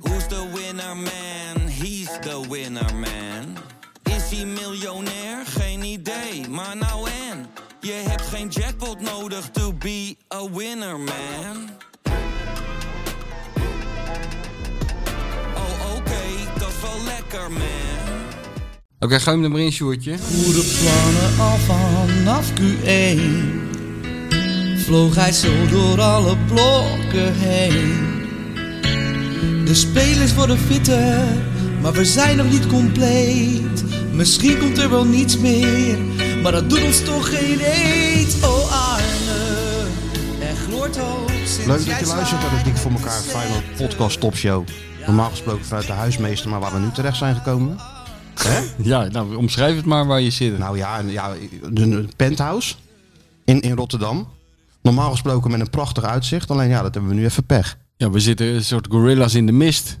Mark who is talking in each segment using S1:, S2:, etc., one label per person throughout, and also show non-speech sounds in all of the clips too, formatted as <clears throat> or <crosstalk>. S1: Who's the winner man? He's the winner man. Is hij miljonair? Geen idee, maar nou en. Je hebt geen jackpot nodig to be a winner man. Oh oké, dat is wel lekker man.
S2: Oké, gooi hem er maar in, Sjoerdje.
S3: Goede plannen al vanaf Q1 Vloog hij zo door alle blokken heen De spelers worden fitter Maar we zijn nog niet compleet Misschien komt er wel niets meer Maar dat doet ons toch geen eet Oh Arne Er gloort hoop sinds
S4: Leuk dat
S3: jij
S4: je luistert naar de Dik voor elkaar Final Podcast Top Show. Normaal gesproken vanuit de huismeester, maar waar we nu terecht zijn gekomen.
S2: Ja, nou, omschrijf het maar waar je zit.
S4: Nou ja, en- ja een een penthouse in, in Rotterdam. Normaal gesproken met een prachtig uitzicht, alleen ja, dat hebben we nu even pech.
S2: Ja, we zitten een soort gorillas in de mist.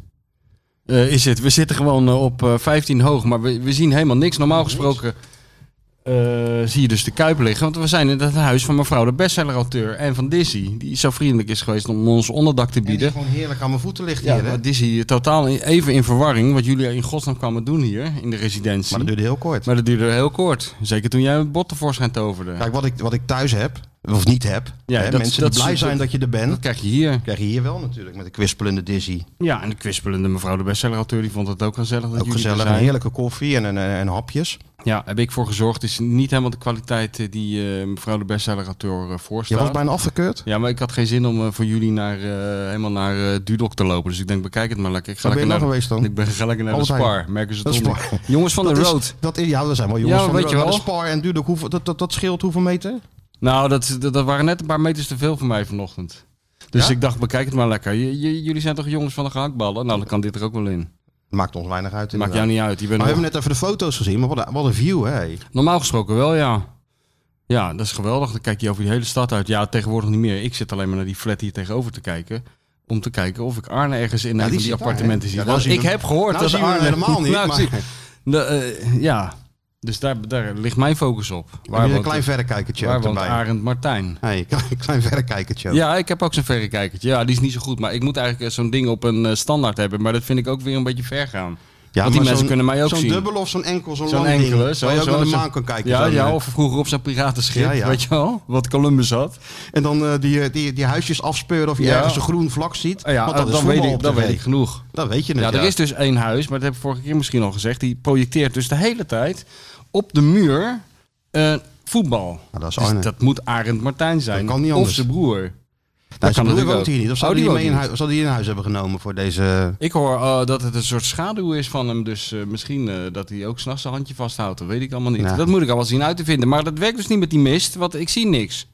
S2: Eh, is het. We zitten gewoon eh, op eh, 15 hoog, maar we, we zien helemaal niks. Normaal gesproken eh, zie je dus de Kuip liggen. Want we zijn in het huis van mevrouw de bestseller-auteur en van Dizzy. Die zo vriendelijk is geweest om ons onderdak te
S4: Die
S2: bieden.
S4: gewoon heerlijk aan mijn voeten ligt
S2: Ja,
S4: hier. hè?
S2: maar Dizzy eh, totaal in- even in verwarring wat jullie in godsnaam kwamen doen hier in de residentie.
S4: Maar dat duurde heel kort.
S2: Maar dat duurde heel kort. Zeker toen jij het bot tevoorschijn toverde.
S4: Kijk, wat ik, wat ik thuis heb, of niet heb.
S2: Ja,
S4: hè,
S2: dat-
S4: mensen
S2: dat-
S4: die blij
S2: dat-
S4: zijn dat je er bent.
S2: Dat krijg je hier.
S4: krijg je hier wel natuurlijk, met de kwispelende Dizzy.
S2: Ja, en de kwispelende mevrouw de bestseller-auteur die vond het ook gezellig dat
S4: Ook
S2: jullie er
S4: gezellig, een
S2: zijn.
S4: heerlijke koffie en, en, en, en hapjes.
S2: Ja, heb ik voor gezorgd. Het is niet helemaal de kwaliteit eh, die eh, mevrouw de bestseller-auteur eh,
S4: Je
S2: voorstelt.
S4: was bijna afgekeurd.
S2: Ja, maar ik had geen zin om eh, voor jullie naar, eh, helemaal naar eh, Dudok te lopen. Dus ik denk, bekijk het maar lekker. Ik ga
S4: Waar ben je
S2: lekker
S4: nou
S2: naar,
S4: geweest dan?
S2: Ik ben ga lekker naar
S4: Altijd.
S2: de Spar. Merken ze
S4: Dat
S2: het
S4: is
S2: toch
S4: Spar.
S2: niet. <laughs> Jongens van de
S4: Dat is-
S2: road.
S4: dat is, ja, we zijn wel jongens
S2: Ja,
S4: van
S2: weet
S4: de
S2: je
S4: road.
S2: wel.
S4: Maar de Spar en Dudok, hoeveel- dat, dat, dat scheelt hoeveel meter?
S2: Nou, dat, dat, dat waren net een paar meters te veel voor mij vanochtend. Dus
S4: Ja?
S2: ik dacht, bekijk het maar lekker. J- j- jullie zijn toch jongens van de gehaktballen? Nou, dan kan dit er ook wel in.
S4: Maakt ons weinig uit.
S2: Maakt
S4: inderdaad.
S2: jou niet uit. Je bent
S4: Maar we
S2: nog-
S4: hebben net even de foto's gezien, maar wat een, wat een view, hè?
S2: Normaal gesproken wel, ja. Ja, dat is geweldig. Dan kijk je over die hele stad uit. Ja, tegenwoordig niet meer. Ik zit alleen maar naar die flat hier tegenover te kijken. Om te kijken of ik Arne ergens in
S4: Ja,
S2: een van
S4: die
S2: die
S4: zit daar, hè?
S2: appartementen
S4: Ja,
S2: zie.
S4: nou
S2: Want
S4: zien
S2: ik
S4: we-
S2: heb gehoord
S4: nou
S2: dat
S4: zien we hem
S2: Arne... <laughs>
S4: helemaal niet,
S2: Nou, ik zie-
S4: maar- <laughs>
S2: De, eh, ja, dus daar, daar ligt mijn focus op.
S4: Waar Heb je een
S2: woont-
S4: klein verrekijkertje
S2: waar
S4: ook
S2: woont
S4: erbij? Oh.
S2: Arend Martijn?
S4: <laughs> Hey, klein, klein verrekijkertje. ook.
S2: Ja, ik heb ook zo'n verrekijkertje. Ja, die is niet zo goed. Maar ik moet eigenlijk eh, zo'n ding op een eh, standaard hebben. Maar dat vind ik ook weer een beetje ver gaan. Want die
S4: maar
S2: mensen
S4: zo'n-
S2: kunnen mij ook
S4: Zo'n
S2: zien.
S4: dubbel of zo'n enkel, zo'n
S2: Zo'n
S4: lang ding,
S2: enkele. Zo,
S4: waar je ook
S2: zo,
S4: naar de
S2: zo.
S4: maan kan kijken.
S2: Ja,
S4: zo'n,
S2: ja,
S4: eh,
S2: of vroeger op zijn piratenschip,
S4: Ja, ja.
S2: weet je wel? Wat Columbus had.
S4: En dan eh, die, die, die huisjes afspeuren of je
S2: Ja.
S4: ergens een groen vlak ziet.
S2: Ah ja,
S4: want dat
S2: dan,
S4: is voetbal
S2: weet ik,
S4: op
S2: dan
S4: tv.
S2: weet ik genoeg.
S4: Dan weet je het,
S2: Ja,
S4: ja.
S2: er is dus één huis, maar dat heb ik vorige keer misschien al gezegd. Die projecteert dus de hele tijd op de muur eh, voetbal.
S4: Nou, dat is
S2: Dus
S4: Arne.
S2: dat moet Arend Martijn zijn.
S4: Dat kan niet
S2: of
S4: anders.
S2: zijn broer.
S4: nou,
S2: kan
S4: zijn broer
S2: natuurlijk
S4: woont
S2: ook.
S4: hier niet. Of
S2: Oh,
S4: zouden
S2: die
S4: die, mee in
S2: woont
S4: huis, zouden die in huis hebben genomen voor deze...
S2: Ik hoor eh, dat het een soort schaduw is van hem. Dus eh, misschien eh, dat hij ook s'nachts zijn handje vasthoudt. Dat weet ik allemaal niet.
S4: Ja.
S2: Dat moet ik allemaal zien uit te vinden. Maar dat werkt dus niet met die mist, want ik zie niks.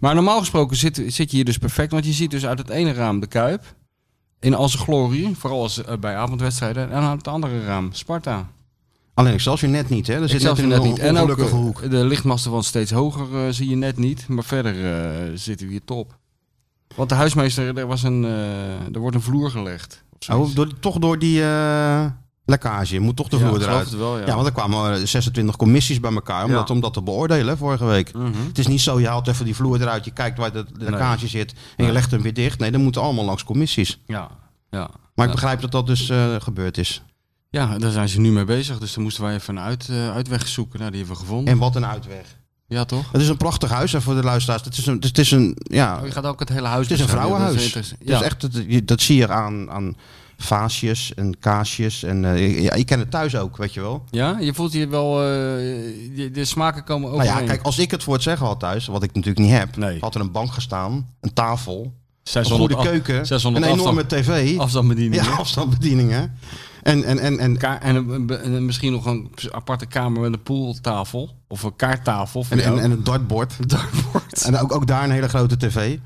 S2: Maar normaal gesproken zit, zit je hier dus perfect. Want je ziet dus uit het ene raam de Kuip. In al zijn glorie. Vooral als, eh, bij avondwedstrijden. En uit het andere raam Sparta.
S4: Alleen Excelsior net niet, hè? Er zit net
S2: Excelsior
S4: in
S2: net
S4: een
S2: niet. En ook
S4: ongelukkige
S2: eh,
S4: hoek.
S2: de lichtmasten van steeds hoger eh, zie je net niet. Maar verder eh, zitten we hier top. Want de huismeester, er, was een, eh, er wordt een vloer gelegd. Of zoiets.
S4: Oh, door, toch door die eh, lekkage. Moet toch de
S2: Ja,
S4: vloer
S2: ik geloof
S4: eruit.
S2: het wel, ja.
S4: ja, want er kwamen eh, 26 commissies bij elkaar om,
S2: Ja. Mhm.
S4: dat, om dat te beoordelen hè, vorige week. Het is niet zo, je haalt even die vloer eruit, je kijkt waar de de lekkage zit en je legt hem weer dicht. Nee, dan moeten allemaal langs commissies.
S2: Ja, ja.
S4: Maar ik begrijp dat dat dus eh, gebeurd is.
S2: Ja, daar zijn ze nu mee bezig. Dus daar moesten wij even een uit, eh, uitweg zoeken. Nou, die hebben we gevonden.
S4: En wat een uitweg.
S2: Ja, toch?
S4: Het is een prachtig huis hè, voor de luisteraars. Het is een, het is een, ja,
S2: Oh, je gaat ook het hele huis
S4: het is een
S2: bezoeken. Dat
S4: vrouwenhuis.
S2: interessant.
S4: Het
S2: ja.
S4: is echt, het- je- dat zie je aan, aan vaasjes en kaasjes. En, eh, ja, ik ken het thuis ook, weet je wel.
S2: ja, je voelt hier wel... eh, de, de smaken komen
S4: Nou
S2: overeen.
S4: ja, kijk, als ik het voor het zeggen had thuis, wat ik natuurlijk niet heb,
S2: Nee.
S4: had er een bank gestaan, een tafel, een
S2: 600
S4: goede
S2: af-
S4: keuken,
S2: 600
S4: een enorme tv,
S2: afstand, afstandsbediening.
S4: ja, afstandsbedieningen. En, en, en, en,
S2: Ka- en, een- een- een- misschien nog een aparte kamer met een pooltafel. Of een kaarttafel. voor
S4: en, en,
S2: jou.
S4: en een dartbord. En ook, ook daar een hele grote tv.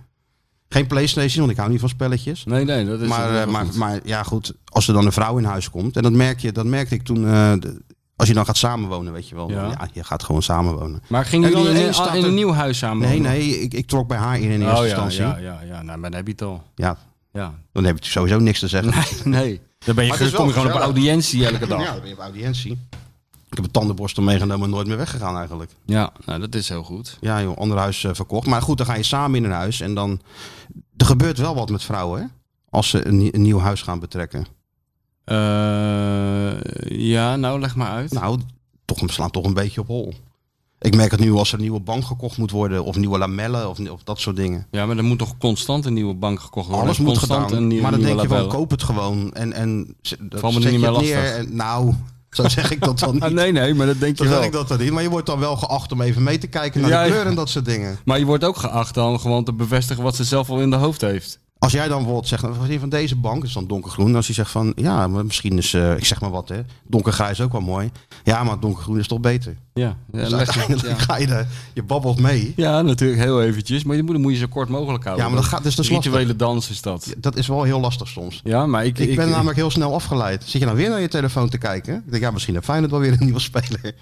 S4: Geen Playstation, want ik hou niet van spelletjes.
S2: Nee, nee, dat is...
S4: Maar,
S2: Dus dat is
S4: eh,
S2: wel
S4: maar,
S2: goed.
S4: maar ja, goed, als er dan een vrouw in huis komt, en dat, merk je, dat merkte ik toen, eh, de- als je dan gaat samenwonen, weet je wel.
S2: Ja. Oh,
S4: Ja, je gaat gewoon samenwonen.
S2: Maar gingen
S4: En dan
S2: jullie in,
S4: ineens
S2: een-
S4: staat
S2: in
S4: er-
S2: een nieuw huis samen?
S4: Nee,
S2: wonen?
S4: nee, ik, ik trok bij haar in in eerste
S2: Oh ja,
S4: instantie.
S2: ja, ja,
S4: Ja.
S2: ja. Nou, maar dan heb je het al. Ja.
S4: dan heb ik sowieso niks te zeggen. <laughs>
S2: Nee. Dan ben je,
S4: Maar het is wel
S2: kom je gewoon op
S4: gezellig.
S2: audiëntie elke dag.
S4: <laughs> Ja, dan ben je op audiëntie. Ik heb een tandenborstel meegenomen en nooit meer weggegaan eigenlijk.
S2: Ja, nou, dat is heel goed.
S4: Ja joh, ander huis eh, verkocht. Maar goed, dan ga je samen in een huis en dan... Er gebeurt wel wat met vrouwen, hè? als ze een, nie- een nieuw huis gaan betrekken.
S2: Eh, ja, nou leg maar uit.
S4: Nou, toch, een- slaat toch een beetje op hol. Ik merk het nu als er een nieuwe bank gekocht moet worden, of nieuwe lamellen, of, of dat soort dingen.
S2: Ja, maar er moet toch constant een nieuwe bank gekocht worden?
S4: Alles moet
S2: constant
S4: gedaan.
S2: een nieuwe-
S4: maar dan
S2: nieuwe
S4: denk je van,
S2: label.
S4: koop het gewoon. En, en z- dat
S2: Val me er
S4: zet
S2: niet
S4: je
S2: meer
S4: het neer
S2: lastig.
S4: en- nou, <laughs> zo zeg ik dat dan niet.
S2: Ah, nee, nee, maar dat denk
S4: Zo
S2: je
S4: zeg
S2: wel.
S4: ik dat dan niet. Maar je wordt dan wel geacht om even mee te kijken naar
S2: Ja,
S4: de
S2: ja.
S4: kleur en dat soort dingen.
S2: Maar je wordt ook geacht dan gewoon te bevestigen wat ze zelf al in de hoofd heeft.
S4: Als jij dan bijvoorbeeld zegt, nou, wat is hier van deze bank is dan donkergroen. Als je zegt van, ja, maar misschien is, eh, ik zeg maar wat hè, donkergrijs ook wel mooi. Ja, maar donkergroen is toch beter.
S2: Ja, ja,
S4: Dus
S2: leg-
S4: uiteindelijk
S2: ja.
S4: <laughs> ga je daar, je babbelt mee.
S2: Ja, natuurlijk heel eventjes. Maar je moet, moet je zo kort mogelijk houden.
S4: Ja, maar dat gaat- dus dat is
S2: Rituele dans is dat.
S4: Dat is wel heel lastig soms.
S2: Ja, maar ik... eh,
S4: Ik, ben namelijk heel snel afgeleid. Zit je nou weer naar je telefoon te kijken? Ik denk, ja, misschien heeft Feyenoord wel weer een <laughs> nieuwe speler.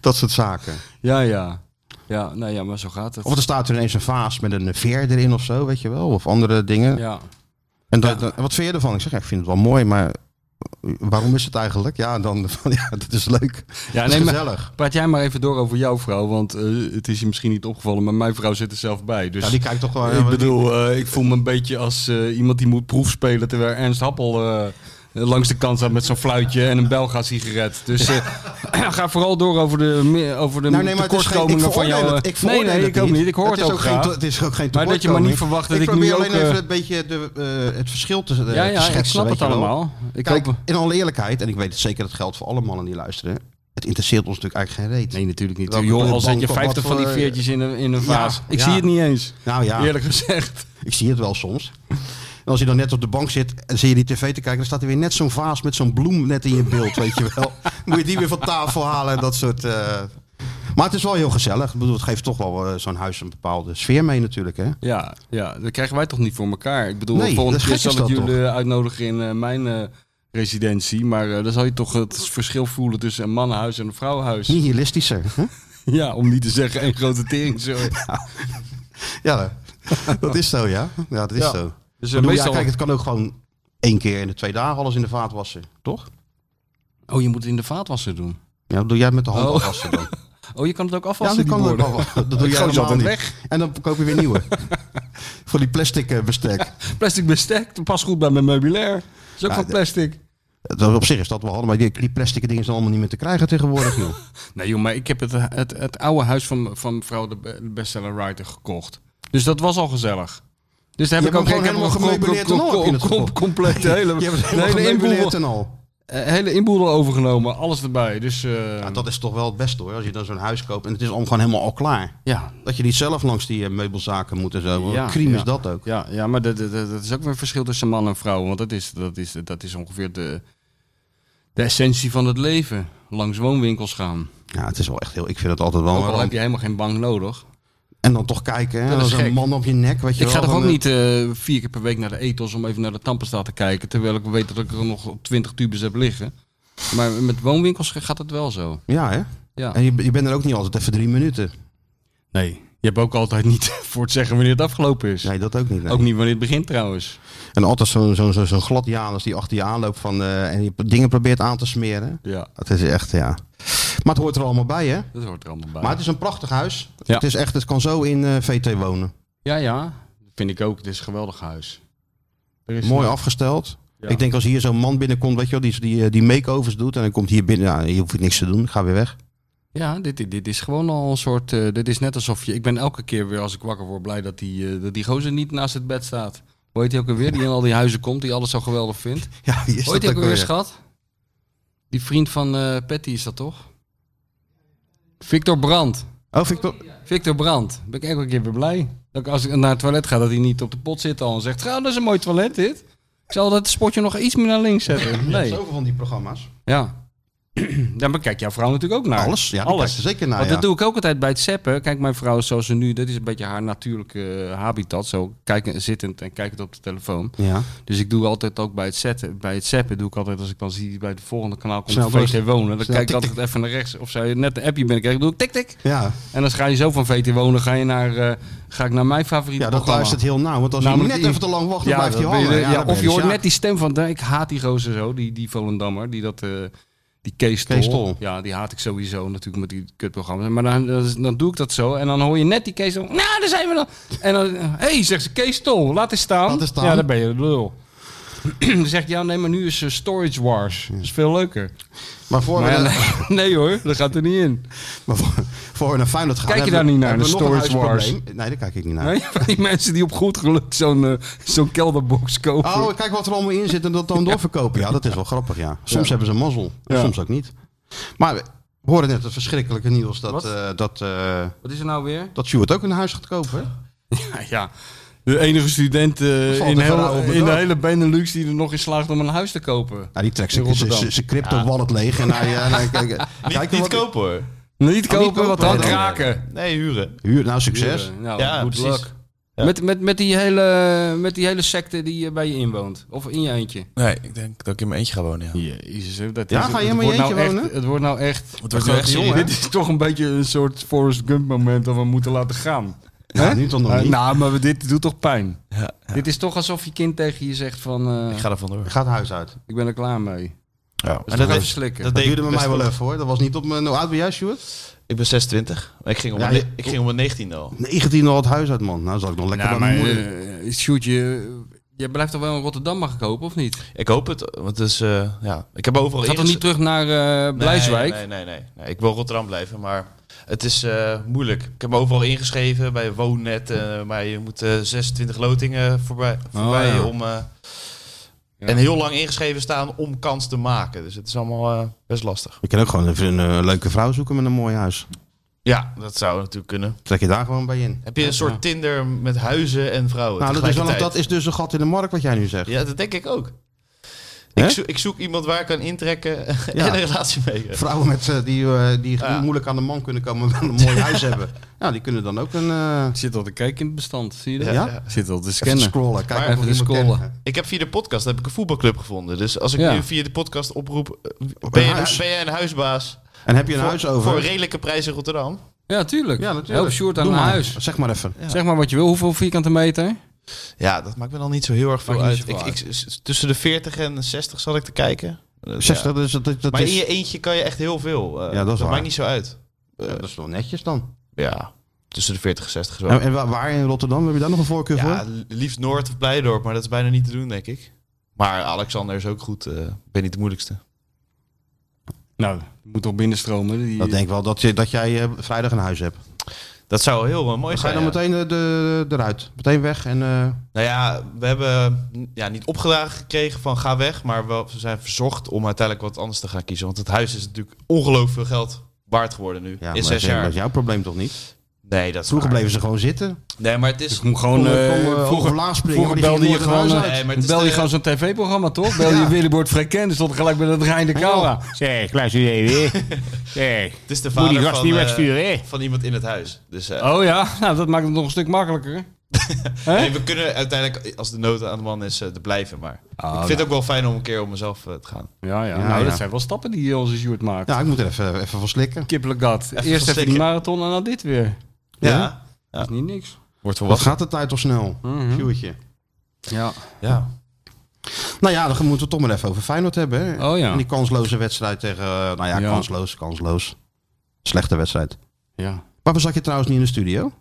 S4: Dat soort zaken.
S2: Ja, ja. Ja, nou ja, maar zo gaat het.
S4: Of er staat er ineens een vaas met een veer erin of zo, weet je wel. Of andere dingen.
S2: Ja.
S4: En dat, dat- wat vind je ervan? Ik zeg, ja, ik vind het wel mooi, maar waarom is het eigenlijk? Ja, dan, <laughs> van, ja dat is leuk.
S2: Ja,
S4: dat is
S2: nee, maar-
S4: gezellig.
S2: Praat jij maar even door over jouw vrouw, want eh, het is je misschien niet opgevallen, maar mijn vrouw zit er zelf bij. Dus
S4: Ja, die kijkt toch wel...
S2: ik bedoel, eh, ik voel me een beetje als eh, iemand die moet proefspelen terwijl Ernst Happel eh, langs de kant staat met zo'n fluitje en een Belga sigaret. Dus eh, <clears throat> ga vooral door over de, me- over de
S4: Nou, nee, maar het is geen-
S2: tekortkomingen
S4: ik
S2: van
S4: veroordeel
S2: jou. eh.
S4: het- ik
S2: nee,
S4: veroordeel
S2: nee,
S4: het
S2: ik ook niet. Ik hoor het,
S4: is
S2: ook graag.
S4: Geen, to- het is ook geen
S2: Maar dat je maar
S4: tekortkoming.
S2: niet verwacht dat ik
S4: probeer
S2: nu
S4: alleen
S2: ook, eh,
S4: even een beetje de, eh, het verschil te, eh,
S2: ja,
S4: te
S2: ja,
S4: schetsen.
S2: ik snap
S4: weet
S2: het
S4: je wel.
S2: allemaal. Ik
S4: Kijk,
S2: hoop...
S4: in alle eerlijkheid, en ik weet het zeker, dat geldt voor alle mannen die luisteren. Het interesseert ons natuurlijk eigenlijk geen reet.
S2: Nee, natuurlijk niet.
S4: Welke
S2: Joh, al zet je
S4: bank of
S2: 50
S4: wat
S2: van die
S4: voor-
S2: veertjes in een, in een
S4: Ja,
S2: vaas. ik
S4: ja.
S2: zie het niet eens,
S4: Nou ja,
S2: eerlijk gezegd.
S4: ik zie het wel soms. En als je dan net op de bank zit en zie je die tv te kijken, dan staat er weer net zo'n vaas met zo'n bloem net in je beeld, <laughs> weet je wel. Moet je die weer van tafel halen en dat soort. eh. Maar het is wel heel gezellig. Ik bedoel, het geeft toch wel eh, zo'n huis een bepaalde sfeer mee natuurlijk, hè?
S2: Ja, ja, dat krijgen wij toch niet voor elkaar. Ik bedoel,
S4: Nee,
S2: volgende
S4: dat is
S2: keer
S4: gek is
S2: zal ik
S4: dat
S2: jullie uitnodigen in eh, mijn eh, residentie. Maar eh, dan zal je toch het verschil voelen tussen een mannenhuis en een vrouwenhuis.
S4: Hm. Nihilistischer. Hè?
S2: <laughs> Ja, om niet te zeggen een grote tering. Zo.
S4: Ja, dat is zo, ja. Ja, dat is
S2: Ja.
S4: zo.
S2: Dus eh,
S4: Ik bedoel, ja,
S2: meestal...
S4: kijk, het kan ook gewoon één keer in de twee dagen alles in de vaat wassen, toch?
S2: Oh, je moet het in de vaatwasser doen.
S4: Ja, dat doe jij met de hand
S2: Oh.
S4: al wassen dan.
S2: Oh, je kan het ook
S4: Ja,
S2: afwassen,
S4: dat
S2: die
S4: kan ook
S2: borden.
S4: wel. <laughs> Dat doe
S2: Ik
S4: jij
S2: gooi ze
S4: helemaal
S2: altijd
S4: niet.
S2: weg.
S4: En dan koop je weer <laughs> nieuwe. Voor die plastic eh, bestek.
S2: <laughs> Plastic bestek, dat past goed bij mijn meubilair. Dat is ook
S4: Ja,
S2: van
S4: de-
S2: plastic.
S4: Dat- Op zich is dat wel handig, maar die, die plastic dingen zijn allemaal niet meer te krijgen tegenwoordig, <laughs> joh.
S2: Nee joh, maar ik heb het, het, het oude huis van, van mevrouw de be- de bestseller writer gekocht. Dus dat was al gezellig. Dus daar heb
S4: Je
S2: ik ook
S4: hebt hem gewoon
S2: ik heb
S4: helemaal
S2: een
S4: gemeubileerd en al heb je het
S2: com- com-
S4: gekocht.
S2: Compleet de hele,
S4: <laughs> Je hebt het
S2: de
S4: helemaal
S2: hele
S4: gemeubileerd
S2: inboedel,
S4: en al.
S2: eh, hele inboedel overgenomen, alles erbij. Dus eh,
S4: Ja, dat is toch wel het beste hoor, als je dan zo'n huis koopt en het is allemaal gewoon helemaal al klaar.
S2: ja,
S4: Dat je niet zelf langs die eh, meubelzaken moet en zo.
S2: Ja,
S4: Ja, crime
S2: ja.
S4: is dat ook.
S2: ja, ja, maar dat, dat, dat is ook weer een verschil tussen man en vrouw. Want dat is, dat is, dat is ongeveer de, de essentie van het leven. Langs woonwinkels gaan.
S4: Ja, het is wel echt heel... Ik vind het altijd wel...
S2: Ook al
S4: wel-
S2: heb je helemaal geen bank nodig.
S4: En dan toch kijken, hè.
S2: Dat
S4: Dat
S2: is
S4: is een
S2: gek.
S4: man op je nek, weet je
S2: Ik ga
S4: wel,
S2: toch ook
S4: van, eh,
S2: niet eh, vier keer per week naar de etels om even naar de tandpasta te kijken. Terwijl ik weet dat ik er nog twintig tubes heb liggen. Maar met woonwinkels gaat het wel zo.
S4: Ja, hè.
S2: Ja.
S4: En je, je bent er ook niet altijd even drie minuten.
S2: Nee, je hebt ook altijd niet <laughs> voor het zeggen wanneer het afgelopen is.
S4: Nee, dat ook niet. nee.
S2: Ook niet wanneer het begint trouwens.
S4: En altijd zo'n zo, zo, zo'n glad Janus die achter je aanloopt van, eh, en je dingen probeert aan te smeren.
S2: Ja,
S4: Het is echt, ja. Maar het hoort er allemaal bij, hè?
S2: dat hoort er allemaal bij.
S4: Maar het is een prachtig huis.
S2: Ja.
S4: Het, is echt, het kan zo in eh, VT wonen.
S2: Ja, ja, vind ik ook. Het is een geweldig huis. Er is
S4: Mooi afgesteld.
S2: Ja.
S4: Ik denk als hier zo'n man binnenkomt, weet je wel, die, die, eh, die makeovers doet. En dan komt hier binnen, nou, hier hoef ik niks te doen, ik ga weer weg.
S2: Ja, dit, dit is gewoon al een soort... eh, dit is net alsof je... Ik ben elke keer weer als ik wakker word blij dat die, eh, dat die gozer niet naast het bed staat. Hoe heet die ook alweer? Die in al die huizen komt, die alles zo geweldig vindt.
S4: <laughs> Ja, hier is
S2: Ooit
S4: dat
S2: heb ik
S4: ook
S2: weer
S4: weer.
S2: schat. Die vriend van eh, Patty is dat toch? Victor Brandt.
S4: Oh, Victor.
S2: Victor Brandt. Ben ik elke keer weer blij. Dat ik als ik naar het toilet ga, dat hij niet op de pot zit al en zegt... "Gauw, dat is een mooi toilet dit. Ik zal dat spotje nog iets meer naar links zetten. Nee.
S4: Zoveel van die programma's.
S2: Ja. <clears throat> Ja, maar kijk jouw vrouw natuurlijk ook naar.
S4: Alles, ja, alles.
S2: Alles.
S4: Er zeker naar.
S2: Want
S4: ja.
S2: dat doe ik ook altijd bij het zeppen. Kijk, mijn vrouw is zoals ze nu, dat is een beetje haar natuurlijke eh, habitat. Zo kijken, zittend en kijkend op de telefoon.
S4: Ja.
S2: Dus ik doe altijd ook bij het zetten, bij het zappen doe ik altijd als ik dan zie bij het volgende kanaal komt
S4: Snel
S2: VT
S4: door.
S2: Wonen, dan
S4: Snel
S2: kijk ik
S4: tik,
S2: altijd even naar rechts of zij net een appje binnenkrijgt, doe ik tik tik.
S4: Ja.
S2: En dan ga je zo van VT Wonen ga je naar eh, ga ik naar mijn favoriete
S4: ja, dat
S2: programma.
S4: luistert heel nauw. Want als je
S2: Namelijk
S4: net
S2: die-
S4: even te lang wacht, dan
S2: Ja,
S4: blijft hij
S2: dat ben
S4: hangen.
S2: je- ja,
S4: dan ben
S2: of je hoort
S4: dus, ja.
S2: net die stem van, nou, ik haat die gozer zo, die, die Volendammer, die dat, eh, die Kees Tol.
S4: Kees Tol.
S2: Ja, die haat ik sowieso natuurlijk met die kutprogramma's. Maar dan, dat is- dan doe ik dat zo en dan hoor je net die Kees Tol, eh, nou daar zijn we dan. En dan, hé, hey, zegt ze, Kees Tol, laat eens staan.
S4: Laat eens staan.
S2: Ja, dan ben je de lul. <clears throat> Dan zegt hij, ja, nee, maar nu is eh, Storage Wars. Dat is veel leuker.
S4: Maar voor,
S2: Maar ja,
S4: we,
S2: nee, <laughs> nee hoor, dat gaat er niet in.
S4: maar voor, voor we naar Feyenoord gaan...
S2: Kijk je
S4: hebben
S2: daar
S4: we-
S2: niet naar,
S4: hebben we
S2: de
S4: nog een
S2: Storage
S4: huisprobleem. Nee, daar kijk ik niet naar.
S2: Nee, <laughs> van die mensen die op goed geluk zo'n eh, zo'n kelderbox kopen.
S4: Oh, kijk wat er allemaal in zit en dat dan doorverkopen. Ja, dat is wel grappig, ja. Soms hebben ze mazzel, en
S2: Ja.
S4: soms ook niet. Maar we horen net het verschrikkelijke nieuws dat,
S2: Wat?
S4: eh dat, eh
S2: Wat is er nou weer?
S4: dat Sjoerd ook een huis gaat kopen. hè?
S2: Ja, <laughs> ja. De enige student eh,
S4: valt
S2: in,
S4: te
S2: heel,
S4: verhouden,
S2: in de
S4: toch?
S2: hele Benelux die er nog in slaagt om een huis te kopen.
S4: Nou, die trekt
S2: In Rotterdam.
S4: zijn crypto-wallet leeg en <laughs> hij... eh, en hij kijkt-
S5: Niet,
S4: kijkt
S5: niet
S4: wat-
S5: kopen hoor.
S2: Niet kopen,
S4: kopen,
S2: wat dan?
S4: nee,
S5: dan-
S2: Kraken.
S5: Nee, huren.
S4: Huur, nou, succes.
S2: Nou,
S5: Ja,
S2: good
S5: precies.
S2: luck.
S5: Ja.
S2: Met, met, met, die hele, met die hele secte die eh, bij je inwoont. Of in je eentje.
S5: Nee, ik denk dat ik in mijn eentje ga wonen. Ja.
S2: Jezus, hè, dat
S4: Ja,
S2: is-
S4: ga je
S2: het
S4: in mijn
S2: wordt nou
S4: eentje
S2: echt-
S4: wonen?
S2: Het wordt nou echt...
S5: Het wordt nu echt serieus.
S2: Dit is toch een beetje een soort Forrest Gump moment dat we moeten laten gaan.
S4: Ja,
S2: Hè?
S4: nu dan nog
S2: Eh,
S4: niet.
S2: nou, maar we- dit doet toch pijn.
S5: Ja, ja.
S2: Dit is toch alsof je kind tegen je zegt van... eh,
S5: Ik
S2: ik,
S5: ga er vandoor.
S4: Gaat het huis uit.
S2: ben er klaar mee.
S5: Ja.
S2: Dat is
S5: En dat,
S2: toch
S5: dat,
S2: even slikken.
S5: dat
S4: Dat
S5: deed ik
S4: duurde bij
S5: best
S4: mij wel
S5: wel.
S4: even hoor. Dat was niet op mijn... Nou, Hoe oud ben jij, Sjoerd?
S5: Ik ben 26. Maar ik ging om,
S4: Ja,
S5: mijn
S4: je-
S5: ne- ik ging om mijn 19 al.
S4: 19 al het huis uit, man. Nou, zat ik nog lekker bij mijn moeder.
S2: eh, Sjoerd, je, je blijft toch wel in Rotterdam mag ik hopen, of niet?
S5: Ik hoop het, want het is, eh, ja. ik heb overal
S2: Ga toch niet
S5: ingeschreven-
S2: terug naar eh Blijswijk?
S5: Nee, nee, nee, nee, nee. Ik wil Rotterdam blijven, maar het is eh, moeilijk. Ik heb me overal ingeschreven bij Woonnet, eh, maar je moet eh 26 lotingen voorbij, voorbij
S2: ja.
S5: om... eh,
S2: Ja.
S5: En heel lang ingeschreven staan om kans te maken. Dus het is allemaal eh, best lastig.
S4: Je kan ook gewoon even een eh, leuke vrouw zoeken met een mooi huis.
S5: Ja, dat zou natuurlijk kunnen.
S4: Trek je daar gewoon bij in.
S5: Heb je een soort Tinder met huizen en vrouwen
S4: Nou, dat is, wel, dat
S5: tegelijkertijd?
S4: is dus een gat in de markt wat jij nu zegt.
S5: Ja, dat denk ik ook.
S4: Hè?
S5: Ik, zo- ik zoek iemand waar ik kan intrekken <laughs> en
S4: Ja.
S5: een relatie mee heb.
S4: Vrouwen met, eh, die, eh, die
S5: Ja.
S4: moeilijk aan de man kunnen komen, maar wel een mooi huis hebben. <laughs> Ja, die kunnen dan ook een... eh,
S2: Ik zit al te kijken in het bestand, zie je dat?
S4: ja?
S2: Zit al te
S4: Even
S2: scannen.
S4: scrollen. Kijk
S5: Maar
S4: of
S2: even
S4: iemand
S2: scrollen.
S4: kent.
S5: Ik heb via de podcast heb ik een voetbalclub gevonden. Dus als ik
S2: Ja.
S5: nu via de podcast oproep, eh,
S4: Op een
S5: ben je, een,
S4: huis.
S5: ben jij een huisbaas
S4: nou- En heb je een
S5: voor,
S4: huis over?
S5: voor redelijke prijzen in Rotterdam?
S2: Ja, tuurlijk.
S4: ja, natuurlijk.
S2: Help Sjoerd aan
S4: Doe
S2: een
S4: maar.
S2: huis.
S4: Zeg maar even.
S2: Zeg maar wat je wil. Hoeveel vierkante meter?
S5: Ja, dat maakt me dan niet zo heel erg
S2: Maakt
S5: veel
S2: niet
S5: uit.
S2: zoveel
S5: Ik, ik- s- tussen de 40 en 60 zat ik te kijken. Eh, ja.
S4: 60, dat is... Dat, dat
S5: Maar in
S4: is
S5: je eentje kan je echt heel veel. Eh,
S4: Ja, dat is
S5: dat
S4: waar.
S5: maakt niet zo uit.
S4: Ja, eh, dat is wel netjes dan.
S5: Ja, tussen de 40 en 60 is wel.
S4: En, en wa- waar in Rotterdam? Heb je daar nog een voorkeur
S5: Ja,
S4: voor?
S5: liefst Noord of Blijdorp, maar dat is bijna niet te doen, denk ik. Maar Alexander is ook goed. eh, Ik ben niet de moeilijkste.
S2: Nou, moet toch binnenstromen? Die,
S4: Dat denk ik wel, dat, je, dat jij eh, vrijdag een huis hebt.
S5: Dat zou heel eh, mooi
S4: Dan ga je
S5: zijn.
S4: dan
S5: ja.
S4: meteen eh, de, eruit. Meteen weg en... eh,
S5: Nou ja, we hebben mm, ja, niet opgedragen gekregen van ga weg, maar wel, we zijn verzocht om uiteindelijk wat anders te gaan kiezen. Want het huis is natuurlijk ongelooflijk veel geld waard geworden nu.
S4: Ja,
S5: in
S4: maar
S5: zes
S4: dat is-
S5: jaar.
S4: dat is jouw probleem toch niet?
S5: Nee, dat is
S4: Vroeger
S5: waar.
S4: bleven ze gewoon zitten.
S5: Nee, maar het is...
S2: Ik moet gewoon... eh, vroeger vroeger belde je gewoon,
S5: huis
S2: eh,
S5: uit. Nee, maar het is
S2: belde je
S5: de-
S2: gewoon zo'n tv-programma, toch? Belde je Willybord Frequent, dus stond gelijk bij dat Rijn de Kouwa.
S6: Zeg, luister je even. hè. Zeg,
S5: Het is de
S6: moet die
S5: vader
S6: gast
S5: van,
S6: niet
S5: eh,
S6: wegsturen, hè?
S5: van iemand in het huis. Dus eh,
S2: Oh ja, nou, dat maakt het nog een stuk makkelijker. Hè?
S5: nee, we kunnen uiteindelijk, als de nood aan de man is, eh, er blijven. Maar ik
S2: nou.
S5: vind het ook wel fijn om een keer om mezelf eh, te gaan.
S2: Ah, Ja, ja.
S4: Ja,
S2: nou,
S4: ja.
S2: dat zijn wel stappen die onze Sjoerd maakt.
S4: Ja, ik moet er even, even van slikken.
S2: Kippelegat.
S5: Even
S2: Eerst even die
S5: verstikken.
S2: marathon en dan dit weer.
S5: Ja.
S2: Dat is niet niks.
S5: Wordt
S4: Wat
S5: volwassen.
S4: gaat de tijd al snel? Sjoerdje.
S2: Hm? Ja.
S5: Ja.
S4: Nou ja, dan moeten we het toch maar even over Feyenoord hebben. Hè?
S2: Oh ja.
S4: En die kansloze wedstrijd tegen... eh, nou ja,
S2: Ja.
S4: kansloos, kansloos. Slechte wedstrijd.
S2: ja.
S4: Waarom zat je trouwens niet in de studio?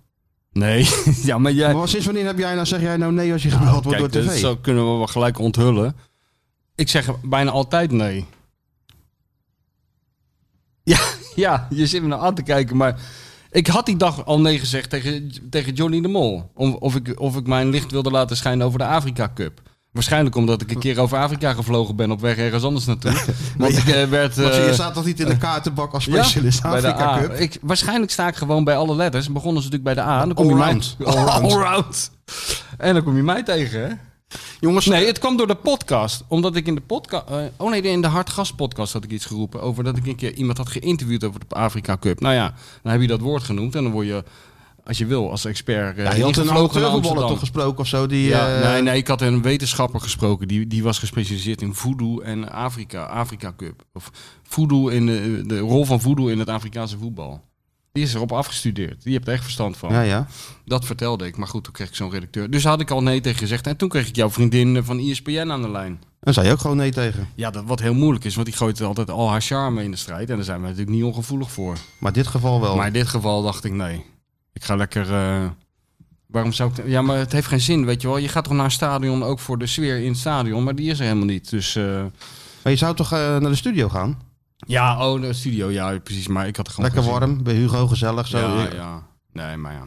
S2: Nee, <laughs> ja, maar jij...
S4: Maar sinds wanneer heb jij nou, zeg jij nou nee als je gebeld wordt door
S2: Kijk, dat
S4: tv?
S2: zo kunnen we wel gelijk onthullen. Ik zeg bijna altijd nee. <laughs> Ja, ja, je zit me nou aan te kijken, maar ik had die dag al nee gezegd tegen, tegen Johnny de Mol. Om, of, ik, of ik mijn licht wilde laten schijnen over de Afrika Cup. Waarschijnlijk omdat ik een keer over Afrika gevlogen ben op weg ergens anders naartoe.
S4: <laughs>
S2: Want ik eh, werd...
S4: Maar
S2: eh,
S4: je staat toch niet in de kaartenbak als specialist
S2: bij de
S4: Afrika
S2: A.
S4: Cup?
S2: Ik, waarschijnlijk sta ik gewoon bij alle letters. En begonnen ze natuurlijk bij de A. en Dan kom
S4: Allround.
S2: Je mij,
S4: Allround.
S2: Allround. En dan kom je mij tegen, hè?
S4: Jongens,
S2: Nee, het kwam door de podcast. Omdat ik in de podcast... oh nee, in de Hartgas podcast had ik iets geroepen. Over dat ik een keer iemand had geïnterviewd over de Afrika Cup. Nou ja, dan heb je dat woord genoemd. En dan word je, als je wil, als expert eh
S4: ja, je had een
S2: ingevlogen naar
S4: amateurvoetballer
S2: Amsterdam.
S4: toch gesproken of zo? Die,
S2: Ja,
S4: eh,
S2: nee, nee, ik had een wetenschapper gesproken. Die, die was gespecialiseerd in voodoo en Afrika, Afrika Cup. Of voodoo in de, de rol van voodoo in het Afrikaanse voetbal. Die is erop afgestudeerd. Die hebt er echt verstand van.
S4: Ja, ja.
S2: Dat vertelde ik. Maar goed, toen kreeg ik zo'n redacteur. Dus daar had ik al nee tegen gezegd. En toen kreeg ik jouw vriendin eh, van ESPN aan de lijn.
S4: Dan zei je ook gewoon nee tegen.
S2: Ja, dat, wat heel moeilijk is. Want die gooit altijd al haar charme in de strijd. En daar zijn we natuurlijk niet ongevoelig voor.
S4: Oh. Maar in dit geval wel.
S2: Maar in dit geval dacht ik nee. Ik ga lekker eh, Waarom zou ik... Ja, maar het heeft geen zin, weet je wel. Je gaat toch naar het stadion, ook voor de sfeer in het stadion. Maar die is er helemaal niet. Dus eh,
S4: Maar je zou toch eh, naar de studio gaan?
S2: ja, oh, de studio, ja, precies. Maar ik had er gewoon
S4: Lekker
S2: geen zin
S4: warm, bij Hugo gezellig. Zo.
S2: ja, ja. Nee, maar ja.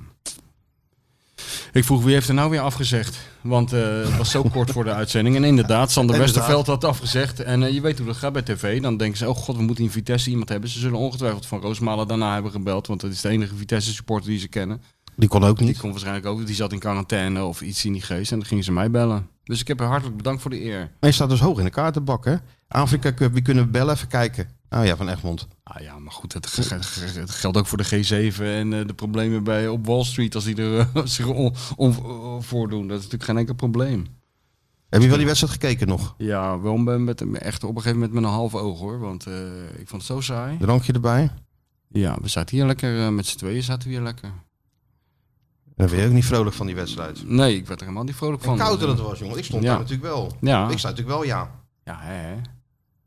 S2: Ik vroeg wie heeft er nou weer afgezegd? Want eh, het was zo
S4: <laughs>
S2: kort voor de uitzending. En inderdaad, Sander
S4: Inderdaad.
S2: Westerveld had afgezegd. En eh, je weet hoe dat gaat bij tv. Dan denken ze, oh god, we moeten in Vitesse iemand hebben. Ze zullen ongetwijfeld van Roosmalen daarna hebben gebeld. Want dat is de enige Vitesse supporter die ze kennen.
S4: Die kon ook
S2: Die
S4: niet.
S2: kon waarschijnlijk ook, die zat in quarantaine of iets in die geest. En dan gingen ze mij bellen. Dus ik heb haar hartelijk bedankt voor de eer.
S4: Hij staat dus hoog in de kaartenbak, hè? Afrika Cup, wie kunnen we bellen? Even kijken. Oh ja, van Egmond.
S2: Ah ja, maar goed, het, ge- ge- ge- het geldt ook voor de G7 en eh, de problemen bij, op Wall Street als die er eh, <laughs> zich on- on- eh, voordoen. Dat is natuurlijk geen enkel probleem.
S4: Heb je wel die wedstrijd gekeken nog?
S2: Ja, wel ben met, echt op een gegeven moment met een half oog hoor, want eh, ik vond het zo saai.
S4: Drankje erbij?
S2: Ja, we zaten hier lekker, eh, met z'n tweeën zaten we hier lekker.
S4: Dan ben je ook niet vrolijk van die wedstrijd.
S2: Nee, ik werd er helemaal niet vrolijk
S4: En
S2: van. eh,
S4: koud dat het was, jongen. Ik stond
S2: Ja.
S4: daar natuurlijk wel.
S2: Ja,
S4: Ik zei natuurlijk wel ja.
S2: ja hè, hè.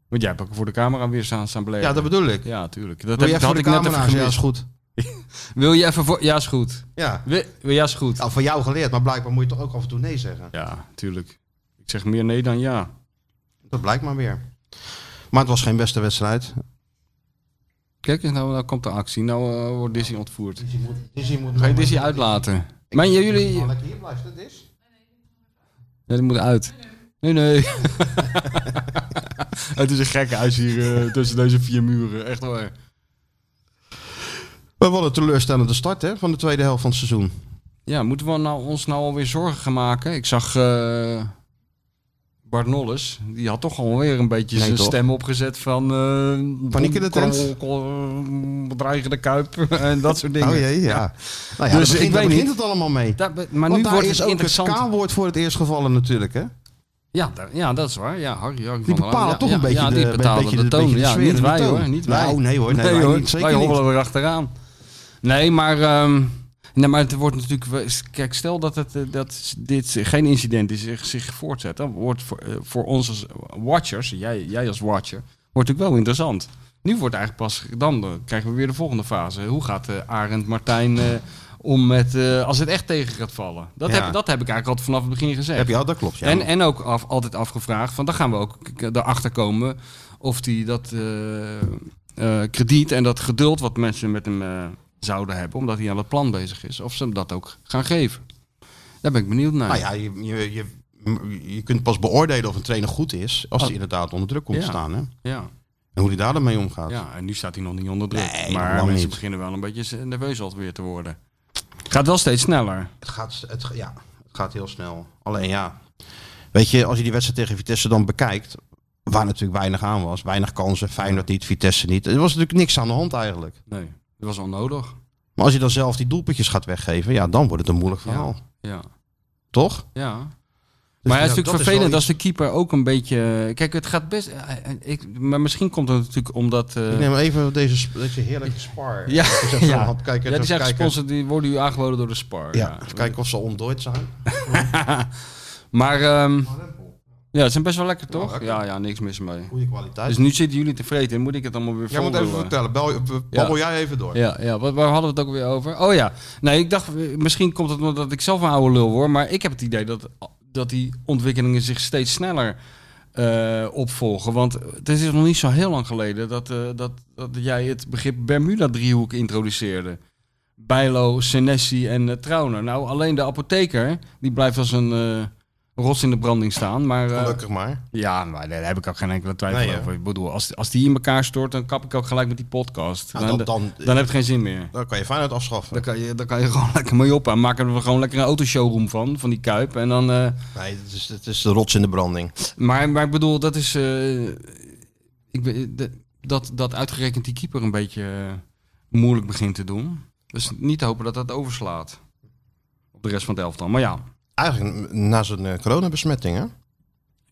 S2: Want jij hebt ook voor de camera weer staan, staan
S4: Ja,
S2: blijven.
S4: dat bedoel ik.
S2: Ja, tuurlijk. Dat
S4: Wil
S2: heb
S4: je
S2: ik,
S4: even
S2: had
S4: voor de
S2: ik net even
S4: camera's? Ja, is
S2: gemist.
S4: goed.
S2: Wil je even voor... Ja, is goed.
S4: Ja.
S2: Wil, wil ja, is goed.
S4: Nou, van jou geleerd, maar blijkbaar moet je toch ook af en toe nee zeggen.
S2: Ja, tuurlijk. Ik zeg meer nee dan ja.
S4: Dat blijkt maar weer. Maar het was geen beste wedstrijd.
S2: Kijk eens, nou, nou komt de actie. Nou eh, wordt Dizzy ontvoerd.
S4: Dizzy moet
S2: Ga je Dizzy uitlaten? Mijn jullie... Ja,
S4: lekker hier blijven, dat is.
S2: die moet uit. Nee, nee. <laughs> Het is een gekke huis hier eh, tussen deze vier muren. Echt waar.
S4: We hadden een teleurstellende start hè, van de tweede helft van het seizoen.
S2: Ja, moeten we nou, ons nou alweer zorgen gaan maken? Ik zag eh Bart Nolles. Die had toch alweer een beetje
S4: Nee,
S2: zijn
S4: toch?
S2: stem opgezet van... eh,
S4: Paniek in
S2: bom,
S4: de tent?
S2: krol, krol, bedreigende kuip <laughs> en dat soort dingen.
S4: Oh jee, ja. Nou ja,
S2: Dus
S4: dus
S2: ik
S4: begint,
S2: weet
S4: daar begint
S2: niet.
S4: het allemaal mee.
S2: Daar be- maar
S4: Want
S2: nu
S4: daar
S2: wordt
S4: is
S2: het
S4: ook
S2: interessant.
S4: het K-woord voor het eerst gevallen natuurlijk hè.
S2: Ja, daar- ja, dat is waar. Ja, Harry, Harry van
S4: Die
S2: der
S4: bepalen
S2: Laan.
S4: toch
S2: ja,
S4: een beetje
S2: ja,
S4: de-
S2: die
S4: een
S2: bepalen
S4: beetje
S2: de,
S4: de-
S2: toon.
S4: beetje de
S2: ja,
S4: sfeer
S2: niet
S4: en de
S2: wij
S4: toon.
S2: hoor. Niet wij.
S4: Nou, nee, hoor, nee, wij
S2: hoor.
S4: niet, zeker
S2: wij hobbelen
S4: niet.
S2: er achteraan. Nee, maar... ehm, Nee, maar het wordt natuurlijk. wel- Kijk, stel dat, het, eh, dat dit geen incident is, zich, zich voortzet. Dan wordt voor, eh, voor ons als watchers, jij, jij als watcher, wordt natuurlijk wel interessant. Nu wordt eigenlijk pas. Dan eh, krijgen we weer de volgende fase. Hoe gaat eh, Arend Martijn eh, om met. eh, als het echt tegen gaat vallen? Dat,
S4: Ja.
S2: heb, dat heb ik eigenlijk altijd vanaf het begin gezegd.
S4: Heb je al, dat klopt ja.
S2: En, en ook af, altijd afgevraagd, van dan gaan we ook k- erachter komen of die dat eh, eh, krediet en dat geduld wat mensen met hem eh, zouden hebben, omdat hij aan het plan bezig is, of ze hem dat ook gaan geven. Daar ben ik benieuwd naar.
S4: Nou ja, je, je, je, je kunt pas beoordelen of een trainer goed is als hij
S2: Oh.
S4: inderdaad onder druk komt te
S2: Ja.
S4: staan hè.
S2: ja.
S4: En hoe hij daar dan mee omgaat.
S2: Ja, en nu staat hij nog niet onder druk.
S4: Nee,
S2: maar
S4: lang
S2: mensen
S4: niet.
S2: beginnen wel een beetje nerveus alweer te worden. Gaat wel steeds sneller.
S4: Het gaat, het, ja, het gaat heel snel. Alleen ja, weet je, als je die wedstrijd tegen Vitesse dan bekijkt, waar natuurlijk weinig aan was, weinig kansen, Feyenoord niet, Vitesse niet. Er was natuurlijk niks aan de hand eigenlijk.
S2: Nee, dat was onnodig.
S4: Maar als je dan zelf die doelpuntjes gaat weggeven, ja, dan wordt het een moeilijk verhaal.
S2: Ja.
S4: Toch?
S2: Ja.
S4: Dus
S2: maar ja, het
S4: ja,
S2: is
S4: dat
S2: natuurlijk
S4: is
S2: vervelend
S4: wel
S2: als de keeper ook een beetje... Kijk, het gaat best... eh, eh, Ik, maar misschien komt dat natuurlijk omdat... eh,
S4: Ik neem even deze, sp- deze heerlijke spar.
S2: Ja,
S4: Ik zeg zo,
S2: ja.
S4: want kijken,
S2: ja, die
S4: even
S2: zijn
S4: kijken.
S2: gesponsord, die worden u aangeboden door de Spar.
S4: Ja, even kijken of ze ontdooid zijn.
S2: <laughs> Maar ehm, ja, ze zijn best wel lekker, toch?
S4: lekker.
S2: Ja, ja, niks mis mee.
S4: Goede kwaliteit.
S2: Dus nu zitten jullie tevreden en moet ik het allemaal weer
S4: Jij moet even
S2: voldoen.
S4: vertellen. Bel, babbel jij even door.
S2: Ja, ja. Wat, waar hadden we het ook weer over? Oh ja, nee, ik dacht, eh, misschien komt het omdat ik zelf een oude lul word, maar ik heb het idee dat, dat die ontwikkelingen zich steeds sneller eh, opvolgen. Want het is nog niet zo heel lang geleden dat, eh, dat, dat jij het begrip Bermuda-driehoek introduceerde. Bijlo, Senesi en eh, Trauner. Nou, alleen de apotheker, die blijft als een eh, rots in de branding staan. Maar, eh,
S4: Gelukkig maar.
S2: ja, maar daar heb ik ook geen enkele twijfel
S4: Nee, hè?
S2: over. Ik bedoel, als, als die in elkaar stort, dan kap ik ook gelijk met die podcast.
S4: Nou,
S2: dan,
S4: dan, dan,
S2: dan heb je geen zin meer.
S4: dan kan je Feyenoord afschaffen.
S2: Dan kan, je, dan kan je <laughs> gewoon lekker mee op. En maken we er gewoon lekker een autoshowroom van, van die Kuip. En dan, eh,
S4: Nee, het is, het is de rots in de branding.
S2: maar, maar ik bedoel, dat is... eh, ik, ben- de- dat, dat uitgerekend die keeper een beetje eh, moeilijk begint te doen. Dus niet te hopen dat dat overslaat. Op de rest van het elftal. Maar ja,
S4: Eigenlijk na zijn eh, coronabesmetting hè,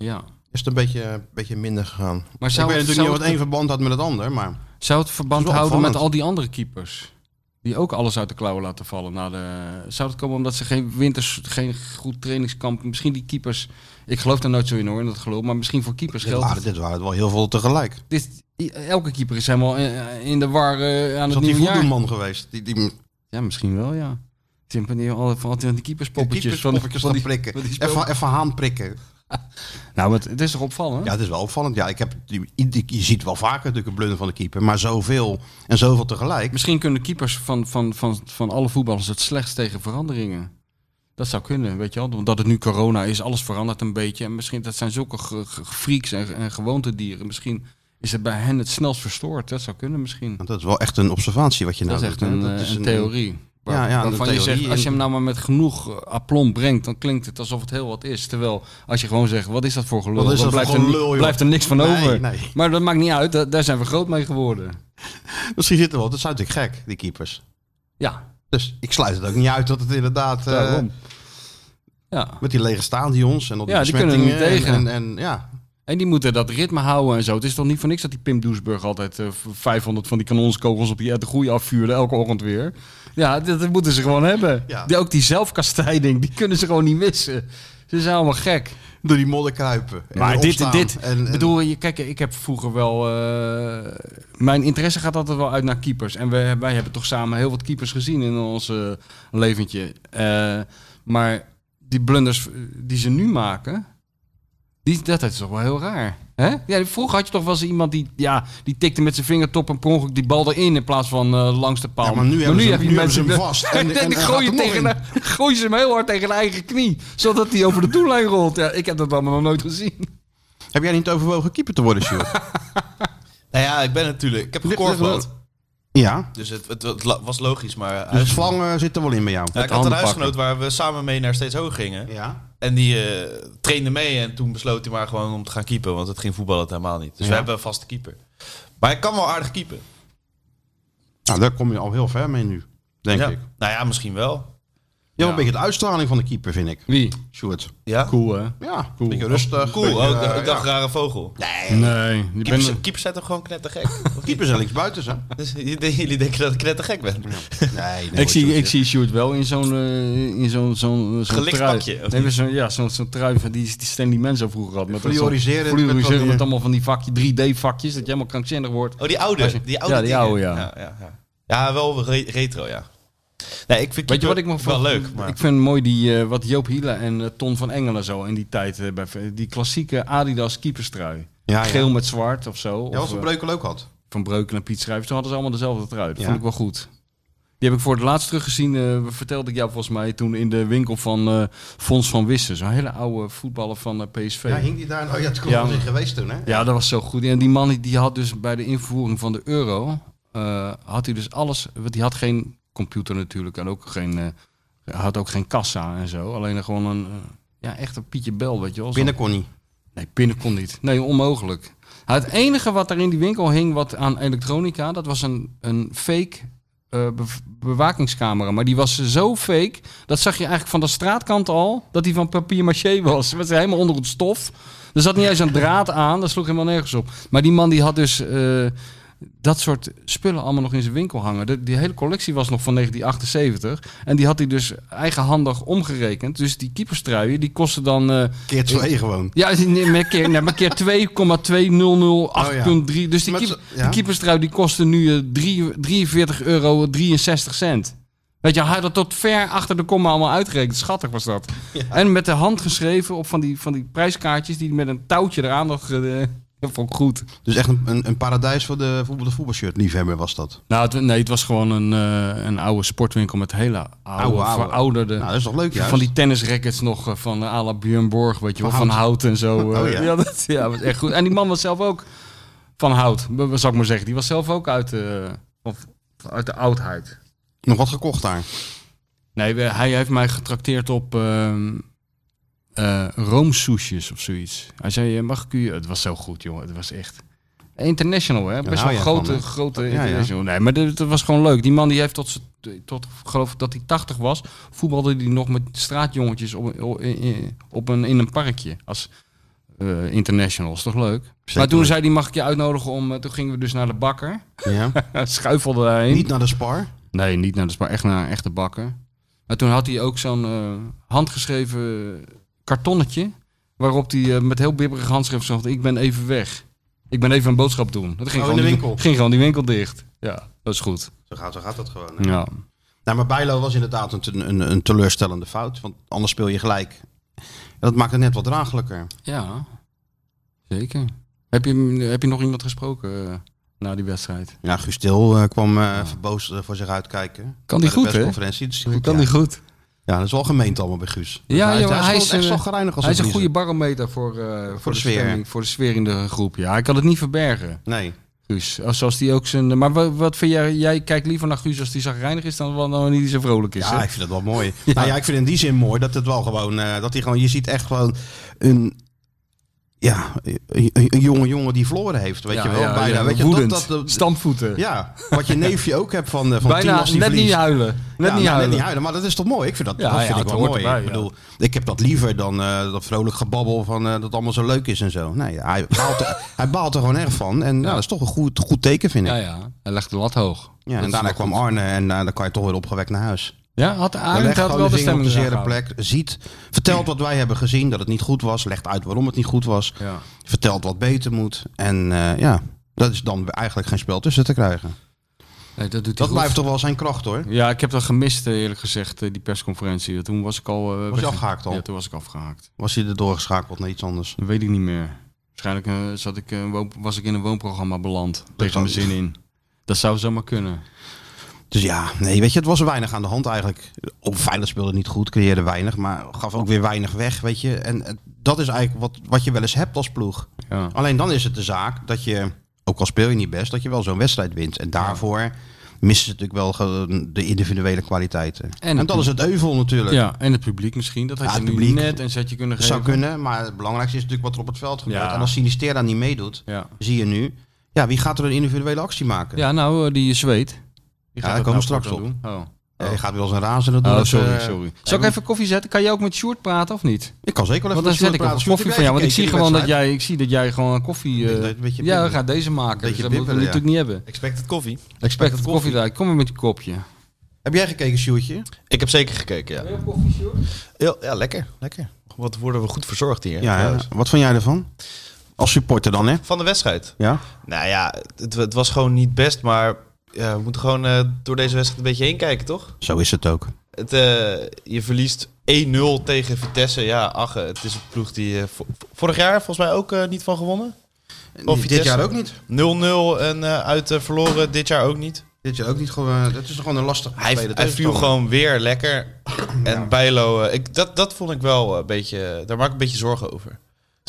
S2: ja.
S4: is het een beetje, een beetje minder gegaan.
S2: Maar
S4: ik
S2: zou,
S4: weet natuurlijk
S2: zou,
S4: niet wat
S2: het,
S4: één verband had met het ander, maar
S2: zou het verband
S4: Het is wel
S2: houden met
S4: opvallend.
S2: al die andere keepers? Die ook alles uit de klauwen laten vallen. Na de, zou het komen omdat ze geen winters, geen goed trainingskamp... Misschien die keepers... Ik geloof daar nooit zo in hoor, in dat geloof. Maar misschien voor keepers
S4: dit
S2: geldt
S4: waren, dit waren het wel heel veel tegelijk.
S2: Dit, i- elke keeper is helemaal eh, in de war eh, aan het
S4: Is dat die
S2: nieuwe jaar.
S4: voedoenman geweest? Die, die,
S2: Ja, misschien wel, ja. Timpani, alle- van altijd aan die keeperspoppertjes. van-
S4: Keeperspoppertjes
S2: van
S4: gaan
S2: die-
S4: prikken.
S2: van die speel-
S4: Even, even haan prikken.
S2: Nou, maar het, het is toch opvallend?
S4: Ja, het is wel opvallend. Ja, ik heb, die- die- je ziet wel vaker natuurlijk een blunder van de keeper. Maar zoveel en zoveel tegelijk.
S2: Misschien kunnen keepers van, van, van, van alle voetballers het slechtst tegen veranderingen. Dat zou kunnen, weet je wel. Omdat het nu corona is, alles verandert een beetje. En misschien, dat zijn zulke ge- ge- freaks en, en gewoontedieren. Misschien is het bij hen het snelst verstoord. Dat zou kunnen misschien.
S4: Want dat is wel echt een observatie wat je
S2: dat
S4: nou
S2: is echt
S4: doet, hè.
S2: een,
S4: Nou, Dat
S2: eh,
S4: is
S2: een theorie. Waar-
S4: Ja, ja,
S2: waarvan
S4: een
S2: je
S4: theorie
S2: zegt, als je
S4: en-
S2: hem nou maar met genoeg eh, aplomb brengt, dan klinkt het alsof het heel wat is. Terwijl, als je gewoon zegt, wat is dat voor gelul?
S4: Wat is
S2: dan
S4: dat
S2: blijft,
S4: voor
S2: er, ni-
S4: gelul, joh?
S2: blijft er niks van
S4: Nee,
S2: over.
S4: nee.
S2: Maar dat maakt niet uit, da- daar zijn we groot mee geworden.
S4: Misschien zit er wel. Dat zijn natuurlijk gek, die keepers.
S2: Ja,
S4: Dus ik sluit het ook niet uit dat het inderdaad... eh,
S2: daarom. Ja.
S4: met die lege stadions en op
S2: Ja, die kunnen er niet tegen.
S4: En, en ja,
S2: En die moeten dat ritme houden en zo. Het is toch niet voor niks dat die Pim Doesburg altijd eh, 500 van die kanonskogels op die uit de groei afvuurde elke ochtend weer. Ja, dat, dat moeten ze gewoon hebben.
S4: Ja.
S2: Die, ook die zelfkastijding, die kunnen ze gewoon niet missen. Ze zijn allemaal gek.
S4: door die modderkuipen. en
S2: Maar dit,
S4: opstaan
S2: dit
S4: En, en-
S2: bedoel, je, kijk, ik heb vroeger wel... eh, mijn interesse gaat altijd wel uit naar keepers. En wij, wij hebben toch samen heel wat keepers gezien in ons eh, leventje. Eh, maar die blunders eh, die ze nu maken, die, dat is toch wel heel raar. Hè? Ja, vroeger had je toch wel eens iemand die, ja, die tikte met zijn vingertop en per ongeluk die bal erin in plaats van eh, langs de paal.
S4: Ja, maar nu hebben ze-
S2: heb je
S4: nu hebben ze hem
S2: mensen- <laughs>
S4: vast. En- en-
S2: ik
S4: en
S2: gooi,
S4: gaat
S2: je
S4: er nog
S2: tegen,
S4: in.
S2: de- <laughs> gooi ze hem heel hard tegen de eigen knie, zodat hij over de doellijn rolt. Ja, ik heb dat allemaal nog nooit gezien.
S4: Heb jij niet overwogen keeper te worden, Sjoerd?
S2: <laughs>
S5: Nou ja, ik ben natuurlijk... Ik heb gekorfbald.
S4: ja.
S5: Dus het, het, het la- was logisch, maar...
S4: Dus
S5: huis-
S4: het slang eh, zit er wel in bij jou.
S5: Ja, ik had een huisgenoot waar we samen mee naar steeds hoger gingen.
S4: Ja.
S5: En die eh, trainde mee en toen besloot hij maar gewoon om te gaan keepen. Want het ging voetballen het helemaal niet. Dus we hebben een vaste keeper. Maar ik kan wel aardig keepen.
S4: Nou, daar kom je al heel ver mee nu, denk
S5: ja.
S4: ik.
S5: Nou ja, misschien wel.
S4: Je hebt een beetje de uitstraling van de keeper, vind ik.
S2: Wie?
S4: Sjoerd.
S5: Ja?
S2: Cool, hè?
S4: Ja, een beetje rustig.
S5: Cool,
S4: beetje,
S5: ook,
S4: eh,
S5: ik dacht
S4: ja.
S5: rare vogel.
S2: Nee, die
S5: Keepers,
S2: ben...
S5: keepers zijn toch gewoon knettergek?
S4: Keepers en linksbuiten, hè?
S5: <laughs> dus j- jullie denken dat ik knettergek ben.
S4: Nee,
S2: Ik zie, ik zie Sjoerd wel in zo'n eh, in zo'n zo'n zo'n
S5: Gelikt
S2: trui.
S5: pakje, of
S2: Nee,
S5: niet?
S2: zo'n ja, zo'n zo'n trui van die, die Stanley Manzo vroeger had. Met dat zo'n-
S4: Fluoriserend, met
S2: fluoriserend
S4: van
S2: met,
S4: die-
S2: allemaal van die vakje 3D vakjes dat je helemaal krankzinnig wordt.
S5: Oh, die oude.
S2: Als je-
S5: die oude
S2: ja, die
S5: dingen.
S2: oude, ja.
S5: Ja, ja, ja. Ja, wel re- retro, ja. Nee, ik vind
S2: Weet je
S5: keeper
S2: wat ik me
S5: wel
S2: vroeg?
S5: leuk. Maar...
S2: Ik vind mooi die, eh, wat Joop Hiele en eh, Ton van Engelen zo in die tijd eh, bij- Die klassieke Adidas keeperstrui.
S4: Ja, ja.
S2: Geel met zwart of zo.
S4: Ja,
S2: of,
S4: wat Van
S2: eh,
S4: Breukel ook had.
S2: Van Breuken en Piet Schrijvers, toen hadden ze allemaal dezelfde trui. Dat
S4: Ja.
S2: vond ik wel goed. Die heb ik voor het laatst teruggezien, eh, vertelde ik jou volgens mij, toen in de winkel van eh, Fons van Wissen. Zo'n hele oude voetballer van eh, PSV.
S4: Ja,
S2: Ja,
S4: hing die daar? Oh ja, het kon
S2: Ja.
S4: wel niet geweest toen, hè?
S2: dat was zo goed. En die man die- die had dus bij de invoering van de euro, eh, had hij dus alles, want die had geen computer natuurlijk en ook geen, eh, had ook geen kassa en zo. Alleen gewoon een, eh, ja, echt een Pietje Bel, weet je wel. Zo'n-
S4: Binnen kon niet.
S2: Nee, pinnen kon niet. Nee, onmogelijk. Nou, Het enige wat er in die winkel hing wat aan elektronica, dat was een, een fake eh, bev- bewakingscamera. Maar die was zo fake, dat zag je eigenlijk van de straatkant al, dat die van papier maché was. Het was helemaal onder het stof. Er zat niet eens een draad aan, dat sloeg helemaal nergens op. Maar die man die had dus eh, dat soort spullen allemaal nog in zijn winkel hangen. De- die hele collectie was nog van 1978. En die had hij dus eigenhandig omgerekend. Dus die keeperstruien, die kostten dan... eh,
S4: Keer twee gewoon.
S2: ja, nee, maar keer, nee, maar keer 2,2008,3. Dus die,
S4: Oh,
S2: keep,
S4: Met z'n- ja.
S2: die keeperstrui die kostte nu eh, drie- 43,63 euro. Weet je, hij had dat tot ver achter de komma allemaal uitgerekend. Schattig was dat. En met de hand geschreven op van die, van die prijskaartjes die hij met een touwtje eraan nog... eh, dat vond ik goed.
S4: Dus echt een, een, een paradijs voor de, voor de voetbalshirt liefhebber was dat.
S2: Nou, het, nee, het was gewoon een, eh, een oude sportwinkel met hele oude,
S4: Oude, oude.
S2: verouderde...
S4: Nou, dat is toch leuk, juist?
S2: Van die tennisrackets nog eh, van uh, à la Björn Borg, weet je wel, van hout en zo. eh.
S4: Oh, ja.
S2: ja. dat ja, was echt goed. En die man was zelf ook van hout, w- w- zou ik maar zeggen. Die was zelf ook uit de, of uit de oudheid.
S4: Nog wat gekocht daar.
S2: Nee, we- hij heeft mij getrakteerd op ehm eh, roomsoesjes of zoiets. Hij zei, eh, mag ik u... Het was zo goed, jongen. Het was echt... International, hè? Best
S4: hou
S2: wel
S4: jij
S2: grote,
S4: van, hè?
S2: grote
S4: ja.
S2: international. Nee, maar dit- dat was gewoon leuk. Die man die heeft tot, z'n- tot geloof ik dat hij 80 was, voetbalde hij nog met straatjongetjes op, op, in- op een, in een parkje. Als eh, international, is toch leuk? Maar toen zei hij, mag ik je uitnodigen om... eh, Toen gingen we dus naar de bakker.
S4: Ja.
S2: <laughs> Schuifelde daarheen.
S4: Niet naar de spar.
S2: Nee, niet naar de spa, echt naar een echte bakker. Maar toen had hij ook zo'n eh, handgeschreven kartonnetje. Waarop hij eh, met heel bibberig handschrift zag: Ik ben even weg. Ik ben even een boodschap doen. Dat ging,
S4: Oh,
S2: gewoon
S4: in de
S2: die-
S4: winkel.
S2: ging gewoon die winkel dicht. Ja, dat is goed.
S4: Zo gaat, zo gaat dat gewoon.
S2: Ja.
S4: Nou, maar Bijlo was inderdaad een, te- een, een teleurstellende fout. Want anders speel je gelijk. En dat maakt het net wat draaglijker.
S2: Ja, zeker. Heb je, heb je nog iemand gesproken eh, na die wedstrijd?
S4: Ja, Gustil eh, kwam eh verboosd eh, voor zich uitkijken.
S2: Kan die
S4: Bij
S2: goed, hè?
S4: de persconferentie. Dat is goed,
S2: kan
S4: ja.
S2: die goed?
S4: Ja, dat is wel gemeend allemaal bij Guus.
S2: Ja,
S4: hij,
S2: joh,
S4: hij,
S2: hij
S4: is
S2: is,
S4: echt
S2: eh,
S4: zo gereinigd als
S2: Hij is
S4: een
S2: een goede
S4: verliezer.
S2: barometer voor, eh, voor,
S4: de
S2: de
S4: sfeer.
S2: Stemming, voor de sfeer in de groep. Ja, ik had het niet verbergen.
S4: Nee.
S2: Guus, als- zoals die ook zijn... eh, Maar wat, wat vind jij... Jij kijkt liever naar Guus als die zagrijnig is... dan wel- dan wanneer hij zo vrolijk is.
S4: Ja,
S2: hè?
S4: ik vind dat
S2: <laughs>
S4: wel mooi. Nou ja, ik vind in die zin mooi dat het wel gewoon, eh, dat hij gewoon, je ziet echt gewoon een, ja, een, een jonge jongen die verloren heeft, weet
S2: Ja,
S4: je wel,
S2: ja,
S4: bijna.
S2: ja,
S4: weet je,
S2: woedend.
S4: dat, dat, dat,
S2: Stampvoeten.
S4: ja, wat je neefje ook hebt van, eh, van tien
S2: Bijna
S4: als die
S2: net niet
S4: verliest.
S2: huilen. Net
S4: Ja,
S2: niet
S4: nou,
S2: huilen.
S4: maar dat is toch mooi? Ik vind dat,
S2: Ja,
S4: dat
S2: ja,
S4: vind ik
S2: het
S4: wel
S2: hoort
S4: mooi.
S2: erbij,
S4: ik
S2: ja.
S4: bedoel, ik heb dat liever dan eh, dat vrolijk gebabbel van eh, dat allemaal zo leuk is en zo. Nee, hij baalt, er, <laughs> hij baalt er gewoon erg van. En ja, dat is toch een goed, goed teken, vind ik.
S2: Ja,
S4: Ja,
S2: ja. Hij legt de lat hoog. Dat
S4: en
S2: is
S4: daarna
S2: wel
S4: kwam
S2: goed.
S4: Arne en eh, dan kan je toch weer opgewekt naar huis.
S2: Ja, had
S4: Hij
S2: Arend
S4: legt
S2: had
S4: gewoon
S2: wel
S4: de
S2: de
S4: vinger op
S2: stemmen
S4: de
S2: eraan
S4: zere
S2: gehouden.
S4: plek. Ziet, vertelt wat wij hebben gezien, dat het niet goed was. Legt uit waarom het niet goed was.
S2: Ja.
S4: Vertelt wat beter moet. En eh, ja, dat is dan eigenlijk geen spel tussen te krijgen.
S2: Nee, dat doet hij
S4: Dat
S2: goed.
S4: blijft toch wel zijn kracht hoor.
S2: Ja, ik heb dat gemist eh, eerlijk gezegd, eh, die persconferentie. Toen was ik al... eh,
S4: Was je
S2: weg-
S4: afgehaakt al?
S2: Ja, toen was ik afgehaakt.
S4: Was hij er doorgeschakeld naar iets anders.
S2: Dat weet ik niet meer. Waarschijnlijk eh, zat ik, eh, woon- was ik in een woonprogramma beland. Tegen
S4: kan
S2: mijn zin in. Dat zou zomaar kunnen.
S4: Dus ja, nee, weet je, het was weinig aan de hand eigenlijk. Op Feyenoord speelde niet goed, creëerde weinig, maar gaf ook weer weinig weg, weet je. En eh, dat is eigenlijk wat, wat je wel eens hebt als ploeg.
S2: Ja.
S4: Alleen dan is het de zaak dat je, ook al speel je niet best, dat je wel zo'n wedstrijd wint. En daarvoor missen ze natuurlijk wel gewoon de individuele kwaliteiten. En, dat is het euvel natuurlijk.
S2: Ja, en het publiek misschien. Dat had
S4: Ja,
S2: je
S4: het
S2: nu
S4: publiek
S2: net een zetje kunnen
S4: Dat
S2: geven.
S4: zou kunnen, maar het belangrijkste is natuurlijk wat er op het veld gebeurt.
S2: Ja.
S4: En als Sinistera niet meedoet,
S2: Ja.
S4: zie je nu, ja, wie gaat er een individuele actie maken?
S2: ja, nou, eh, die zweet. Die
S4: daar
S2: dat
S4: komen we
S2: nou
S4: straks
S2: voortaan
S4: op.
S2: doen. Oh.
S4: Eh, je gaat weer als een razende door.
S2: Oh,
S4: het,
S2: sorry,
S4: eh,
S2: sorry. Zal ik even koffie zetten? Kan jij ook met Sjoerd praten of niet?
S4: Ik kan zeker wel even
S2: Want dan
S4: met Sjoerd
S2: zet ik
S4: praten.
S2: op
S4: Sjoerd,
S2: koffie
S4: heb
S2: van jou. Want ik
S4: gekeken
S2: zie
S4: in
S2: gewoon
S4: de
S2: dat jij, ik zie dat jij gewoon koffie... eh,
S4: Een beetje pimpelen.
S2: ja, we gaan deze maken.
S4: Beetje
S2: Dus dat moeten we
S4: pimpelen, ja.
S2: natuurlijk niet hebben.
S5: Expected Coffee.
S2: Respect het koffie daar. Kom maar met je kopje.
S4: wedstrijd? Heb jij gekeken, Sjoerdje?
S5: Ik heb zeker gekeken, ja. Heel, ja, lekker. Lekker. Wat worden we goed verzorgd hier.
S4: Ja, hè?
S5: trouwens.
S4: wat vond jij ervan? Als supporter dan, hè?
S5: Van de wedstrijd.
S4: Ja.
S5: Nou ja, het, het was gewoon niet best, maar ja, we moeten gewoon eh, door deze wedstrijd een beetje heen kijken, toch?
S4: Zo is het ook.
S5: Het, eh, je verliest 1-0 tegen Vitesse. Ja, ach, het is een ploeg die eh, vo- vorig jaar volgens mij ook eh, niet van gewonnen. Of
S4: dit
S5: Vitesse.
S4: jaar ook niet.
S5: 0-0 en eh, uit eh, verloren, dit jaar ook niet.
S4: Dit jaar ook niet gewoon. eh, Dat is gewoon een lastig.
S5: Hij,
S4: tweede
S5: hij viel
S4: tegenstander.
S5: gewoon
S4: <clears throat>
S5: weer lekker. En Bijlo, eh, ik, dat, dat vond ik wel eh, een beetje... Daar maak ik een beetje zorgen over.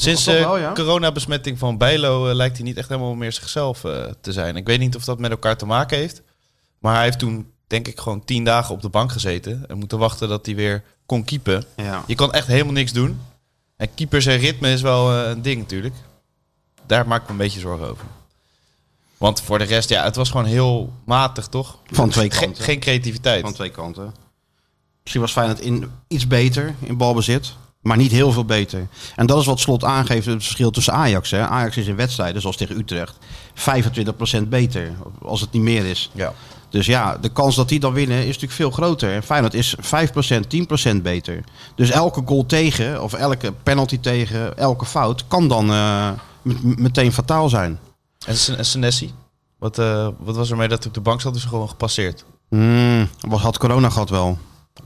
S5: Sinds
S4: toch
S5: de
S4: wel, ja?
S5: coronabesmetting van Bijlo eh, lijkt hij niet echt helemaal meer zichzelf eh, te zijn. Ik weet niet of dat met elkaar te maken heeft. Maar hij heeft toen, denk ik, gewoon tien dagen op de bank gezeten. En moeten wachten dat hij weer kon keepen.
S4: Ja.
S5: Je kan echt helemaal niks doen. En keepers en ritme is wel eh, een ding natuurlijk. Daar maak ik me een beetje zorgen over. Want voor de rest, ja, het was gewoon heel matig, toch?
S4: Van twee
S5: Ge-
S4: kanten.
S5: geen creativiteit.
S4: Van twee kanten. Misschien was Feyenoord in, iets beter in balbezit, maar niet heel veel beter. En dat is wat Slot aangeeft, het verschil tussen Ajax. Hè. Ajax is in wedstrijden, zoals tegen Utrecht, 25% beter, als het niet meer is.
S5: Ja.
S4: Dus ja, de kans dat die dan winnen is natuurlijk veel groter. En Feyenoord is 5%, 10% beter. Dus elke goal tegen, of elke penalty tegen, elke fout, kan dan eh, met- meteen fataal zijn.
S5: En, Sen- en Senesi? Wat, eh, wat was er mee dat hij op de bank zat? Is gewoon gepasseerd.
S4: Hmm, was, had corona gehad wel.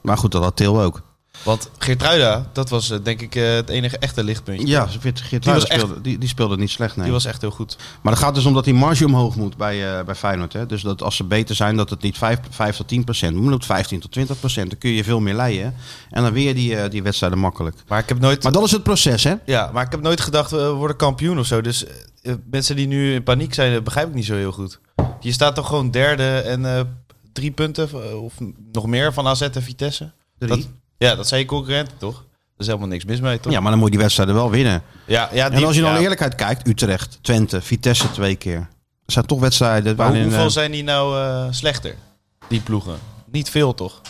S4: Maar goed, dat had Til ook.
S5: Want Geertruida, dat was eh, denk ik eh, het enige echte lichtpuntje.
S4: Ja, Geert Geertruida
S5: Nou, echt-
S4: speelde, die, die speelde niet slecht. Nee.
S5: Die was echt heel goed.
S4: Maar het gaat dus om dat die marge omhoog moet bij, eh, bij Feyenoord. Hè? Dus dat als ze beter zijn, dat het niet 5, 5 tot 10 procent moet, maar dat 15 tot 20 procent. Dan kun je veel meer leien. En dan weer die, eh, die wedstrijden makkelijk.
S5: Maar ik heb nooit,
S4: Maar dat is het proces, hè?
S5: ja, maar ik heb nooit gedacht, eh, we worden kampioen of zo. Dus eh, mensen die nu in paniek zijn, dat begrijp ik niet zo heel goed. Je staat toch gewoon derde en eh, drie punten eh, of nog meer van AZ en Vitesse?
S4: Drie.
S5: Dat, ja, dat zijn je concurrenten, toch? Er is helemaal niks mis mee, toch?
S4: Ja, maar dan moet je die wedstrijden wel winnen.
S5: ja, ja, die-
S4: En als je dan
S5: ja.
S4: eerlijkheid kijkt, Utrecht, Twente, Vitesse twee keer. Dat zijn toch wedstrijden
S5: Maar hoe-
S4: waarin...
S5: hoeveel
S4: eh,
S5: zijn die nou eh, slechter, die ploegen? Niet veel, toch?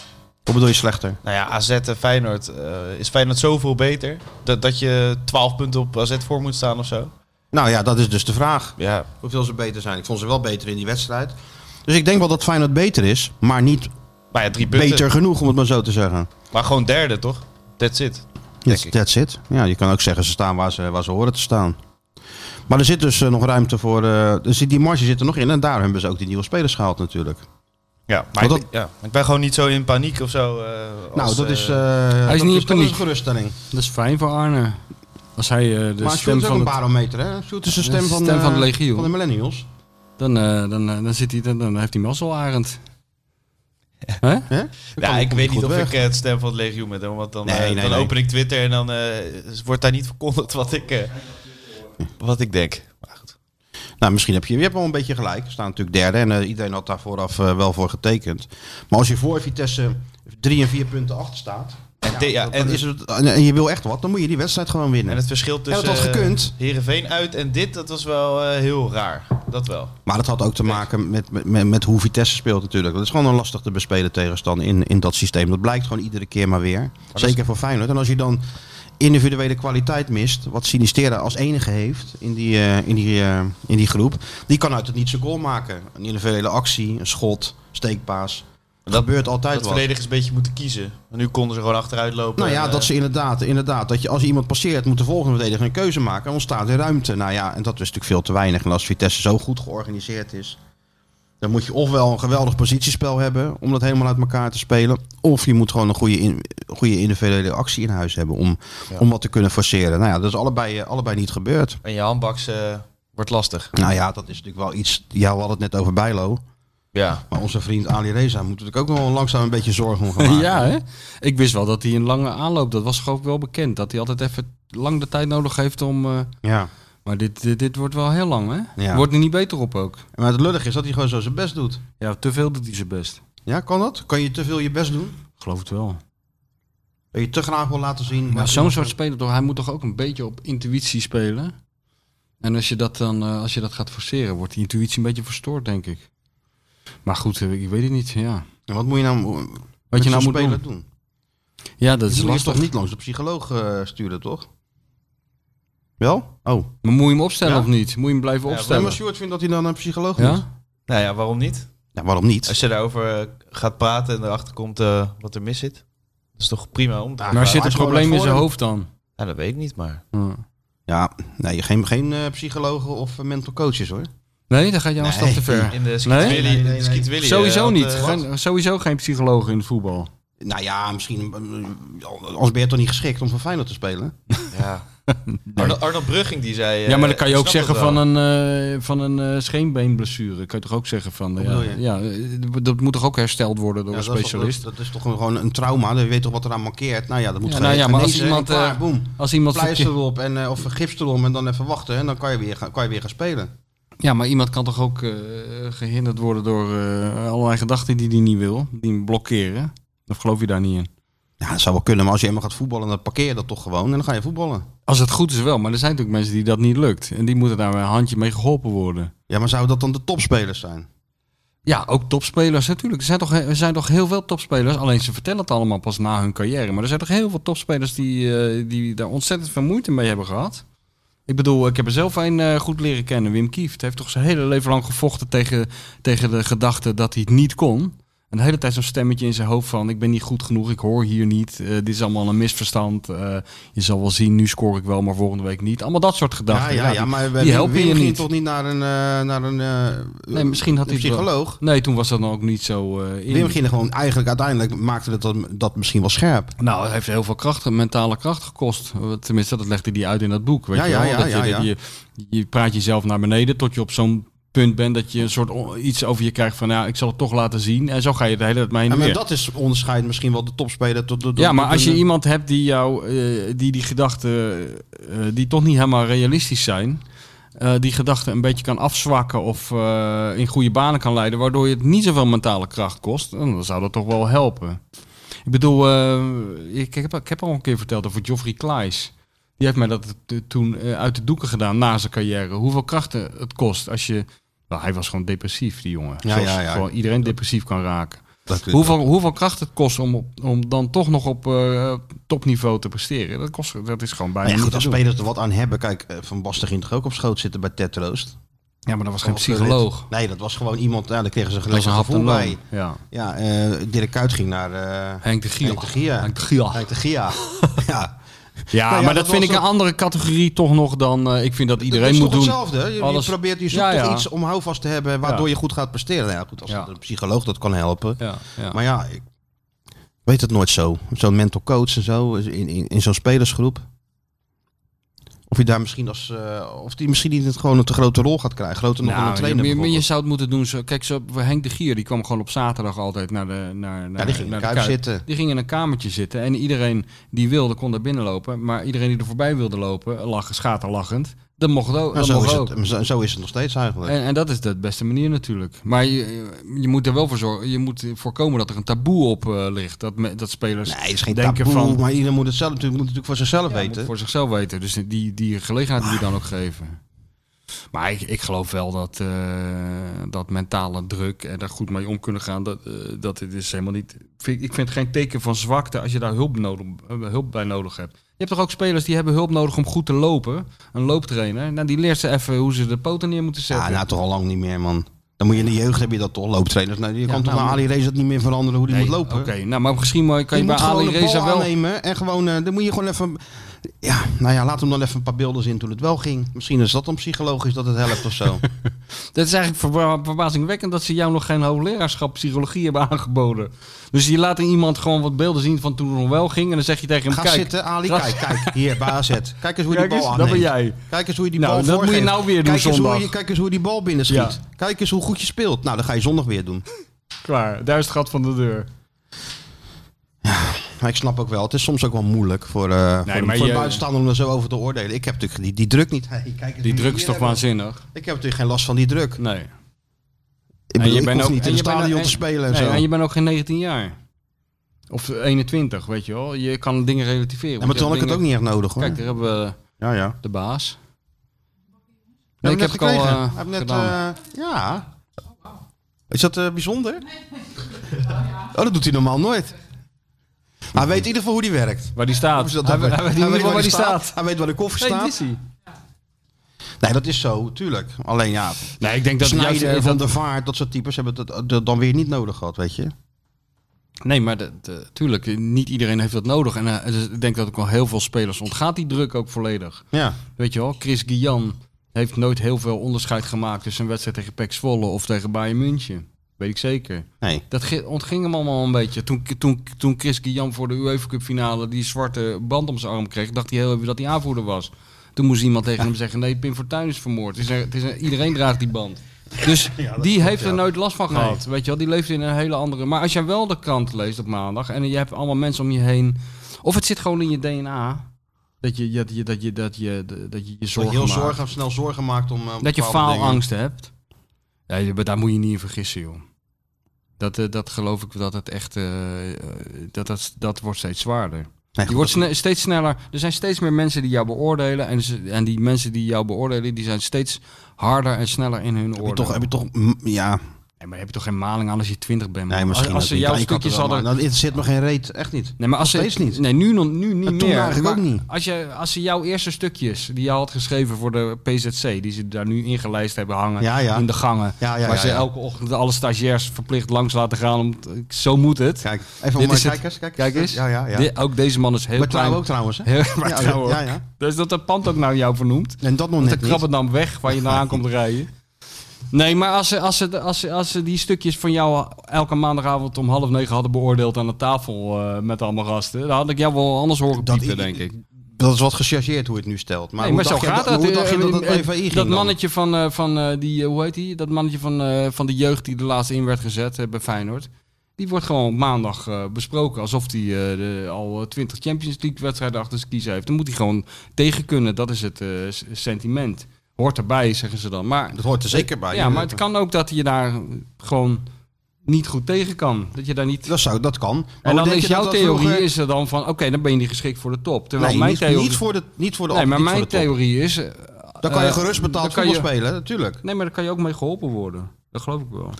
S4: Wat bedoel je slechter?
S5: Nou ja, AZ en Feyenoord. eh, is Feyenoord zoveel beter dat, dat je 12 punten op AZ voor moet staan of zo?
S4: Nou ja, dat is dus de vraag.
S5: Ja.
S4: Hoeveel ze beter zijn. Ik vond ze wel beter in die wedstrijd. Dus ik denk wel dat Feyenoord beter is, maar niet
S5: Maar ja, drie punten.
S4: beter genoeg, om het maar zo te zeggen.
S5: Maar gewoon derde, toch? That's it.
S4: That's,
S5: ik.
S4: that's it. Ja, je kan ook zeggen ze staan waar ze, waar ze horen te staan. Maar er zit dus eh, nog ruimte voor. eh, er zit, die marge zit er nog in. En daar hebben ze ook die nieuwe spelers gehaald natuurlijk.
S5: Ja, maar
S4: Want
S5: ik, ja, ik ben gewoon niet zo in paniek of zo. eh,
S4: nou,
S5: als,
S4: dat
S5: eh,
S4: is... eh, dat
S2: niet in
S4: dat
S2: paniek.
S4: een geruststelling.
S2: Dat is fijn voor Arne. Als hij eh, de
S4: maar Sjoerd
S2: stem
S4: is ook
S2: van
S4: een
S2: het,
S4: barometer, hè? Sjoerd is de
S2: Ja,
S4: stem, van,
S2: stem van
S4: eh,
S2: de legio.
S4: Van de millennials.
S2: dan, eh, dan, eh, dan, zit hij, dan, dan heeft hij mazzelarend.
S4: <laughs>
S2: Hè?
S4: Hè?
S5: Ja, ik weet niet of
S4: weg.
S5: ik eh, het stem van het legioen ben, hoor, want dan,
S4: Nee,
S5: eh,
S4: nee,
S5: dan
S4: nee.
S5: open ik Twitter en dan eh, wordt daar niet verkondigd wat ik, eh, wat ik denk. Maar goed.
S4: Nou, misschien heb je, je hebt wel een beetje gelijk. We staan natuurlijk derde en eh, iedereen had daar vooraf eh, wel voor getekend. Maar als je voor Vitesse drie en vier punten achter staat...
S5: En, de- ja,
S4: dan
S5: en,
S4: is het, en je wil echt wat, dan moet je die wedstrijd gewoon winnen.
S5: en het verschil
S4: dat
S5: tussen
S4: had
S5: eh,
S4: gekund.
S5: Heerenveen uit en dit, dat was wel eh, heel raar. Dat wel.
S4: Maar dat had ook te maken met, met- met, met hoe Vitesse speelt natuurlijk. Dat is gewoon een lastig te bespelen tegenstander in, in dat systeem. Dat blijkt gewoon iedere keer maar weer. Zeker voor Feyenoord. En als je dan individuele kwaliteit mist, wat Sinistera als enige heeft in die, eh, in die, eh, in die groep, die kan uit het niet zijn goal maken. Een individuele actie, een schot, steekpaas. Dat gebeurt altijd
S5: Dat
S4: wat.
S5: verdedigers een beetje moeten kiezen. En nu konden ze gewoon achteruit lopen.
S4: Nou ja,
S5: en, eh,
S4: dat ze inderdaad, inderdaad, dat je als je iemand passeert, moet de volgende verdediger een keuze maken. En ontstaat er ruimte. Nou ja, en dat is natuurlijk veel te weinig. En als Vitesse zo goed georganiseerd is, dan moet je ofwel een geweldig positiespel hebben om dat helemaal uit elkaar te spelen. Of je moet gewoon een goede, in, goede individuele actie in huis hebben om, om wat te kunnen forceren. Nou ja, dat is allebei, eh, allebei niet gebeurd.
S5: en je handbaks eh, wordt lastig.
S4: Nou ja, dat is natuurlijk wel iets. Ja, we hadden het net over Bijlo.
S5: Ja.
S4: Maar onze vriend Ali Reza moet natuurlijk ook wel langzaam een beetje
S2: <laughs>
S4: zorgen om gaan maken.
S2: ja, hè? Ik wist wel dat hij een lange aanloop, dat was gewoon wel bekend. Dat hij altijd even lang de tijd nodig heeft om... eh,
S4: ja.
S2: maar dit, dit, dit wordt wel heel lang, hè?
S4: Ja.
S2: Wordt er niet beter op ook.
S4: Maar het lullig is dat hij gewoon zo zijn best doet.
S2: Ja, te veel doet hij zijn best.
S4: Ja, kan dat? Kan je te veel je best doen?
S2: Ik geloof het wel.
S4: Dat je te graag wil laten zien.
S2: Maar zo'n soort speler, toch, hij moet toch ook een beetje op intuïtie spelen? En als je dat dan eh, als je dat gaat forceren, wordt die intuïtie een beetje verstoord, denk ik. Maar goed, eh, ik weet het niet, ja.
S4: En Wat moet je nou, wat
S2: Wat je nou moet
S4: spelen
S2: doen.
S4: doen?
S2: Ja, dat is
S4: je moet je
S2: lastig.
S4: toch niet langs de psycholoog eh, sturen, toch? Wel? Oh.
S2: Maar moet je hem opstellen
S5: Ja.
S2: of niet? Moet je hem blijven
S5: Ja,
S4: Stel
S2: opstellen?
S4: maar Sjoerd vindt dat hij dan een psycholoog moet.
S2: Ja?
S5: Nou ja, waarom niet?
S4: Ja, waarom niet?
S5: Als je daarover eh, gaat praten en erachter komt eh, wat er mis zit. Dat is toch prima om te
S4: Ja,
S2: Maar
S4: hij
S2: zit er
S4: is gewoon
S2: probleem in
S4: het
S2: zijn
S4: voor
S2: hoofd dan?
S5: Ja, Nou, dat weet ik niet, maar...
S2: Ja.
S4: Ja, nee, geen, geen eh, psychologen of eh, mental coaches hoor.
S2: Nee, dan gaat jouw stap te ver.
S5: In de Skeet
S2: Nee?
S4: Nee,
S5: Willy.
S4: nee,
S5: in de
S4: nee.
S5: Skeet Willy, eh,
S2: Sowieso
S5: had,
S2: niet.
S5: eh,
S2: Geen- sowieso geen psycholoog in het voetbal.
S4: Nou ja, misschien. eh, Anders ben je toch niet geschikt om voor Feyenoord te spelen?
S5: <laughs> Ja. Arnold, Arnold Brugging die zei... eh,
S2: ja, maar dan kan je
S5: ik
S2: ook
S5: snap
S2: zeggen
S5: het wel.
S2: van een, eh, van een eh, scheenbeenblessure. Kan je toch ook zeggen van... eh,
S4: bedoel
S2: ja,
S4: je?
S2: ja, eh, dat moet toch ook hersteld worden door
S4: Ja,
S2: een
S4: dat, is toch,
S2: specialist?
S4: dat, dat is toch een- gewoon een trauma. Dan weet toch wat eraan mankeert. Nou ja, dat moet
S2: Ja,
S4: ja,
S2: nou ja, maar als iemand,
S4: Klaar,
S2: eh,
S4: boem.
S2: Als iemand
S4: Pleister
S2: verkeer-
S4: erop en, eh, of gips erom en dan even wachten. En dan kan je weer, gaan- kan je weer gaan spelen.
S2: Ja, maar iemand kan toch ook eh, gehinderd worden door eh, allerlei gedachten die hij niet wil. Die hem blokkeren. Of geloof je daar niet in?
S4: Ja, dat zou wel kunnen, maar als je helemaal gaat voetballen, dan parkeer je dat toch gewoon en dan ga je voetballen.
S2: Als het goed is wel, maar er zijn natuurlijk mensen die dat niet lukt. En die moeten daar een handje mee geholpen worden.
S4: Ja, maar zouden dat dan de topspelers zijn?
S2: Ja, ook topspelers natuurlijk. Er zijn, toch, er zijn toch heel veel topspelers. Alleen ze vertellen het allemaal pas na hun carrière. Maar er zijn toch heel veel topspelers die, eh, die daar ontzettend veel moeite mee hebben gehad. Ik bedoel, ik heb er zelf een eh, goed leren kennen. Wim Kieft heeft toch zijn hele leven lang gevochten tegen, tegen de gedachte dat hij het niet kon. En de hele tijd zo'n stemmetje in zijn hoofd van... ik ben niet goed genoeg, ik hoor hier niet. eh, dit is allemaal een misverstand. eh, je zal wel zien, nu scoor ik wel, maar volgende week niet. Allemaal dat soort gedachten.
S4: ja, ja, ja, maar
S2: die helpen je
S4: ging
S2: niet.
S4: toch niet naar een, eh, naar een, eh,
S2: Nee, misschien had
S4: een
S2: hij het wel.
S4: psycholoog?
S2: Nee, toen was dat dan ook niet zo eh in.
S4: Wim ging er gewoon eigenlijk uiteindelijk maakte dat, dat misschien wel scherp.
S2: Nou, het heeft heel veel kracht, mentale kracht gekost. Tenminste, dat legde hij uit in dat boek. Weet
S4: Ja,
S2: je
S4: ja,
S2: wel?
S4: ja,
S2: dat
S4: ja,
S2: je,
S4: ja.
S2: Je, je praat jezelf naar beneden tot je op zo'n punt bent dat je een soort o- iets over je krijgt van, ja, ik zal het toch laten zien. En zo ga je de hele tijd mee
S4: En
S2: en weer.
S4: dat is onderscheid misschien wel de topspeler tot de.
S2: Ja, maar
S4: tot
S2: als je
S4: een- eh,
S2: iemand hebt die jou, eh, die die gedachten, eh, die toch niet helemaal realistisch zijn, eh, die gedachten een beetje kan afzwakken of eh, in goede banen kan leiden, waardoor je het niet zoveel mentale kracht kost, dan zou dat toch wel helpen. Ik bedoel, eh, ik, heb, ik heb al een keer verteld over Geoffrey Klaes. Die heeft mij dat eh, toen eh, uit de doeken gedaan na zijn carrière. Hoeveel krachten het kost als je... Nou, hij was gewoon depressief, die jongen.
S4: Ja,
S2: Zoals
S4: ja, ja.
S2: Gewoon iedereen depressief kan raken.
S4: Dat-
S2: Hoeveel, hoeveel kracht het kost om, op, om dan toch nog op eh, topniveau te presteren. Dat, kost, dat is gewoon bijna
S4: Nou
S2: niet
S4: ja, goed,
S2: te
S4: als
S2: doen.
S4: spelers er wat aan hebben. Kijk, eh, Van Basten ging toch ook op schoot zitten bij Ted Troost?
S2: Ja, maar dat was geen
S4: Of, eh,
S2: psycholoog.
S4: Nee, dat was gewoon iemand. Ja, daar kregen ze
S2: Dat
S4: gelijk
S2: was een
S4: een
S2: hap en
S4: gevoel bij.
S2: loon. Ja.
S4: Ja, eh Dirk Kuyt ging naar eh
S2: Henk de Giel.
S4: Henk de Gia.
S2: <laughs> Henk de Giel.
S4: Henk de Gia. ja.
S2: Ja,
S4: Nou ja,
S2: maar dat,
S4: dat
S2: vind
S4: was
S2: ik een
S4: ook-
S2: andere categorie toch nog dan... eh, ik vind dat iedereen
S4: dat is
S2: moet
S4: toch
S2: doen.
S4: hetzelfde. hè? Je, je
S2: Alles-
S4: probeert je zoekt
S2: Ja, ja.
S4: toch iets om houvast te hebben waardoor
S2: Ja.
S4: je goed gaat presteren. Nou ja, goed, als
S2: Ja.
S4: een psycholoog dat kan helpen.
S2: Ja, ja.
S4: Maar ja, ik weet het nooit zo. Zo'n mental coach en zo, in, in, in zo'n spelersgroep. Of je daar misschien als, eh, of die misschien niet het gewoon een te grote rol gaat krijgen. Groter nog dan een
S2: Nou, je,
S4: trainer
S2: maar je
S4: bijvoorbeeld.
S2: zou het moeten doen. Zo, kijk, zo, Henk de Gier die kwam gewoon op zaterdag altijd naar de naar, naar,
S4: Ja, die ging in
S2: naar
S4: de Kuip zitten.
S2: Die ging in een kamertje zitten. En iedereen die wilde kon daar binnen lopen. Maar iedereen die er voorbij wilde lopen, lag schaterlachend. Dat mocht ook.
S4: Nou,
S2: dat
S4: zo,
S2: mocht
S4: is
S2: ook.
S4: het, zo, zo is het nog steeds eigenlijk.
S2: En, en dat is de beste manier natuurlijk. Maar je, je moet er wel voor zorgen. Je moet voorkomen dat er een taboe op eh, ligt. Dat, me- dat spelers
S4: nee, het is geen
S2: denken
S4: taboe,
S2: van-
S4: maar iedereen moet het zelf natuurlijk, moet het natuurlijk voor zichzelf
S2: ja,
S4: weten.
S2: moet voor zichzelf weten. Dus die, die gelegenheid moet je dan ook geven. Maar ik, ik geloof wel dat, eh, dat mentale druk en daar goed mee om kunnen gaan, dat, eh, dat het is helemaal niet. vind Ik ik vind het geen teken van zwakte als je daar hulp, nodig, eh, hulp bij nodig hebt. Je hebt toch ook spelers die hebben hulp nodig om goed te lopen. Een looptrainer. Nou, die leert ze even hoe ze de poten neer moeten zetten.
S4: Ja, nou toch al lang niet meer, man. Dan moet je in de jeugd heb je dat toch, looptrainers. Nou, je
S2: Ja,
S4: kan toch
S2: nou,
S4: maar Ali Reza dat niet meer veranderen hoe die
S2: Nee,
S4: moet lopen.
S2: Oké, nou, maar misschien maar kan je,
S4: je
S2: bij
S4: moet gewoon
S2: Ali
S4: de bal
S2: Reza wel.
S4: aannemen en gewoon, eh, dan moet je gewoon even... Ja, nou ja, laat hem dan even een paar beelden zien toen het wel ging. Misschien is dat dan psychologisch dat het helpt of
S2: <laughs>
S4: zo.
S2: Dat is eigenlijk verba- verbazingwekkend dat ze jou nog geen hoogleraarschap psychologie hebben aangeboden. Dus je laat iemand gewoon wat beelden zien van toen het nog wel ging. En dan zeg je tegen hem:
S4: Ga
S2: Kijk,
S4: zitten, Ali.
S2: ga-
S4: Kijk, kijk. Hier, bij AZ. Kijk eens hoe je
S2: Kijk
S4: die
S2: eens,
S4: bal aanneemt.
S2: dat ben jij.
S4: Kijk eens hoe je die
S2: Nou,
S4: bal
S2: dat moet je
S4: voorgeeft.
S2: nou weer doen
S4: kijk eens, hoe
S2: zondag.
S4: je, kijk eens hoe je die bal binnen schiet.
S2: Ja.
S4: Kijk eens hoe goed je speelt. Nou, dan ga je zondag weer doen.
S2: Klaar, daar is het gat van de deur.
S4: Maar ik snap ook wel, het is soms ook wel moeilijk voor, eh voor, de-
S2: maar
S4: voor de
S2: je-
S4: buitenstaander om er zo over te oordelen. Ik heb natuurlijk die, die druk niet. Hey, kijk eens
S2: Die druk
S4: hoe
S2: is
S4: we hier
S2: toch
S4: hebben.
S2: waanzinnig?
S4: Ik heb natuurlijk geen last van die druk.
S2: Nee.
S4: Ik,
S2: En
S4: bedoel, ik hoef niet
S2: en
S4: in het
S2: je bent
S4: stadion
S2: ook-
S4: te spelen en
S2: nee,
S4: zo.
S2: En je bent ook geen 19 jaar. Of 21, weet je wel. Je kan dingen relativeren.
S4: Ja, maar
S2: want
S4: toen had ik
S2: je
S4: het ook
S2: hebt
S4: niet echt nodig hoor.
S2: dingen- Kijk, daar hebben we
S4: ja, ja.
S2: de baas.
S4: Ja,
S2: Nee, ik heb het al eh,
S4: heb net,
S2: gedaan.
S4: eh, ja. Is dat eh, bijzonder? Oh, dat doet hij normaal nooit. Maar Hij weet in ieder geval hoe die werkt.
S2: waar die staat.
S4: Hoe ze dat
S2: Hij-
S4: dan-
S2: hij weet in ieder geval waar die staat.
S4: Hij weet waar de koffer
S2: Nee,
S4: staat. Nee, dat is zo, tuurlijk. Alleen ja,
S2: Nee, ik denk dat het juist...
S4: Snijder,
S2: dat-
S4: Van der Vaart, dat soort types hebben dat, dat dan weer niet nodig gehad, weet je.
S2: Nee, maar dat, eh, tuurlijk, niet iedereen heeft dat nodig. En eh, dus ik denk dat ook wel heel veel spelers ontgaat die druk ook volledig.
S4: Ja.
S2: Weet je wel, Chris Guillan heeft nooit heel veel onderscheid gemaakt tussen een wedstrijd tegen PEC Zwolle of tegen Bayern München. Weet ik zeker.
S4: Nee.
S2: Dat ge- ontging hem allemaal een beetje. Toen, toen, toen Chris Guillan voor de UEFA Cup finale die zwarte band om zijn arm kreeg, dacht hij heel even dat hij aanvoerder was. Toen moest iemand tegen hem zeggen, nee, Pim Fortuyn is vermoord. Het is een- het is een- iedereen draagt die
S4: <laughs>
S2: band. Dus die heeft er nooit last van gehad. Weet je wel, die leeft in een hele andere... Maar als jij wel de krant leest op maandag en je hebt allemaal mensen om je heen... Of het zit gewoon in je DNA, dat je dat je, dat je, dat je, dat je, je
S4: Dat
S2: zorgen
S4: je heel
S2: maakt.
S4: zorgen, snel zorgen maakt om eh, om
S2: Dat je
S4: bepaalde dingen.
S2: faalangst hebt. Ja, je- maar daar moet je niet in vergissen, joh. Dat, eh, dat geloof ik dat het echt. eh, eh, dat, dat, dat wordt steeds zwaarder.
S4: Nee,
S2: Je wordt sne- steeds sneller. Er zijn steeds meer mensen die jou beoordelen. En, ze- en die mensen die jou beoordelen, die zijn steeds harder en sneller in hun
S4: Heb je
S2: oordeel.
S4: toch, heb je toch, mm, ja,
S2: Nee, maar heb je toch geen maling aan als je twintig bent? man?
S4: nee, misschien
S2: als, als
S4: ook
S2: ze
S4: niet.
S2: jouw
S4: Ja, je kan
S2: stukjes
S4: het wel,
S2: hadden.
S4: maar Dan zit me geen reet, echt niet.
S2: Nee, maar als ze,
S4: Nog steeds niet.
S2: Nee, nu, nog- nu niet
S4: En toen
S2: meer.
S4: eigenlijk
S2: Maar
S4: ook niet.
S2: Als, je, als ze jouw eerste stukjes die je had geschreven voor de PZC, die ze daar nu ingelijst hebben hangen
S4: Ja, ja.
S2: in de gangen,
S4: Ja, ja,
S2: waar
S4: ja,
S2: ze
S4: ja.
S2: elke ochtend alle stagiairs verplicht langs laten gaan, om, zo moet het.
S4: Kijk, even
S2: Dit
S4: om, eh,
S2: is het.
S4: kijk eens, kijk,
S2: Kijk eens.
S4: Ja, ja, ja.
S2: Di- ook deze man is heel
S4: maar
S2: klein.
S4: trouw ook trouwens,
S2: <laughs>
S4: hè?
S2: Heel- maar
S4: Ja,
S2: trouw ook.
S4: ja, ja.
S2: Dus dat dat pand ook nou jou vernoemt.
S4: En dat nog
S2: Want dan
S4: net niet.
S2: krabbelt dan weg waar je naar aan komt rijden. Nee, maar als ze, als, ze, als, ze, als ze die stukjes van jou elke maandagavond om half negen hadden beoordeeld aan de tafel eh, met allemaal gasten, dan had ik jou wel anders horen
S4: Dat
S2: piepen,
S4: i-
S2: denk ik.
S4: Dat is wat gechargeerd hoe je het nu stelt. Maar,
S2: Nee, maar
S4: hoe
S2: zo
S4: dacht je
S2: gaat
S4: dat,
S2: dat.
S4: Hoe dacht je dat het
S2: Eh, eh,
S4: PVI ging
S2: dat
S4: dan?
S2: mannetje van, eh, van eh, die, eh, hoe heet die? Dat mannetje van, eh, van de jeugd die er laatst in werd gezet eh, bij Feyenoord. Die wordt gewoon op maandag eh, besproken alsof hij al eh, twintig Champions League wedstrijden achter zijn kiezen heeft. Dan moet hij gewoon tegen kunnen. Dat is het eh, s- sentiment. Hoort erbij, zeggen ze dan. Maar,
S4: Dat hoort er zeker bij.
S2: ja, maar het kan ook dat je daar gewoon niet goed tegen kan. Dat je daar niet...
S4: Dat, zou, dat kan. Maar
S2: en
S4: hoe
S2: dan
S4: denk
S2: is
S4: je dat
S2: jouw
S4: dat
S2: theorie
S4: vroeger-
S2: is er dan van, oké, dan ben je niet geschikt voor de top. Terwijl
S4: Nee,
S2: mijn
S4: niet,
S2: theorie...
S4: niet voor de niet voor de
S2: nee, maar
S4: niet voor
S2: mijn
S4: de top.
S2: theorie is... eh,
S4: Dan kan je
S2: eh,
S4: gerust
S2: dan
S4: betaald
S2: kan je-
S4: voetbal spelen, natuurlijk.
S2: Nee, maar daar kan je ook mee geholpen worden. Dat geloof ik wel.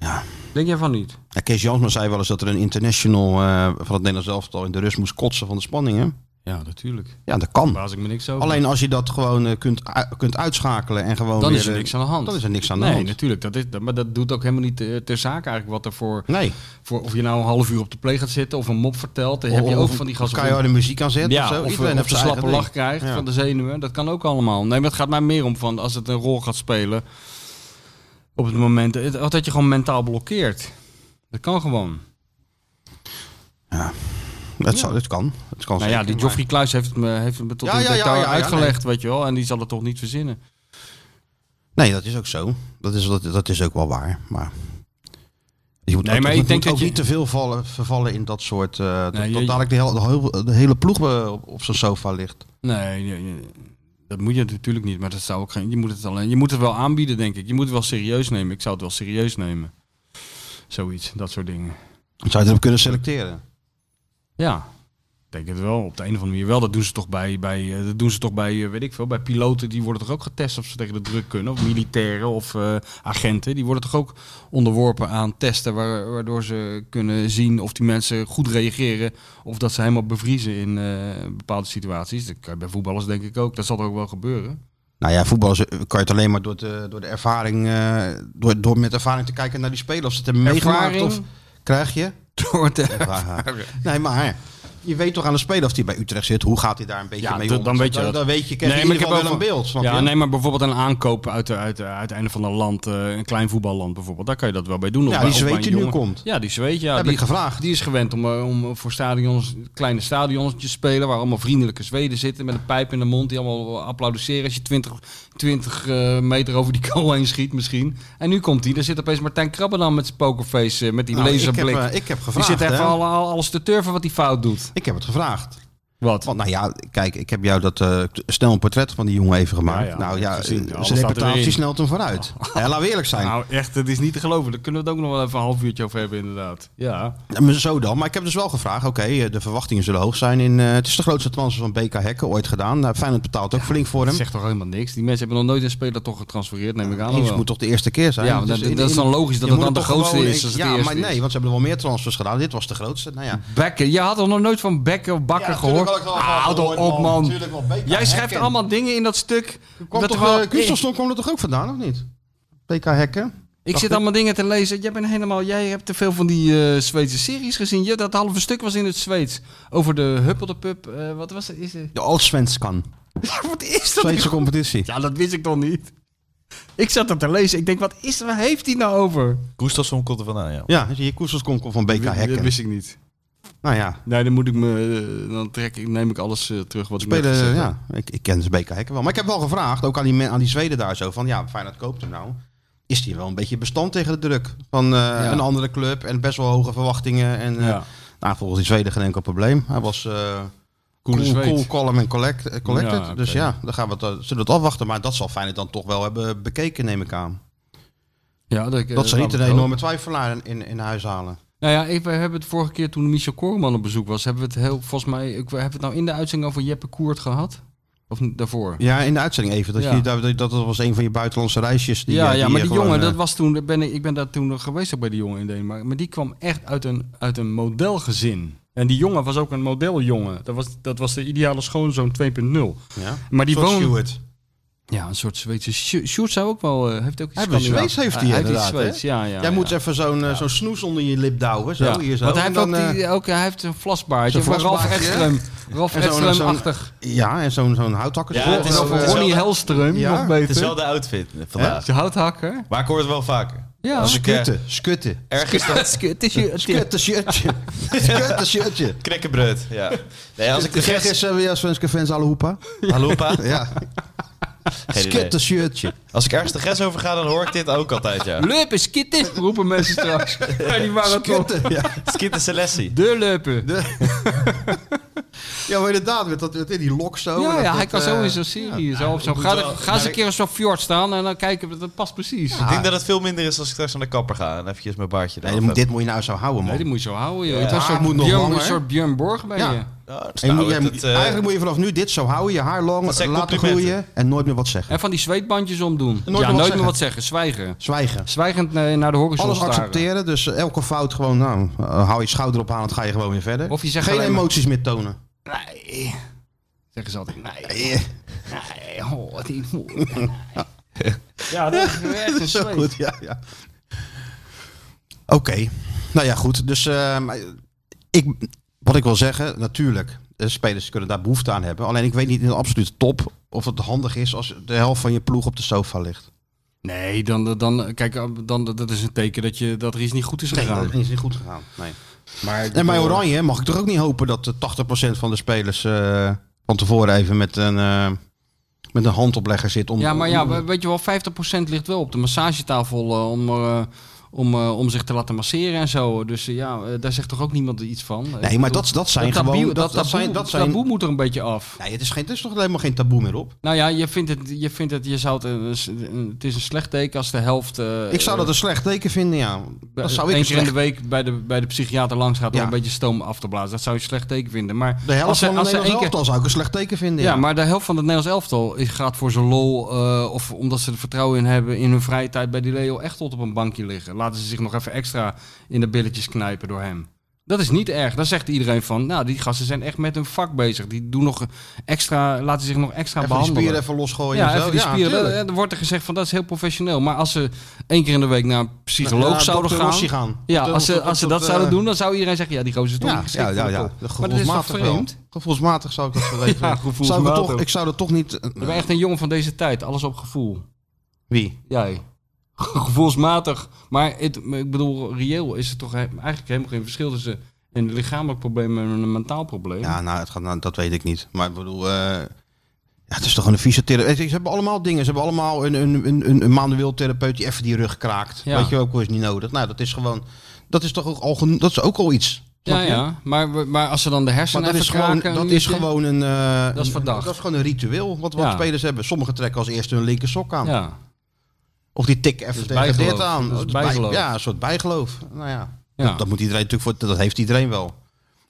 S4: Ja.
S2: Denk jij van niet?
S4: Ja, Kees Jansma zei wel eens dat er een international eh, van het Nederlands elftal in de rust moest kotsen van de spanningen.
S2: Ja, natuurlijk.
S4: Ja, dat kan.
S2: Baas ik me niks over.
S4: Alleen als je dat gewoon eh, kunt, u- kunt uitschakelen en gewoon
S2: dan
S4: weer,
S2: is er
S4: eh,
S2: niks aan de hand.
S4: Dan is er niks aan de
S2: nee,
S4: hand.
S2: natuurlijk. Dat is, dat- maar dat doet ook helemaal niet eh, ter zake eigenlijk wat er voor,
S4: Nee.
S2: voor... Of je nou een half uur op de play gaat zitten of een mop vertelt. Dan heb je
S4: Of-
S2: ook
S4: of
S2: van die gasten...
S4: keiharde muziek aan zetten
S2: Ja,
S4: of zo.
S2: of,
S4: Iedereen
S2: of
S4: heeft
S2: de
S4: zijn
S2: slappe
S4: eigen
S2: lach
S4: ding.
S2: krijgt
S4: Ja.
S2: van de zenuwen. Dat kan ook allemaal. Nee, maar het gaat mij meer om van als het een rol gaat spelen. Op het moment het, dat je gewoon mentaal blokkeert. Dat kan gewoon.
S4: Dat, zou, dat kan. Dat kan
S2: nou ja,
S4: zeker,
S2: die
S4: maar-
S2: Joffrey Kluis heeft het me, heeft het me tot
S4: Ja,
S2: in
S4: ja, ja,
S2: detail
S4: ja, ja,
S2: uitgelegd, weet je wel. En die zal het toch niet verzinnen.
S4: Nee, dat is ook zo. Dat is, dat, dat is ook wel waar. Maar je moet
S2: Nee,
S4: ook,
S2: maar
S4: je
S2: ik
S4: moet
S2: denk dat
S4: ook
S2: je-
S4: niet te veel vallen, vervallen in dat soort... eh dat-
S2: Nee, je-
S4: dat dadelijk de hele, de hele, de hele ploeg eh, op, op zijn sofa ligt.
S2: Nee, nee, nee, dat moet je natuurlijk niet. Maar dat zou ook geen. Je moet het alleen. Je moet het wel aanbieden, denk ik. Je moet het wel serieus nemen. Ik zou het wel serieus nemen. Zoiets, dat soort dingen.
S4: Dan zou je erop kunnen selecteren.
S2: Ja, ik denk het wel. Op de een of andere manier wel. Dat doen ze toch bij, bij, eh, dat doen ze toch bij eh, weet ik veel, bij piloten. Die worden toch ook getest of ze tegen de druk kunnen. Of militairen of eh, agenten. Die worden toch ook onderworpen aan testen. waar- waardoor ze kunnen zien of die mensen goed reageren. Of dat ze helemaal bevriezen in eh, bepaalde situaties. Dat kan je bij voetballers denk ik ook. Dat zal er ook wel gebeuren. <laughs>
S4: Nou ja, voetbal is- kan je het alleen maar door de, door de ervaring... eh, door, door met ervaring te kijken naar die spelers. Of ze het hebben meegemaakt of...
S2: Ervaring?
S4: Krijg je?
S2: Door te- <laughs>
S4: nee, maar je weet toch aan de speler of die bij Utrecht zit. Hoe gaat hij daar een beetje
S2: Ja,
S4: mee
S2: dat-
S4: om?
S2: dan weet je
S4: dan,
S2: dat.
S4: dan weet je, krijg je
S2: Nee,
S4: in
S2: maar ik
S4: ieder
S2: heb
S4: geval wel
S2: ook
S4: een beeld. Snap
S2: ja,
S4: je? Nou,
S2: nee, maar bijvoorbeeld een aankoop uit, uit, uit het einde van een land, eh, een klein voetballand bijvoorbeeld, daar kan je dat wel bij doen. Of bij-
S4: Ja, die
S2: of bij
S4: zweet
S2: een
S4: die nu
S2: jongen-
S4: komt.
S2: Ja, die zweet, ja.
S4: Heb
S2: die,
S4: ik gevraagd.
S2: Die is gewend om, eh, om voor stadions, kleine stadions te spelen, waar allemaal vriendelijke Zweden zitten met een pijp in de mond, die allemaal applaudisseren als je 20, 20 eh, meter over die <laughs> goal heen schiet misschien. En nu komt hij, daar zit opeens Martijn Krabbe dan met zijn pokerface, eh, met die
S4: Nou,
S2: laserblik.
S4: Ik heb, eh, ik heb
S2: die
S4: gevraagd.
S2: zit
S4: hè.
S2: even al, al- alles te turven wat hij fout doet.
S4: Ik heb het gevraagd.
S2: Wat?
S4: Want nou ja, kijk, ik heb jou dat eh, t- snel een portret van die jongen even gemaakt.
S2: Ja, ja,
S4: nou
S2: ik
S4: ja,
S2: heb gezien.
S4: eh,
S2: Alles
S4: zijn
S2: staat
S4: reputatie
S2: erin. Oh.
S4: snelt hem vooruit. Ja, laten we eerlijk zijn.
S2: Nou, echt, het is niet te geloven. Daar kunnen we het ook nog wel even een half uurtje over hebben, inderdaad. Ja.
S4: Ja, maar Zo dan. Maar ik heb dus wel gevraagd, oké, eh, de verwachtingen zullen hoog zijn. In, eh, het is de grootste transfer van BK Hekken ooit gedaan. Nou, Feyenoord betaalt ook flink voor
S2: Dat
S4: hem.
S2: zegt toch helemaal niks? Die mensen hebben nog nooit een speler toch getransfereerd, neem ik aan. of
S4: Eens
S2: wel?
S4: moet toch de eerste keer zijn?
S2: Ja, want
S4: Dus
S2: dat-
S4: in-
S2: dat is dan
S4: in-
S2: logisch dat
S4: je
S2: het dan
S4: moet
S2: de
S4: toch
S2: grootste
S4: gewoon-
S2: is als het de
S4: Ja, maar
S2: eerste
S4: nee,
S2: is. Hm.
S4: want ze hebben wel meer transfers gedaan. Dit was de grootste. Nou ja.
S2: Bekker. Je had er nog nooit van Bekker of Bakker gehoord. Ah, Houd toch op, man. Jij schrijft allemaal dingen in dat stuk.
S4: Kwam
S2: dat
S4: toch,
S2: er wel-
S4: eh, Gustafsson kwam er toch ook vandaan, of niet? BK Hekken?
S2: ik zit allemaal dingen te lezen. Jij, bent helemaal, jij hebt te veel van die eh, Zweedse series gezien. Je, dat halve stuk was in het Zweeds. Over de Huppeldepup. eh wat was dat? Is het?
S4: De Allsvenskan.
S2: Ah, wat is dat?
S4: Zweedse competitie.
S2: Ja, dat wist ik toch niet. Ik zat dat te lezen. Ik denk, wat is er? Waar heeft hij nou over?
S5: Gustafsson komt er vandaan, ja.
S4: Ja, je Koesters komt van BK
S2: Dat
S4: Hekken.
S2: wist ik niet.
S4: Nou ja,
S2: Nee, dan moet ik me. eh, Dan trek ik, neem ik alles eh, terug wat ik net gezegd
S4: Spelen,
S2: heb.
S4: ja, ik, ik ken Zbeka Hekken wel. Maar ik heb wel gevraagd, ook aan die, men- aan die Zweden daar zo, van ja, Feyenoord koopt hem nou. Is die wel een beetje bestand tegen de druk van eh, een andere club en best wel hoge verwachtingen. En, eh,
S2: Ja.
S4: Nou, volgens die Zweden geen enkel probleem. Hij was eh,
S2: Coole
S4: cool,
S2: Zweed.
S4: cool, calm en collect, eh, collected.
S2: Ja, oké.
S4: Dus ja, dan gaan we het, eh, zullen we het afwachten. Maar dat zal Feyenoord dan toch wel hebben bekeken, neem ik aan.
S2: Ja, dat, ik, eh,
S4: Dat ze niet een
S2: laat ik
S4: enorme twijfelaar in, in, in huis halen.
S2: Nou ja, ik, we hebben het vorige keer toen Michel Koreman op bezoek was, hebben we het heel, volgens mij, ik, we hebben het nou in de uitzending over Jeppe Koert gehad? Of n- daarvoor?
S4: Ja, in de uitzending even. Dat,
S2: Ja.
S4: je, dat, dat was een van je buitenlandse reisjes. Die,
S2: ja,
S4: eh,
S2: ja, maar
S4: eh,
S2: die
S4: gewoon,
S2: jongen,
S4: eh,
S2: dat was toen, ben ik, ik ben daar toen nog geweest ook bij die jongen in Denemarken. Maar die kwam echt uit een, uit een modelgezin. En die jongen was ook een modeljongen. Dat was, dat was de ideale schoonzoon 2.0.
S4: ja.
S2: Maar die
S4: Todd
S2: woonde...
S4: Stewart.
S2: Ja, een soort Zweedse... Sjo- Sjoerd zou ook wel... eh, heeft ook iets
S4: Hij heeft een
S2: Scandinavisch-
S4: Zweeds, heeft hij
S2: Ah,
S4: inderdaad,
S2: iets Zweeds, ja, ja.
S4: Jij
S2: ja.
S4: moet even zo'n eh, zo'n snoes onder je lip douwen. Zo,
S2: Ja.
S4: hier zo.
S2: Want hij
S4: En
S2: heeft,
S4: dan,
S2: ook, die,
S4: eh,
S2: ook, hij heeft een vlasbaardje.
S4: zo'n
S2: Van Ralf
S4: vlasbaardje, hè?
S2: Edström. <laughs> Ralf
S4: En zo'n-
S2: Edström-achtig.
S4: ja, en zo'n zo'n houthakker.
S5: Ja, het is
S4: Zo,
S5: ook-
S4: eh,
S5: het is
S2: Ronnie
S5: Hetzelfde-
S2: Helström,
S4: Ja,
S2: nog beter.
S5: Dezelfde outfit vandaag.
S2: Ze houthakker.
S5: Maar ik hoor het wel vaker.
S2: Ja.
S5: Als ik eh,
S4: Skutten, skutten. <laughs>
S5: ergens dan...
S2: Het is je- het is-
S4: Skutten
S2: <laughs>
S4: shirtje. Skutten shirtje.
S5: Knekkenbreud, ja. Nee, als ik de
S4: De gek
S5: gest...
S4: is eh, weer als Svenske fans alle hoepa. <laughs>
S5: Hallo, pa.
S4: Ja,
S5: Geen idee.
S4: skutten shirtje.
S5: Als ik ergens de grens over ga, dan hoor ik dit ook
S2: <laughs>
S5: altijd, ja.
S2: Leupen, skitten, roepen mensen
S4: <laughs>
S2: straks. <laughs> Ja, die marathon.
S4: Skutten, ja.
S5: Skit de Celestie.
S2: De leupen.
S4: Ja, maar inderdaad, met, dat, met die lok zo.
S2: ja,
S4: dat-
S2: ja, hij
S4: dat,
S2: kan
S4: eh,
S2: zo in zo'n serie. zo op zo'n-
S5: moet
S2: ga,
S5: wel-
S2: ga eens
S5: maar
S2: een
S5: ik-
S2: keer op zo'n fjord staan en dan kijken we. Dat past precies.
S5: Ik denk dat het veel minder is als ik straks naar de kapper ga en eventjes mijn baardje
S4: Nee,
S5: eraf
S4: dit moet-
S5: heb.
S4: dit moet je nou zo houden, man.
S2: Nee, die moet je zo houden, joh. Het was
S4: haar
S2: een
S4: moet
S2: soort
S4: nog
S2: Björn- een
S4: langer.
S2: soort Björn Borg bij
S4: Ja.
S2: je.
S5: Nou, dus
S4: En je moet-
S5: nou,
S4: jij
S5: het-
S4: moet-
S5: het, eh,
S4: eigenlijk moet je vanaf nu dit zo houden, je haar lang,
S5: Dat zijn
S4: laten
S5: complimenten.
S4: groeien en nooit meer wat zeggen.
S2: En van die zweetbandjes omdoen.
S4: meer wat
S2: ja, nooit
S4: zeggen.
S2: meer wat zeggen. Zwijgen.
S4: Zwijgen.
S2: Zwijgend eh, naar de horizon
S4: Alles
S2: staren.
S4: accepteren, dus elke fout gewoon, nou, eh, hou je schouder op aan, dan ga je gewoon weer verder.
S2: Of je zegt
S4: Geen
S2: alleen maar-
S4: emoties meer tonen.
S2: Nee. Zeggen ze altijd, nee. Nee, oh, die moe. Ja, dat is
S4: <laughs>
S2: echt een
S4: Zo
S2: zweet.
S4: goed, ja. ja. Oké. Nou ja, goed. Dus ehm, ik, wat ik wil zeggen, natuurlijk, de spelers kunnen daar behoefte aan hebben. Alleen ik weet niet in de absolute top of het handig is als de helft van je ploeg op de sofa ligt.
S2: Nee, dan, dan, kijk, eh, dan, dat is een teken dat, je, dat er iets niet goed is gegaan.
S4: dat is niet goed gegaan. Nee.
S2: maar,
S4: En bij Oranje mag ik toch ook niet hopen dat eh, 80% van de spelers eh, van tevoren even met een, eh, met een handoplegger zit. Om,
S2: Ja, maar ja,
S4: om-
S2: we- weet je wel, 50% ligt wel op de massagetafel eh, om, eh, om, eh, om zich te laten masseren en zo. Dus eh, ja, eh, daar zegt toch ook niemand iets van. Ik
S4: Nee, maar
S2: bedoel,
S4: dat, dat zijn
S2: taboe-
S4: gewoon...
S2: dat, taboe,
S4: zijn, dat zijn,
S2: taboe moet er een beetje af.
S4: Nee, het is, geen, het is toch helemaal geen taboe meer op?
S2: Nou ja, je vindt het, je vindt het, je zou het, een- een- een- het is een slecht teken als de helft. eh,
S4: Ik zou dat
S2: eh,
S4: een slecht teken vinden, ja.
S2: bij-
S4: Dat zou ik
S2: één
S4: een
S2: keer in de
S4: slecht...
S2: week bij de, bij de psychiater langs gaat om
S4: Ja.
S2: een beetje stoom af te blazen. Dat zou je een slecht teken vinden. Maar
S4: De helft
S2: als ze-
S4: van de
S2: als ze één
S4: Nederlandse
S2: keer-
S4: elftal zou ik een slecht teken vinden, ja.
S2: Ja, maar de helft van het Nederlands elftal is, gaat voor zijn lol. eh, of omdat ze er vertrouwen in hebben in hun vrije tijd bij die Leo echt tot op een bankje liggen. Laten ze zich nog even extra in de billetjes knijpen door hem. Dat is niet erg. Dan zegt iedereen van, nou, die gasten zijn echt met hun vak bezig. Die doen nog extra, laten zich nog extra
S4: Even die
S2: behandelen.
S4: spieren even losgooien
S2: ja,
S4: en zo.
S2: even die spieren. eh,
S4: tuurlijk.
S2: Dan- dan wordt er gezegd van, dat is heel professioneel. Maar als ze één keer in de week naar een psycholoog
S4: Ja,
S2: zouden
S4: eh, dokter
S2: gaan...
S4: Rossi gaan.
S2: Ja,
S4: Tot-
S2: als ze,
S4: tot-
S2: als ze
S4: tot,
S2: dat
S4: eh,
S2: zouden doen, dan zou iedereen zeggen, ja, die gozer is toch
S4: Ja,
S2: niet geschikt
S4: ja, ja,
S2: voor de
S4: ja.
S2: top. Maar dat is toch
S4: Gevoelsmatig wel.
S2: vreemd?
S4: Gevoelsmatig zou ik dat wel weten. zou ik, het
S2: gevoelsmatig.
S4: toch, ik zou dat toch niet...
S2: Je bent echt een jongen van deze tijd. Alles op gevoel.
S4: Wie?
S2: Jij. <laughs> Gevoelsmatig. Maar het, ik bedoel, reëel is er toch he- eigenlijk helemaal geen verschil tussen een lichamelijk probleem en een mentaal probleem.
S4: Ja, nou, het gaat, nou, dat weet ik niet. Maar ik bedoel... eh, ja, het is toch een fysiotherapeut. Ze hebben allemaal dingen. Ze hebben allemaal een, een, een, een, een manueel therapeut die even die rug kraakt.
S2: Ja.
S4: Weet je ook, is niet nodig. Nou, dat is gewoon... Dat is toch ook al, geno- dat is ook al iets.
S2: ja,
S4: Snap je?
S2: ja. Maar, we- maar als ze dan de
S4: Maar
S2: hersenen
S4: dat
S2: even
S4: is, gewoon,
S2: kraken,
S4: dat
S2: een
S4: is
S2: beetje-
S4: gewoon een... eh,
S2: Dat is
S4: een-
S2: verdacht.
S4: Dat is gewoon een ritueel wat, wat
S2: Ja.
S4: spelers hebben. Sommigen trekken als eerste hun linker sok aan.
S2: Ja,
S4: Of die tikken even
S2: is
S4: tegen
S2: bijgeloof.
S4: dit aan.
S2: Dat is
S4: Oh, bij-
S2: bijgeloof.
S4: ja, een soort bijgeloof. Nou ja.
S2: ja.
S4: Dat moet iedereen natuurlijk voor... Dat heeft iedereen wel.
S2: ja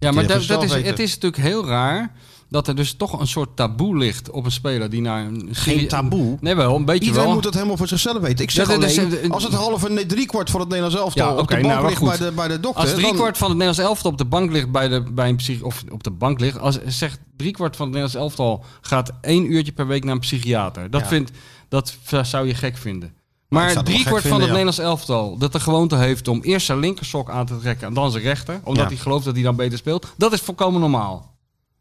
S2: maar
S4: moet je
S2: dat,
S4: even
S2: dat
S4: zelf
S2: is,
S4: weten.
S2: het is natuurlijk heel raar dat er dus toch een soort taboe ligt op een speler die naar een...
S4: Geen taboe.
S2: Nee wel, een beetje
S4: Iedereen
S2: wel.
S4: moet dat helemaal voor zichzelf weten. Ik zeg
S2: Ja, dat is-
S4: alleen,
S2: eh,
S4: als het half en nee, driekwart van het Nederlands elftal
S2: Ja,
S4: op
S2: oké,
S4: de bank
S2: nou, maar
S4: ligt
S2: goed.
S4: bij de, bij de dokter...
S2: Als
S4: dan-
S2: driekwart van het Nederlands elftal op de bank ligt bij, de, bij een psych of op de bank ligt, als zegt driekwart van het Nederlands elftal gaat één uurtje per week naar een psychiater. Dat,
S4: Ja.
S2: vindt, dat v- zou je gek vinden.
S4: ik
S2: Maar
S4: zou het wel gek
S2: driekwart van het
S4: vinden, ja.
S2: Nederlands elftal dat de gewoonte heeft om eerst zijn linkersok aan te trekken en dan zijn rechter, omdat
S4: Ja.
S2: hij gelooft dat hij dan beter speelt, dat is volkomen normaal.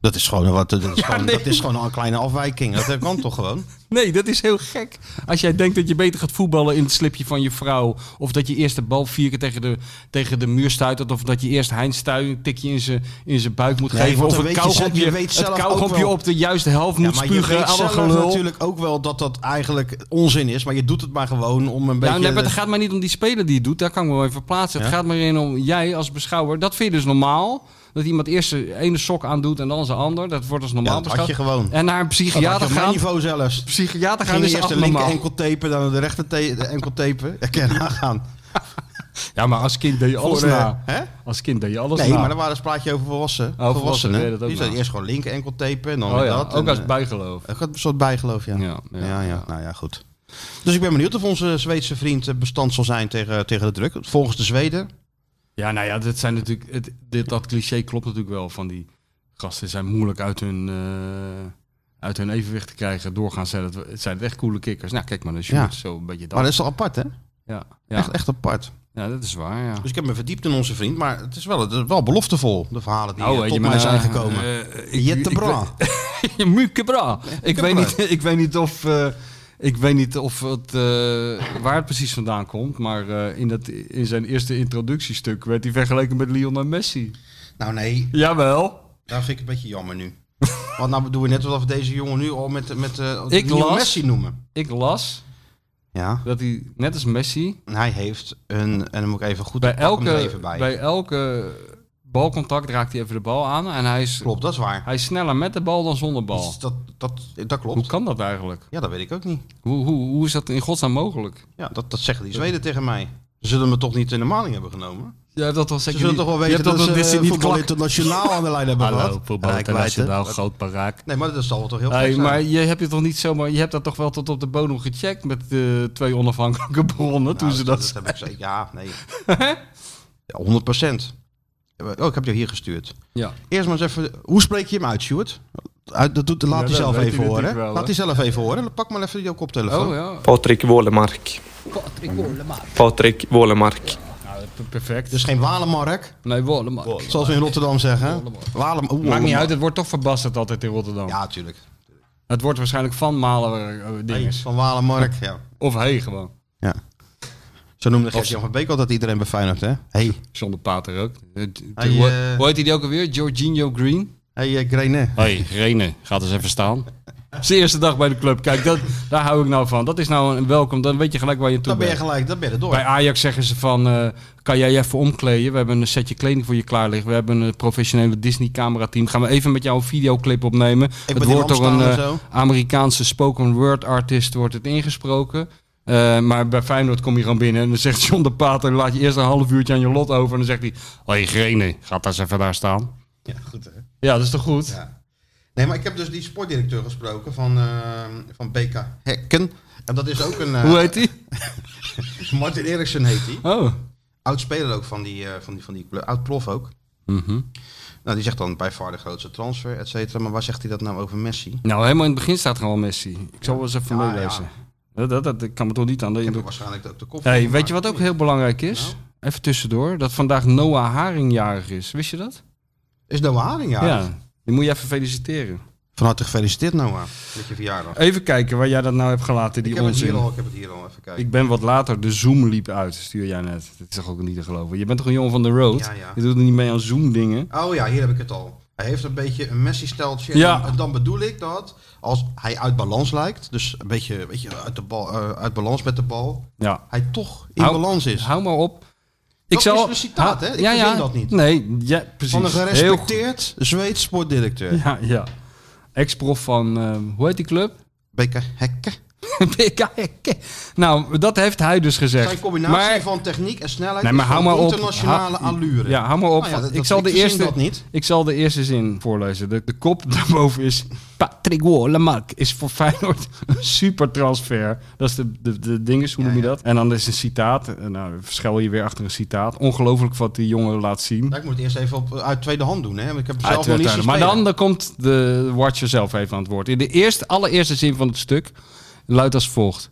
S4: Dat is gewoon, wat, dat, is gewoon,
S2: nee.
S4: dat is gewoon een kleine afwijking. Dat kan
S2: <laughs>
S4: toch gewoon?
S2: Nee, dat is heel gek. Als jij denkt dat je beter gaat voetballen in het slipje van je vrouw. Of dat je eerst de bal vier keer tegen de, tegen de muur stuitert. Of dat je eerst Heinz stuit, een tikje in zijn, in zijn buik moet
S4: Nee,
S2: geven.
S4: want
S2: Of
S4: dan
S2: een
S4: weet je zelf-
S2: kauwgompje,
S4: je weet zelf
S2: het
S4: ook
S2: kauwgompje
S4: wel.
S2: op de juiste helft moet spugen.
S4: je weet
S2: alle
S4: zelf
S2: gelul. Nou,
S4: natuurlijk ook wel dat dat eigenlijk onzin is. Maar je doet het maar gewoon om een
S2: Ja,
S4: beetje...
S2: nee, maar het gaat maar niet om die speler die het doet. Daar kan ik me wel even plaatsen. Het
S4: Ja?
S2: gaat maar in om jij als beschouwer. Dat vind je dus normaal. Dat iemand eerst de ene sok aandoet en dan zijn ander. Dat wordt als normaal
S4: Ja, dat had je
S2: beschouwd.
S4: gewoon.
S2: En naar een
S4: Dat had je
S2: psychiater
S4: op mijn
S2: gaan.
S4: niveau zelfs.
S2: Psychiater gaan dus
S4: Ging
S2: is
S4: eerst de linker
S2: abnormaal.
S4: enkel tapen, dan de rechter ta- de enkel tapen. Ja,
S2: <laughs>
S4: kan je nagaan.
S2: Ja, maar als kind deed je alles
S4: Voor, eh,
S2: na.
S4: hè?
S2: Als kind deed je alles
S4: Nee,
S2: na.
S4: maar dan waren het praatje over volwassenen.
S2: volwassenen,
S4: volwassenen.
S2: deed dat ook
S4: Die zeiden
S2: nog.
S4: eerst gewoon linker enkel tapen en dan
S2: Oh
S4: weer
S2: ja,
S4: dat.
S2: ook
S4: en,
S2: als
S4: eh,
S2: bijgeloof.
S4: ook een soort bijgeloof, ja.
S2: Ja, ja,
S4: ja, ja, Nou ja, goed. Dus ik ben benieuwd of onze Zweedse vriend eh, bestand zal zijn tegen, tegen de druk. Volgens de Zweden.
S2: Ja, nou ja, dat zijn natuurlijk, het, dit, dat cliché klopt natuurlijk wel van die gasten zijn moeilijk uit hun, eh, uit hun evenwicht te krijgen. Doorgaans zijn het, het zijn echt coole kikkers. Nou, kijk maar, dus je
S4: Ja.
S2: moet zo een beetje dat.
S4: Maar dat is toch apart, hè?
S2: ja, ja.
S4: Echt, echt apart.
S2: ja, dat is waar, ja.
S4: Dus ik heb me verdiept in onze vriend. Maar het is wel, het is wel beloftevol, de verhalen die
S2: Nou,
S4: eh,
S2: weet
S4: tot
S2: maar,
S4: mij zijn
S2: eh,
S4: gekomen.
S2: eh, ik-
S4: Jette
S2: ik-
S4: Bra.
S2: <laughs> Je muke bra. Ik
S4: Muke
S2: weet
S4: bra.
S2: niet, <laughs> ik weet niet of, eh, ik weet niet of het, eh, waar het precies vandaan komt. Maar eh, in, dat, in zijn eerste introductiestuk werd hij vergeleken met Lionel Messi.
S4: Nou nee,
S2: Jawel.
S4: Dat vind ik een beetje jammer nu. Want nou doen we net alsof we deze jongen nu al met, met eh,
S2: Ik
S4: nieuwe
S2: las-
S4: Messi noemen.
S2: Ik las
S4: Ja.
S2: dat hij, net als Messi,
S4: En hij heeft een, en dan moet ik even goed
S2: bij
S4: ik pak hem er
S2: elke,
S4: even bij.
S2: bij. elke balcontact raakt hij even de bal aan. En hij is,
S4: Klopt, dat is waar.
S2: hij is sneller met de bal dan zonder bal.
S4: Dat, dat, dat
S2: Hoe
S4: klopt.
S2: kan dat eigenlijk?
S4: Ja, dat weet ik ook niet.
S2: Hoe, hoe, hoe is dat in godsnaam mogelijk?
S4: Ja, dat, dat zeggen die Zweden tegen mij. Ze zullen me toch niet in de maling hebben genomen?
S2: Je hebt dat wel
S4: Ze
S2: zeker
S4: zullen toch wel weten dat, ze eh, voetbal internationaal aan de lijn hebben gehad?
S2: Hallo, voetbal
S4: Ja, ik weet het.
S2: internationaal, groot paraak.
S4: Nee, maar dat zal wel toch heel
S2: Hey,
S4: gek zijn.
S2: maar je hebt het toch niet zomaar, je hebt dat toch wel tot op de bodem gecheckt met eh, twee onafhankelijke bronnen
S4: Nou,
S2: toen ze dat.
S4: heb ik zeker. Ja, nee. ja, 100 procent. Oh, ik heb jou hier gestuurd.
S2: Ja.
S4: Eerst maar eens even, hoe spreek je hem uit, Stuart? Uit- Dat doet, laat
S2: Ja,
S4: hij
S2: dat
S4: zelf
S2: weet
S4: even
S2: hij
S4: horen.
S2: natuurlijk wel,
S4: laat
S2: hè?
S4: hij zelf even horen. Pak maar even jouw koptelefoon.
S2: Oh ja.
S7: Patrik Wålemark. Patrik Wålemark.
S2: Perfect.
S4: Dus geen Walemark,
S2: Oh, Nee, Wollemark.
S4: zoals we in Rotterdam zeggen. Walem,
S2: Maakt
S4: oeh,
S2: niet
S4: Walem-
S2: uit, het wordt toch verbasterd altijd in Rotterdam.
S4: Ja, tuurlijk.
S2: Het wordt waarschijnlijk van Malen eh,
S4: Hey,
S2: dinges.
S4: van Walemark, ja.
S2: Of hey gewoon.
S4: ja. Zo noemde Gert-Jan van Beek al dat iedereen bij Feyenoord, hè? Hey,
S2: Zonder Pater ook. Eh, t-
S4: Hey,
S2: hoe,
S4: eh,
S2: hoe heet hij die ook alweer? Jorginho Green?
S4: hey eh, Greene.
S2: Hé, hey, Rene, gaat eens even <laughs> staan. Zijn eerste dag bij de club. Kijk, dat, daar hou ik nou van. Dat is nou een welkom. Dan weet je gelijk waar je toe
S4: Dan ben je
S2: bent.
S4: gelijk, dan ben je er door.
S2: eh, Bij Ajax zeggen ze van, eh, kan jij je even omkleden? We hebben een setje kleding voor je klaar liggen. We hebben een professionele Disney camera team. Gaan we even met jou een videoclip opnemen.
S4: ben
S2: Het
S4: die
S2: wordt door een
S4: lamstaan en
S2: eh,
S4: zo.
S2: Amerikaanse spoken word artist wordt het ingesproken. Eh, maar bij Feyenoord kom je gewoon binnen en dan zegt John de Pater, laat je eerst een half uurtje aan je lot over. En dan zegt hij, hé Grene, ga daar eens even daar staan.
S4: Ja, goed hè.
S2: Ja, dat is toch goed?
S4: Ja. Nee, maar ik heb dus die sportdirecteur gesproken van, eh, van BK Hekken. En dat is ook een... eh,
S2: Hoe heet hij?
S4: Martin Eriksen heet hij.
S2: Oh.
S4: Oud-speler ook van die, eh, van die, van die club. Oud-prof ook.
S2: Mhm.
S4: Nou, die zegt dan bij far de grootste transfer, et cetera. Maar waar zegt hij dat nou over Messi?
S2: Nou, helemaal in het begin staat gewoon Messi. Ik zal wel eens even
S4: Ja,
S2: meelezen. Dat, dat, dat, ik kan me toch niet aan de
S4: Ik heb er
S2: indruk
S4: waarschijnlijk ook de kop van
S2: Hey, weet
S4: gemaakt,
S2: je wat
S4: of
S2: ook
S4: niet?
S2: heel belangrijk is?
S4: Nou?
S2: Even tussendoor. Dat vandaag Noah Haring jarig is. Wist je dat?
S4: Is Noah Haring, ja.
S2: Die moet je even feliciteren.
S4: Van harte gefeliciteerd, Noah. Met je verjaardag.
S2: Even kijken waar jij dat nou hebt gelaten, die
S4: ik, heb het
S2: onzin.
S4: hier al, ik heb het hier al, even kijken.
S2: Ik ben wat later, de Zoom liep uit, stuur jij net. Dat is toch ook niet te geloven. Je bent toch een jongen van de road?
S4: Ja, ja.
S2: Je doet er niet mee aan Zoom dingen.
S4: Oh ja, hier heb ik het al. Hij heeft een beetje een Messi-steltje.
S2: Ja.
S4: En dan bedoel ik dat als hij uit balans lijkt, dus een beetje, weet je, uit, de bal, eh, uit balans met de bal,
S2: Ja.
S4: hij toch in
S2: Hou-
S4: balans is.
S2: Hou maar op.
S4: Dat is een citaat, hè? Ik
S2: ja, ja.
S4: verzin dat niet.
S2: Nee, ja, precies.
S4: Van een
S2: Heel goed.
S4: gerespecteerd Zweeds sportdirecteur.
S2: Ja, ja. Ex-prof van, eh, hoe heet die club? <laughs>
S4: Beke Hekke.
S2: PKK. Nou, dat heeft hij dus gezegd.
S4: Zijn combinatie
S2: Maar-
S4: van techniek en snelheid
S2: Nee, maar
S4: is
S2: hou
S4: van
S2: maar op.
S4: internationale
S2: Ha-
S4: allure.
S2: Ja, hou maar op.
S4: Nou ja, dat-
S2: ik,
S4: dat-
S2: zal de
S4: ik verzin
S2: eerste,
S4: dat niet.
S2: ik zal de eerste zin voorlezen. De, de kop <laughs> daarboven is... Patrick Lamarck is voor Feyenoord <laughs> een super transfer. Dat is de, de, de dinges, hoe noem je dat? En dan is een citaat. Eh, Nou, verschil je weer achter een citaat. Ongelooflijk wat die jongen laat zien.
S4: Nou, ik moet het eerst even op, uit tweede hand doen, hè? want ik heb hem zelf nog
S2: Uiteraard.
S4: niet zien
S2: maar
S4: spelen.
S2: dan, dan komt de watcher zelf even aan het woord. In de eerste, allereerste zin van het stuk luidt als volgt.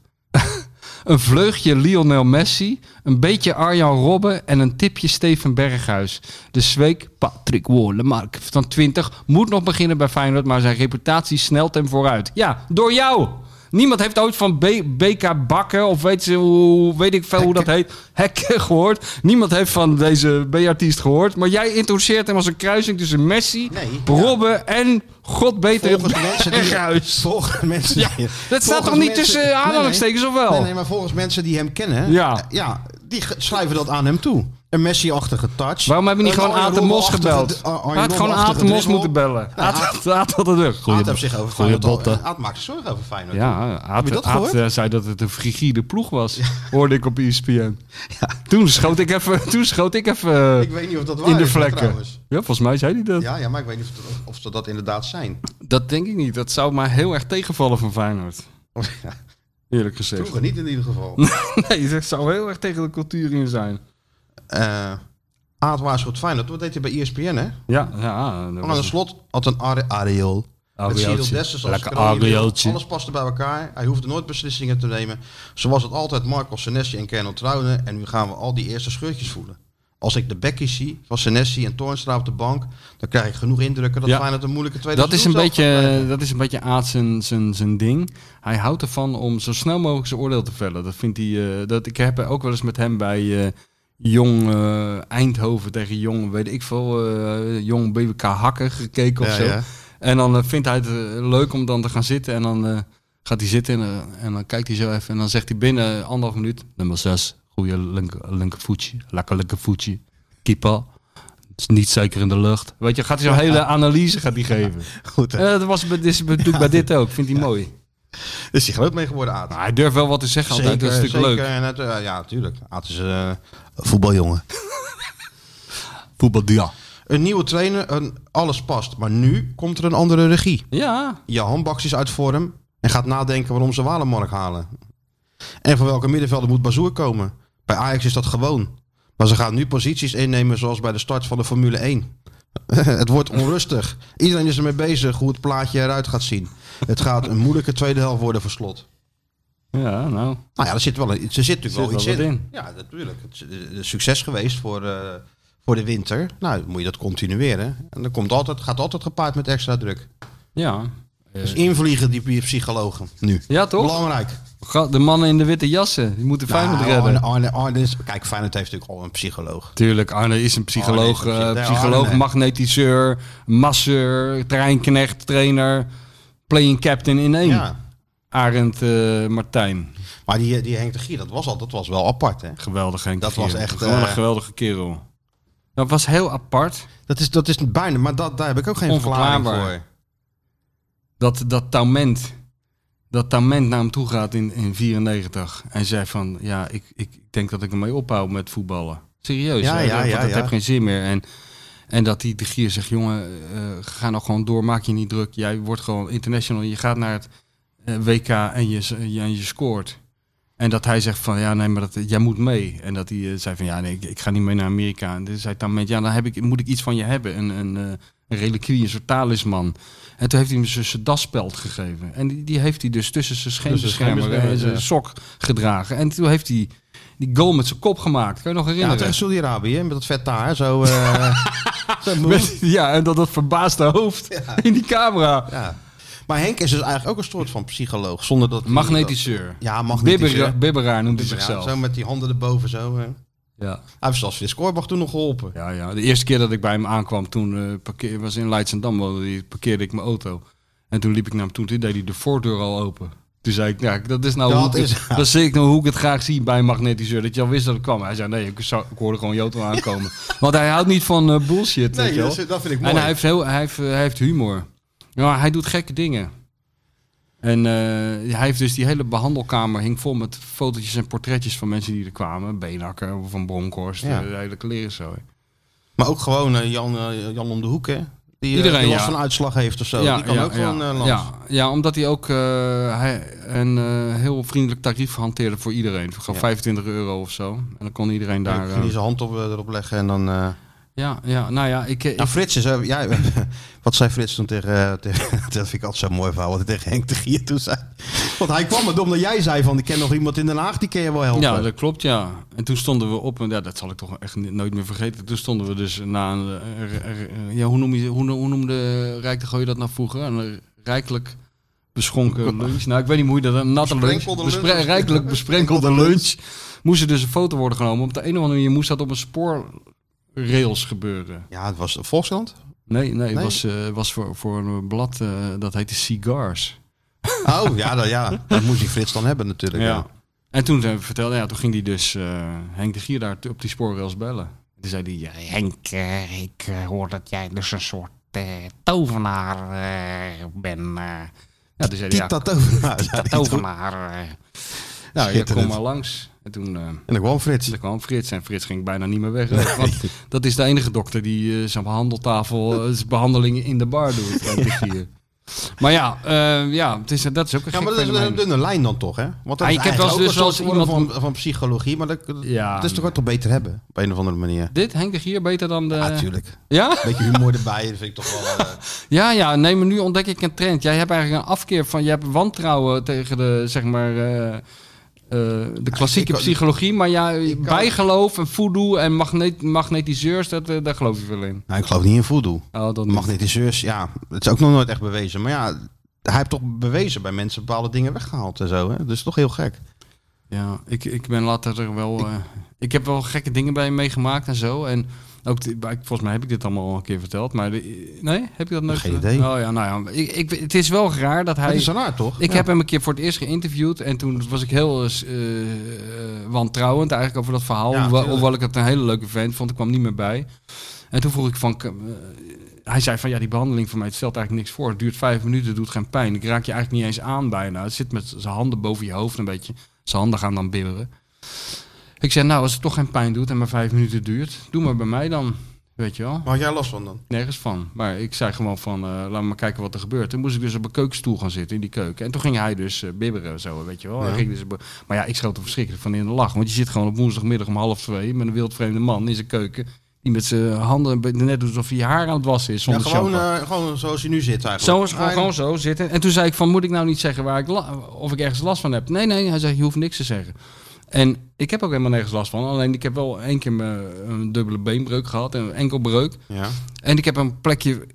S2: een vleugje Lionel Messi, een beetje Arjan Robben en een tipje Steven Berghuis. De zweek Patrick Wollemark van 20 moet nog beginnen bij Feyenoord, maar zijn reputatie snelt hem vooruit. Ja, door jou! Niemand heeft ooit van B- BK Bakken of weet, ze, hoe, weet ik veel hoe dat heet, Hekken gehoord. Niemand heeft van deze B-artiest gehoord. Maar jij introduceert hem als een kruising tussen Messi,
S4: Nee, ja.
S2: Robben en god betere <laughs>
S4: Volgens mensen die-
S2: Berghuis.
S4: Volgens mensen
S2: Ja,
S4: die-
S2: dat staat toch niet tussen
S4: Nee, nee.
S2: aanhalingstekens, of wel?
S4: Nee, nee, maar volgens mensen die hem kennen,
S2: Ja.
S4: ja. ja, die ge- schrijven dat aan hem toe. Een Messi-achtige touch.
S2: Waarom hebben we niet
S4: Een
S2: gewoon
S4: Arjen
S2: Aad de Mos
S4: Robben-achtige
S2: gebeld?
S4: d- Arjen
S2: Hij had gewoon Aad
S4: Robben-achtige
S2: de Mos
S4: dribbel.
S2: moeten bellen.
S4: Nou,
S2: Aad Aad had het rug.
S4: Aad heeft zich over
S2: Goeie
S4: Feyenoord al-
S2: botten.
S4: Aad maakt zich zorgen over Feyenoord.
S2: Ja,
S4: eh, Heb je
S2: Aad,
S4: dat
S2: Aad
S4: gehoord?
S2: eh, zei dat het een frigide ploeg was, hoorde ik op E
S4: <laughs>
S2: ESPN. Toen schoot ik even, toen schoot ik even eh,
S4: Ik weet niet of dat waar
S2: in de
S4: is, hoor,
S2: vlekken.
S4: trouwens.
S2: Ja, volgens mij zei hij dat.
S4: Ja, ja, maar ik weet niet of, dat- of ze dat inderdaad zijn.
S2: Dat denk ik niet. Dat zou maar heel erg tegenvallen van Feyenoord. Eerlijk gezegd.
S4: Vroeger niet in ieder geval.
S2: <laughs> Nee, dat zou heel erg tegen de cultuur in zijn.
S4: Eh Aad waarschuwt Feyenoord. Wat deed hij bij E ESPN, hè?
S2: Ja, ja. dat
S4: Maar aan de
S2: was
S4: slot had een are areool. Met
S2: Areooltje.
S4: Cyril Dessers als
S2: Lekker
S4: kanonier.
S2: areooltje.
S4: Alles paste bij elkaar. Hij hoefde nooit beslissingen te nemen. Zo was het altijd Marco Senesi en Kernel Trouwen. En nu gaan we al die eerste scheurtjes voelen. Als ik de bekkies zie van Senesi en Toornstra op de bank... dan krijg ik genoeg indrukken dat
S2: Ja.
S4: Feyenoord een moeilijke tweede
S2: Dat is, een
S4: seizoen zal
S2: beetje, eh, dat is een beetje Aad zijn, zijn, zijn ding. Hij houdt ervan om zo snel mogelijk zijn oordeel te vellen. Dat vindt hij, eh, dat, ik heb ook wel eens met hem bij eh, Jong eh, Eindhoven tegen Jong, weet ik veel, eh, Jong BBK Hakken gekeken of zo.
S4: Ja, ja.
S2: En dan eh, vindt hij het eh, leuk om dan te gaan zitten. En dan eh, gaat hij zitten en, eh, en dan kijkt hij zo even. En dan zegt hij binnen anderhalf minuut, nummer zes, goede linker, linkervoetje, lekker linkervoetje, keeper. Het is niet zeker in de lucht. Weet je, gaat hij zo'n hele analyse gaat hij geven.
S4: <laughs> Goed, hè?
S2: Eh, dat was bij, dit, is- doe ik bij dit ook. Vindt hij mooi.
S4: Is hij groot mee geworden, Aad?
S2: Maar hij durft wel wat te zeggen altijd. Dat is natuurlijk
S4: zeker.
S2: leuk.
S4: En het, eh, ja, natuurlijk. Aad is eh, een voetbaljongen.
S2: Voetbal, ja.
S4: Een nieuwe trainer, een, alles past. Maar nu komt er een andere regie.
S2: Ja.
S4: je handbaks is uit vorm en gaat nadenken waarom ze Walenmark halen. En voor welke middenvelder moet Bazoer komen? Bij Ajax is dat gewoon. Maar ze gaan nu posities innemen zoals bij de start van de Formule 1. <laughs> het wordt onrustig. Iedereen is ermee bezig hoe het plaatje eruit gaat zien. Het gaat een moeilijke tweede helft worden voor slot.
S2: Ja, nou.
S4: Nou ja, er zit, wel een, er zit natuurlijk wel
S2: wel
S4: iets
S2: wat
S4: in.
S2: in.
S4: Ja, natuurlijk. Het is eh, een succes geweest voor, eh, voor de winter. Nou, dan moet je dat continueren. En dat komt altijd, gaat altijd gepaard met extra druk.
S2: Ja.
S4: Dus invliegen die, die psychologen nu.
S2: Ja, toch?
S4: Belangrijk.
S2: Ga- De mannen in de witte jassen, die moeten Feyenoord
S4: Nou,
S2: redden.
S4: Arne, Arne, Arne is, kijk, Feyenoord heeft natuurlijk al een psycholoog.
S2: Tuurlijk, Arne is een psycholoog,
S4: Arne is een
S2: eh,
S4: psych- Ja,
S2: psycholoog
S4: Arne.
S2: magnetiseur, masseur, terreinknecht, trainer, playing captain in één.
S4: Ja.
S2: Arend eh, Martijn.
S4: Maar die, die Henk de Gier, dat was, al, dat was wel apart, hè?
S2: Geweldig, Henk.
S4: Dat
S2: de
S4: was
S2: Gier.
S4: echt,
S2: Gewoon een
S4: eh,
S2: geweldige kerel. Dat was heel apart.
S4: Dat is, dat is bijna, maar dat, daar heb ik ook geen verklaring
S2: Onverklaarbaar.
S4: voor.
S2: Dat, dat Taument, dat Taument naar hem toe gaat in, in 94. En zei van, ja, ik, ik denk dat ik ermee ophoud met voetballen. Serieus,
S4: Ja,
S2: hè?
S4: ja,
S2: Want
S4: ja,
S2: dat
S4: ja.
S2: heeft geen zin meer. En, en dat die de gier zegt, jongen, eh, ga nou gewoon door, maak je niet druk. Jij wordt gewoon international, je gaat naar het eh, WK en je, je- en je scoort. En dat hij zegt van, ja, nee, maar dat, jij moet mee. En dat hij eh, zei van, ja, nee, ik, ik ga niet mee naar Amerika. En toen zei Taument, ja, dan heb ik, moet ik iets van je hebben. Een, een, eh, een reliquie, een soort talisman. En toen heeft hij hem zijn- zijn daspeld gegeven. En die, die heeft hij dus tussen zijn scheenbeschermer en zijn sok gedragen. En toen heeft hij die goal met zijn kop gemaakt. Kan je nog
S4: Ja,
S2: herinneren?
S4: tegen Saudi-Arabië, hè, met dat vet daar, zo... <laughs> eh, zo'n boel.
S2: Met- <laughs> ja, en dat, dat verbaasde hoofd in die camera.
S4: ja. Maar Henk is dus eigenlijk ook een soort van psycholoog, zonder dat...
S2: Magnetiseur.
S4: Ja, magnetiseur.
S2: Bibbera- Bibberaar noemt hij
S4: Ja,
S2: zichzelf.
S4: zo met die handen erboven, zo. eh. Hij
S2: Ja.
S4: heeft zelfs weer Scorbach toen nog geholpen.
S2: Ja, ja, de eerste keer dat ik bij hem aankwam, toen eh, parkeer, was in Leidsendam, woonde die, parkeerde ik mijn auto. En toen liep ik naar hem toe, toen deed hij de voordeur al open. Toen zei ik, nou, dat is nou,
S4: Dat
S2: hoe, ik,
S4: is-
S2: het- dat zie ik nou hoe ik het graag zie bij een magnetiseur. Dat je al wist dat het kwam. Hij zei, nee, ik, zou, ik hoorde gewoon je auto aankomen. Want hij houdt niet van eh, bullshit, weet je wel.
S4: vind ik
S2: En hij heeft, heel, hij heeft, eh, hij heeft humor. Ja, hij doet gekke dingen. En eh, hij heeft dus die hele behandelkamer hing vol met fotootjes en portretjes van mensen die er kwamen. Beenhakker, Van Bronkhorst,
S4: Ja.
S2: de hele kleren zo.
S4: Maar ook gewoon eh, Jan, eh, Jan om de hoek, hè? Die, eh,
S2: Iedereen,
S4: die last
S2: ja.
S4: van uitslag heeft of zo. Oh, die kan ook gewoon eh, langs.
S2: ja, ja, omdat hij ook eh, hij een eh, heel vriendelijk tarief hanteerde voor iedereen. Gewoon
S4: Ja.
S2: 25 euro of zo. En dan kon iedereen
S4: Daar,
S2: daar...
S4: ging
S2: eh,
S4: hij zijn hand op, eh, erop leggen en dan... eh,
S2: ja, ja, nou ja, ik... ik
S4: Nou, Frits is... eh, ja, <laughs> wat zei Frits toen tegen, eh, <laughs> tegen... Dat vind ik altijd zo'n mooi verhaal, wat hij tegen Henk de Gier toen zei. Want hij kwam het omdat jij zei van... Ik ken nog iemand in Den Haag, die kan je wel helpen.
S2: ja, dat klopt, ja. En toen stonden we op, en ja, dat zal ik toch echt ni- nooit meer vergeten. Toen stonden we dus na een... eh, r- r- r- ja, hoe, noem je, hoe, no- hoe noemde Rijk de Gooi dat nou vroeger? Een rijkelijk <laughs> beschonken lunch. Nou, ik weet niet hoe je dat... Een natte lunch.
S4: Besprenkelde
S2: Bespre-
S4: lunch.
S2: rijkelijk besprenkelde lunch. Moest er dus een foto worden genomen. Op de een of andere manier moest dat op een spoorrails gebeuren.
S4: ja het was Volkskrant.
S2: Nee, nee, het
S4: Nee?
S2: was, eh, was voor, voor een blad, eh, dat heette Cigars.
S4: Oh, ja, dat, ja. dat moest die Frits dan hebben natuurlijk. Ja.
S2: En toen zijn we vertelde, ja, toen ging hij dus eh, Henk de Gier daar t- op die spoorrails bellen. Toen zei hij, ja,
S8: Henk, eh, ik eh, hoor dat jij dus een soort eh, tovenaar eh, bent. eh.
S2: ja, toen zei hij,
S4: Tiet
S2: ja,
S4: dat over. <laughs> Nou, zei hij.
S8: tovenaar. eh.
S2: nou, ja, kom
S4: schitterend.
S2: maar langs. En toen, eh,
S4: En dan kwam Frits.
S2: toen kwam Frits en Frits ging bijna niet meer weg. Want dat is de enige dokter die eh, zijn behandeltafel, eh, zijn behandelingen in de bar doet, Henk de Gier. Maar ja, eh, ja het is, dat is ook een
S4: Ja,
S2: gek
S4: maar dat is
S2: fenomeen.
S4: een dunne lijn dan toch, hè? Want dat
S2: Ah,
S4: is
S2: ik heb
S4: eigenlijk
S2: wel eens
S4: ook
S2: dus
S4: een soort
S2: wel eens
S4: vorm van, van psychologie, maar dat, dat,
S2: Ja.
S4: dat is toch ook toch beter hebben, op een of andere manier.
S2: Dit, Henk de Gier, beter dan de...
S4: Natuurlijk.
S2: ja?
S4: Beetje humor erbij, dat vind ik toch wel... eh,
S2: Ja, ja, nee, maar nu ontdek ik een trend. Jij hebt eigenlijk een afkeer van, je hebt wantrouwen tegen de, zeg maar, eh, eh, de klassieke
S4: ik kan-
S2: psychologie. Maar ja,
S4: kan-
S2: bijgeloof en voodoo en magnet, magnetiseurs, dat, eh, daar geloof ik wel in.
S4: <laughs> nou, ik geloof niet in voodoo.
S2: Oh, dat niet.
S4: Magnetiseurs, ja, het is ook nog nooit echt bewezen. Maar ja, hij heeft toch bewezen bij mensen bepaalde dingen weggehaald en zo, hè? Dus toch heel gek.
S2: Ja, ik, ik ben later er wel... eh, ik heb wel gekke dingen bij hem meegemaakt en zo. En ook, de- maar ik- volgens mij heb ik dit allemaal al een keer verteld. Maar de- eh, nee, heb je dat nooit
S4: Geen
S2: verteld?
S4: idee.
S2: Oh ja, nou ja, ik, ik, het is wel raar dat hij...
S4: Dat is raar, toch?
S2: Ik
S4: Ja.
S2: heb hem een keer voor het eerst geïnterviewd en toen was ik heel eh, eh, wantrouwend eigenlijk over dat verhaal.
S4: Ja,
S2: hoewel,
S4: tuurlijk.
S2: hoewel ik het een hele leuke vent vond, ik kwam niet meer bij. En toen vroeg ik van... eh, hij zei van, ja, die behandeling voor mij het stelt eigenlijk niks voor. Het duurt vijf minuten, het doet geen pijn. Ik raak je eigenlijk niet eens aan bijna. Het zit met zijn handen boven je hoofd een beetje. Zijn handen gaan dan bibberen. Ik zei, nou, als het toch geen pijn doet en maar vijf minuten duurt, doe maar bij mij dan. Weet je wel?
S4: Maar had jij last van dan?
S2: Nergens van. Maar ik zei gewoon van, eh laat me maar kijken wat er gebeurt. Toen moest ik dus op een keukenstoel gaan zitten in die keuken. En toen ging hij dus eh, bibberen en zo, weet je wel. Hij ging dus be- maar ja, ik schoot er verschrikkelijk van in de lach. Want je zit gewoon op woensdagmiddag om half twee met een wildvreemde man in zijn keuken. Die met zijn handen een beetje- net doet alsof hij je haar aan het wassen is
S4: Ja,
S2: zonder
S4: gewoon,
S2: shampoo.
S4: eh, gewoon zoals je nu zit eigenlijk.
S2: Zo is gewoon,
S4: Ah,
S2: gewoon zo zitten. En toen zei ik van, moet ik nou niet zeggen waar ik la- of ik ergens last van heb? Nee, nee. Hij zei, je hoeft niks te zeggen. En ik heb ook helemaal nergens last van. Alleen ik heb wel één keer mijn- eh, een dubbele beenbreuk gehad. en Een enkelbreuk.
S4: Ja.
S2: En ik heb een plekje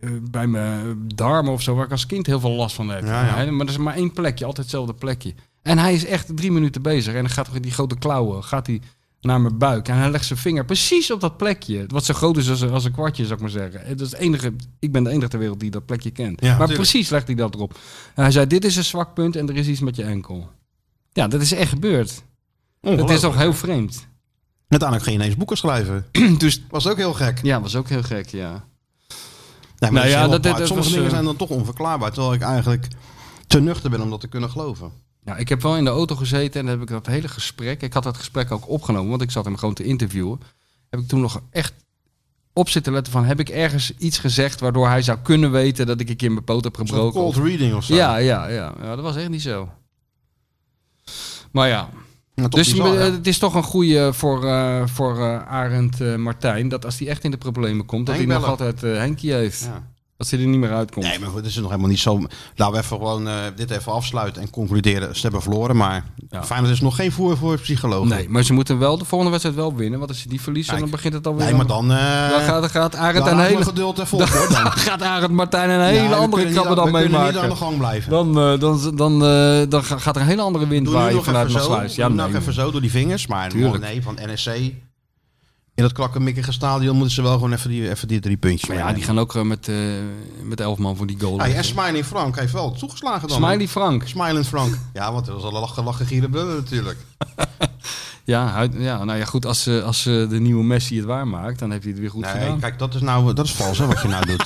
S2: eh, bij mijn darmen of zo, waar ik als kind heel veel last van heb.
S4: Ja, ja.
S2: Hè, Maar dat is maar één plekje, altijd hetzelfde plekje. En hij is echt drie minuten bezig. En dan gaat hij die grote klauwen, gaat hij naar mijn buik. En hij legt zijn vinger precies op dat plekje. Wat zo groot is als, een- als een kwartje, zou ik maar zeggen. Eh, Dat is het enige, ik ben de enige ter wereld die dat plekje kent.
S4: Ja,
S2: maar
S4: tuurlijk.
S2: precies legt hij dat erop. En hij zei, dit is een zwak punt en er is iets met je enkel. Ja, dat is echt gebeurd. Dat is
S4: Ongelooflijk.
S2: toch heel vreemd.
S4: Uiteindelijk ging je ineens boeken schrijven.
S2: <clears throat> Dus
S4: Was ook heel gek.
S2: ja, was ook heel gek, ja.
S4: Nee,
S2: Nou
S4: maar dat is
S2: ja,
S4: heel
S2: dat- dat-
S4: apart.
S2: dat
S4: Sommige
S2: was,
S4: dingen
S2: eh,
S4: zijn dan toch onverklaarbaar. Terwijl ik eigenlijk te nuchter ben om dat te kunnen geloven.
S2: Nou, ik heb wel in de auto gezeten en dan heb ik dat hele gesprek. Ik had dat gesprek ook opgenomen, want ik zat hem gewoon te interviewen. Heb ik toen nog echt op zitten letten van: heb ik ergens iets gezegd waardoor hij zou kunnen weten dat ik een keer mijn poot heb
S4: Een soort
S2: gebroken?
S4: cold reading of zo.
S2: ja, ja, ja, ja. Dat was echt niet zo. Maar ja,
S4: Ja, toch
S2: dus
S4: bizar,
S2: eh,
S4: hè?
S2: het is toch een goede voor, eh, voor eh, Arend eh, Martijn. Dat als hij echt in de problemen komt, dat
S4: Henk
S2: hij nog
S4: bellen.
S2: altijd eh Henkie heeft.
S4: Ja.
S2: Dat hij er niet meer uitkomt.
S4: Nee, maar goed, het is nog helemaal niet zo. Laten we even gewoon eh, dit even afsluiten en concluderen. Ze hebben verloren, maar
S2: Ja.
S4: Feyenoord is nog geen voer voor psychologen.
S2: Nee, maar ze moeten wel de volgende wedstrijd wel winnen. Want als ze die verliezen,
S4: Kijk.
S2: dan begint het alweer.
S4: Nee, maar dan... eh
S2: Dan gaat, dan gaat Arend
S4: dan
S2: een
S4: houdt
S2: hele...
S4: mijn geduld even op, hoor. Dan.
S2: <laughs> Dan gaat Arend Martijn een
S4: Ja,
S2: hele
S4: we
S2: andere
S4: kunnen niet
S2: krabben
S4: aan-
S2: dan
S4: We kunnen niet aan de
S2: meemaken.
S4: gang blijven.
S2: Dan, eh, dan, dan, eh, dan ga- gaat er een hele andere wind
S4: Doe nu
S2: waaien
S4: nog
S2: vanuit
S4: even
S2: mijn
S4: zo.
S2: sluis. Ja,
S4: Doe
S2: nee,
S4: nog even zo door die vingers. Maar
S2: Tuurlijk.
S4: nee, van NSC... In dat krakkemikkige stadion moeten ze wel gewoon even die, even die drie puntjes
S2: maar ja, die gaan
S4: meenemen.
S2: ook eh, met, eh met elf man voor die goal.
S4: Hey,
S2: liggen.
S4: en Smiling Frank heeft wel toegeslagen dan.
S2: Smiley Frank.
S4: Smiling Frank. Ja, want dat was al een lachen, lachen, gieren, blubben natuurlijk.
S2: Ja, hij- ja, nou ja, goed. Als, eh, als eh, de nieuwe Messi het waarmaakt, dan heeft hij het weer goed
S4: Nee,
S2: gedaan.
S4: kijk, dat is nou dat is vals hè, wat
S2: <laughs>
S4: je nou doet.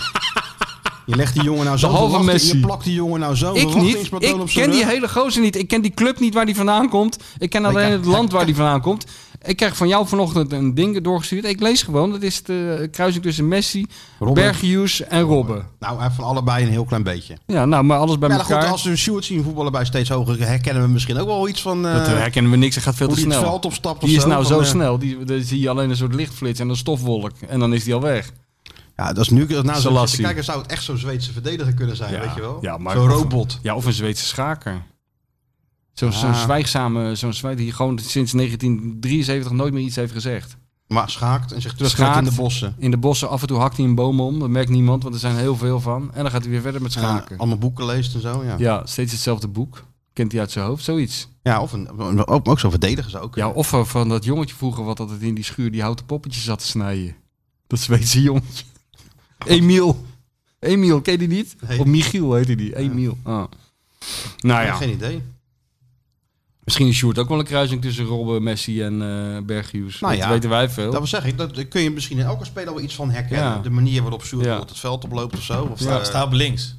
S4: Je legt die jongen nou zo
S2: halve
S4: verwacht-
S2: Messi.
S4: Je plakt die jongen nou
S2: Ik
S4: zo
S2: niet.
S4: verwachtingspatroon
S2: Ik
S4: op zijn
S2: ken die
S4: rug.
S2: hele gozer niet. Ik ken die club niet waar die vandaan komt. Ik ken alleen
S4: kijk,
S2: het land waar die vandaan komt. Ik krijg van jou vanochtend een ding doorgestuurd. Ik lees gewoon. Dat is de kruising tussen Messi,
S4: Robben.
S2: Berghuis en Robben.
S4: Nou, hij heeft van allebei een heel klein beetje.
S2: Ja, nou, maar alles bij
S4: Maar ja,
S2: elkaar.
S4: goed, als we Sjoerd zien voetballen bij steeds hoger, herkennen we misschien ook wel iets van... eh,
S2: Dat herkennen we niks. Hij gaat veel
S4: hoe
S2: te
S4: die het
S2: snel.
S4: veld opstapt of
S2: Die is
S4: zo,
S2: nou
S4: van,
S2: zo
S4: eh,
S2: snel. Die, dan zie je alleen een soort lichtflits en een stofwolk. En dan is die al weg.
S4: Ja, dat is nu... Nou, zo
S2: Selassie.
S4: zitten kijken, zou het echt zo'n Zweedse verdediger kunnen zijn, weet je wel?
S2: Ja, maar
S4: zo'n
S2: of-
S4: robot. Ah.
S2: Ja, of een Zweedse schaker. Zo'n zo'n zwijgzame, zo'n zwijg die gewoon sinds 1973 nooit meer iets heeft gezegd.
S4: Maar schaakt en zich terugtrekt
S2: Schaakt.
S4: in de bossen.
S2: In de bossen af en toe hakt hij een boom om. Dat merkt niemand, want er zijn heel veel van. En dan gaat hij weer verder met schaken.
S4: Ja, allemaal boeken leest en zo, ja. Ja,
S2: Ja, steeds hetzelfde boek. Kent hij uit zijn hoofd, zoiets.
S4: of een, ook, ook zo'n verdediger zou ook
S2: Ja, of eh, van dat jongetje vroeger wat altijd in die schuur die houten poppetjes zat te snijden. Dat Zweedse
S4: <laughs>
S2: jongetje. Emiel. Emiel, ken je die niet?
S4: Nee.
S2: Of Michiel heette die. Emiel. Ah. Nou ja,
S4: Geen idee.
S2: misschien is Sjoerd ook wel een kruising tussen Robben, Messi en eh Berghuis.
S4: Nou
S2: dat
S4: ja,
S2: weten wij veel.
S4: Dat wil zeggen, dat daar kun je misschien in elke speler wel iets van herkennen.
S2: Ja.
S4: De manier waarop Sjoerd
S2: Ja.
S4: bijvoorbeeld het veld oploopt of zo. Of
S5: Sta,
S4: daar-
S5: sta op links.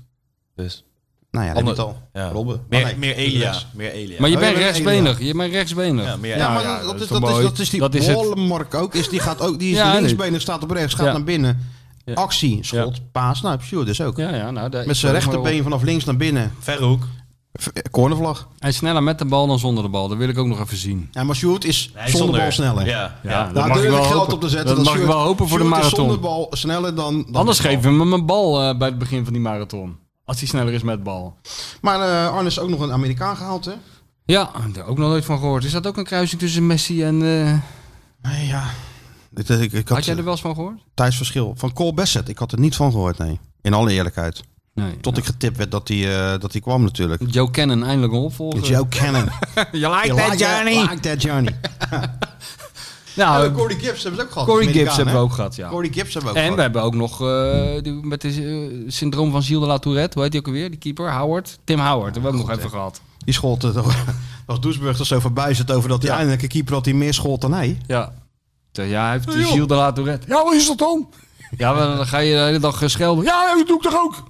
S5: Dus.
S4: nou ja, dat
S5: Ander-
S4: heb je het al.
S5: Ja.
S4: Robben. Maar
S5: Meer,
S4: nee,
S5: meer Elia. Meer Elia.
S2: maar je
S4: Oh,
S2: bent
S4: je bent
S2: rechtsbenig. Je bent rechtsbenig.
S5: ja, meer
S4: Ja,
S5: Elia.
S4: maar
S2: ja,
S4: dat,
S2: dat
S4: is,
S2: is
S4: dat,
S2: toch
S4: is,
S2: mooi?
S4: dat is die
S2: Dat is het.
S4: Wallenmark ook. Is, die gaat ook. Die is
S2: Ja,
S4: linksbenen, staat op rechts, gaat
S2: Ja.
S4: naar binnen.
S2: Ja.
S4: Actie, schot, paas. Nou, Sjoerd dus ook.
S2: Ja, ja, nou, daar
S4: Met
S2: is
S4: zijn
S2: wel-
S4: rechterbeen vanaf links naar binnen.
S5: Verre hoek.
S4: V- eh, Cornervlag.
S2: En sneller met de bal dan zonder de bal. Dat wil ik ook nog even zien.
S4: Ja, maar Sjoerd is
S5: Nee,
S4: zonder, bal sneller. Nou,
S5: Ja. ja.
S2: Ja,
S4: Daar durf ik geld
S2: hopen.
S4: op te zetten.
S2: Dat mag ik
S4: Sjoerd-
S2: wel hopen voor de
S4: Sjoerd is
S2: marathon.
S4: zonder bal sneller dan... dan
S2: Anders
S4: met bal.
S2: geven we hem een bal eh, bij het begin van die marathon. Als hij sneller is met bal.
S4: Maar eh, Arne is ook nog een Amerikaan gehaald, hè?
S2: Ja, daar ook nog nooit van gehoord. Is dat ook een kruising tussen Messi en... eh,
S4: Nee, ja. Dit, eh, ik, ik had,
S2: had jij er wel eens van gehoord?
S4: tijdsverschil. Van Cole Bassett, ik had er niet van gehoord, nee. In alle eerlijkheid.
S2: Nee.
S4: Tot ik getipt werd dat hij eh, dat hij kwam natuurlijk.
S2: Joe Cannon eindelijk een opvolger. <laughs>
S4: Joe <laughs> Cannon.
S2: You like
S4: You
S2: that, Johnny?
S4: Like that <laughs> Johnny.
S2: Nou, eh,
S4: Corey Gibbs hebben ze ook gehad.
S2: Corey Gibbs hebben we ook gehad, ja.
S4: Corey Gibbs hebben we ook
S2: En we
S4: gehad.
S2: hebben ook nog eh, die, met het syndroom van Gilles de la Tourette. Hoe heet die ook alweer? Die keeper, Howard. Tim Howard. dat hebben we ook nog even gehad.
S4: Die schoot <laughs> het. Als Doesburg er zo voorbij zit over dat hij
S2: Ja.
S4: eindelijk een keeper had die meer schoot dan hij.
S2: Ja. Ja, hij heeft de Gilles de la Tourette. Ja, wat is dat dan? Ja, maar dan ga je de hele dag eh, schelden. Ja, dat doe ik toch ook?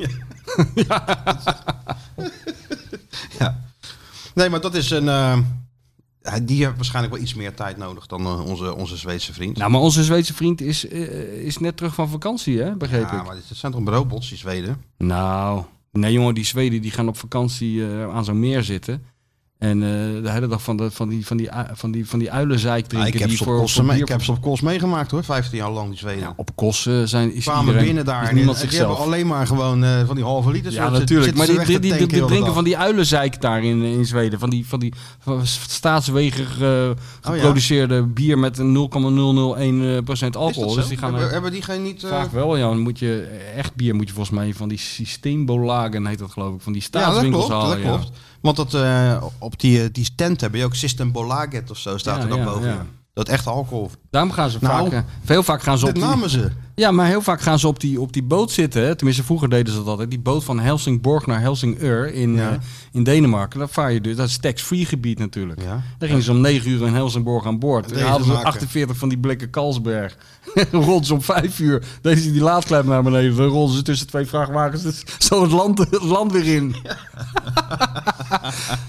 S4: Nee, maar dat is een... eh, hij- die heeft waarschijnlijk wel iets meer tijd nodig dan eh, onze, onze Zweedse vriend.
S2: Nou, maar onze Zweedse vriend is, eh, is net terug van vakantie, hè? Begreep
S4: ja,
S2: ik.
S4: maar het zijn toch robots, die Zweden?
S2: Nou, nee jongen, die Zweden die gaan op vakantie eh, aan zo'n meer zitten. En eh, de hele dag van, de, van, die, van, die, ui- van, die, van die uilenzeik
S4: Nou,
S2: drinken.
S4: ik, heb
S2: die
S4: ze op Kos mee-
S2: bier-
S4: ik heb ze op kost meegemaakt hoor, 15 jaar lang die Zweden.
S2: Ja, op kosten zijn is
S4: kwamen
S2: iedereen,
S4: binnen daar
S2: is
S4: en eh,
S2: niemand
S4: die- die
S2: zichzelf.
S4: hebben alleen maar gewoon eh, van die halve liters.
S2: ja,
S4: soort-
S2: natuurlijk.
S4: zitten
S2: Maar
S4: ze
S2: die,
S4: weg
S2: die,
S4: te
S2: die,
S4: tanken
S2: die
S4: heel de
S2: drinken
S4: dag.
S2: van die uilenzeik daar in, in Zweden. Van die, van die van staatswegig eh,
S4: Oh,
S2: geproduceerde bier met een 0,001% eh, procent
S4: Is dat
S2: alcohol.
S4: zo?
S2: Dus die gaan...
S4: hebben,
S2: eh,
S4: hebben die geen niet... eh,
S2: Vaak wel, ja. Dan moet je, eh, echt bier moet je volgens mij van die systeembolagen, heet dat geloof ik, van die
S4: ja, dat
S2: staatswinkels
S4: klopt, dat
S2: halen. ja.
S4: klopt. Want dat, eh, op die, eh, die tent heb je ook System Bolaget of zo, staat
S2: Ja,
S4: er dan
S2: ja,
S4: boven.
S2: ja.
S4: Dat echt alcohol.
S2: Daarom gaan ze
S4: Nou,
S2: vaak, eh, heel vaak gaan ze op
S4: Dat
S2: die,
S4: namen ze.
S2: ja, maar heel vaak gaan ze op die, op die boot zitten. Hè. Tenminste, vroeger deden ze dat altijd. Die boot van Helsingborg naar Helsingør in,
S4: Ja.
S2: eh, in Denemarken. Daar vaar je dus. Dat is tax-free gebied natuurlijk.
S4: Ja.
S2: Daar gingen ze om 9 uur in Helsingborg aan boord.
S4: En
S2: Daar hadden ze
S4: deze maken.
S2: 48 van die blikken Kalsberg. <laughs> rolden ze om 5 uur. Deze die laadklep naar beneden. Dan rolden ze tussen twee vrachtwagens. Dus zo het land, het land weer in. <laughs>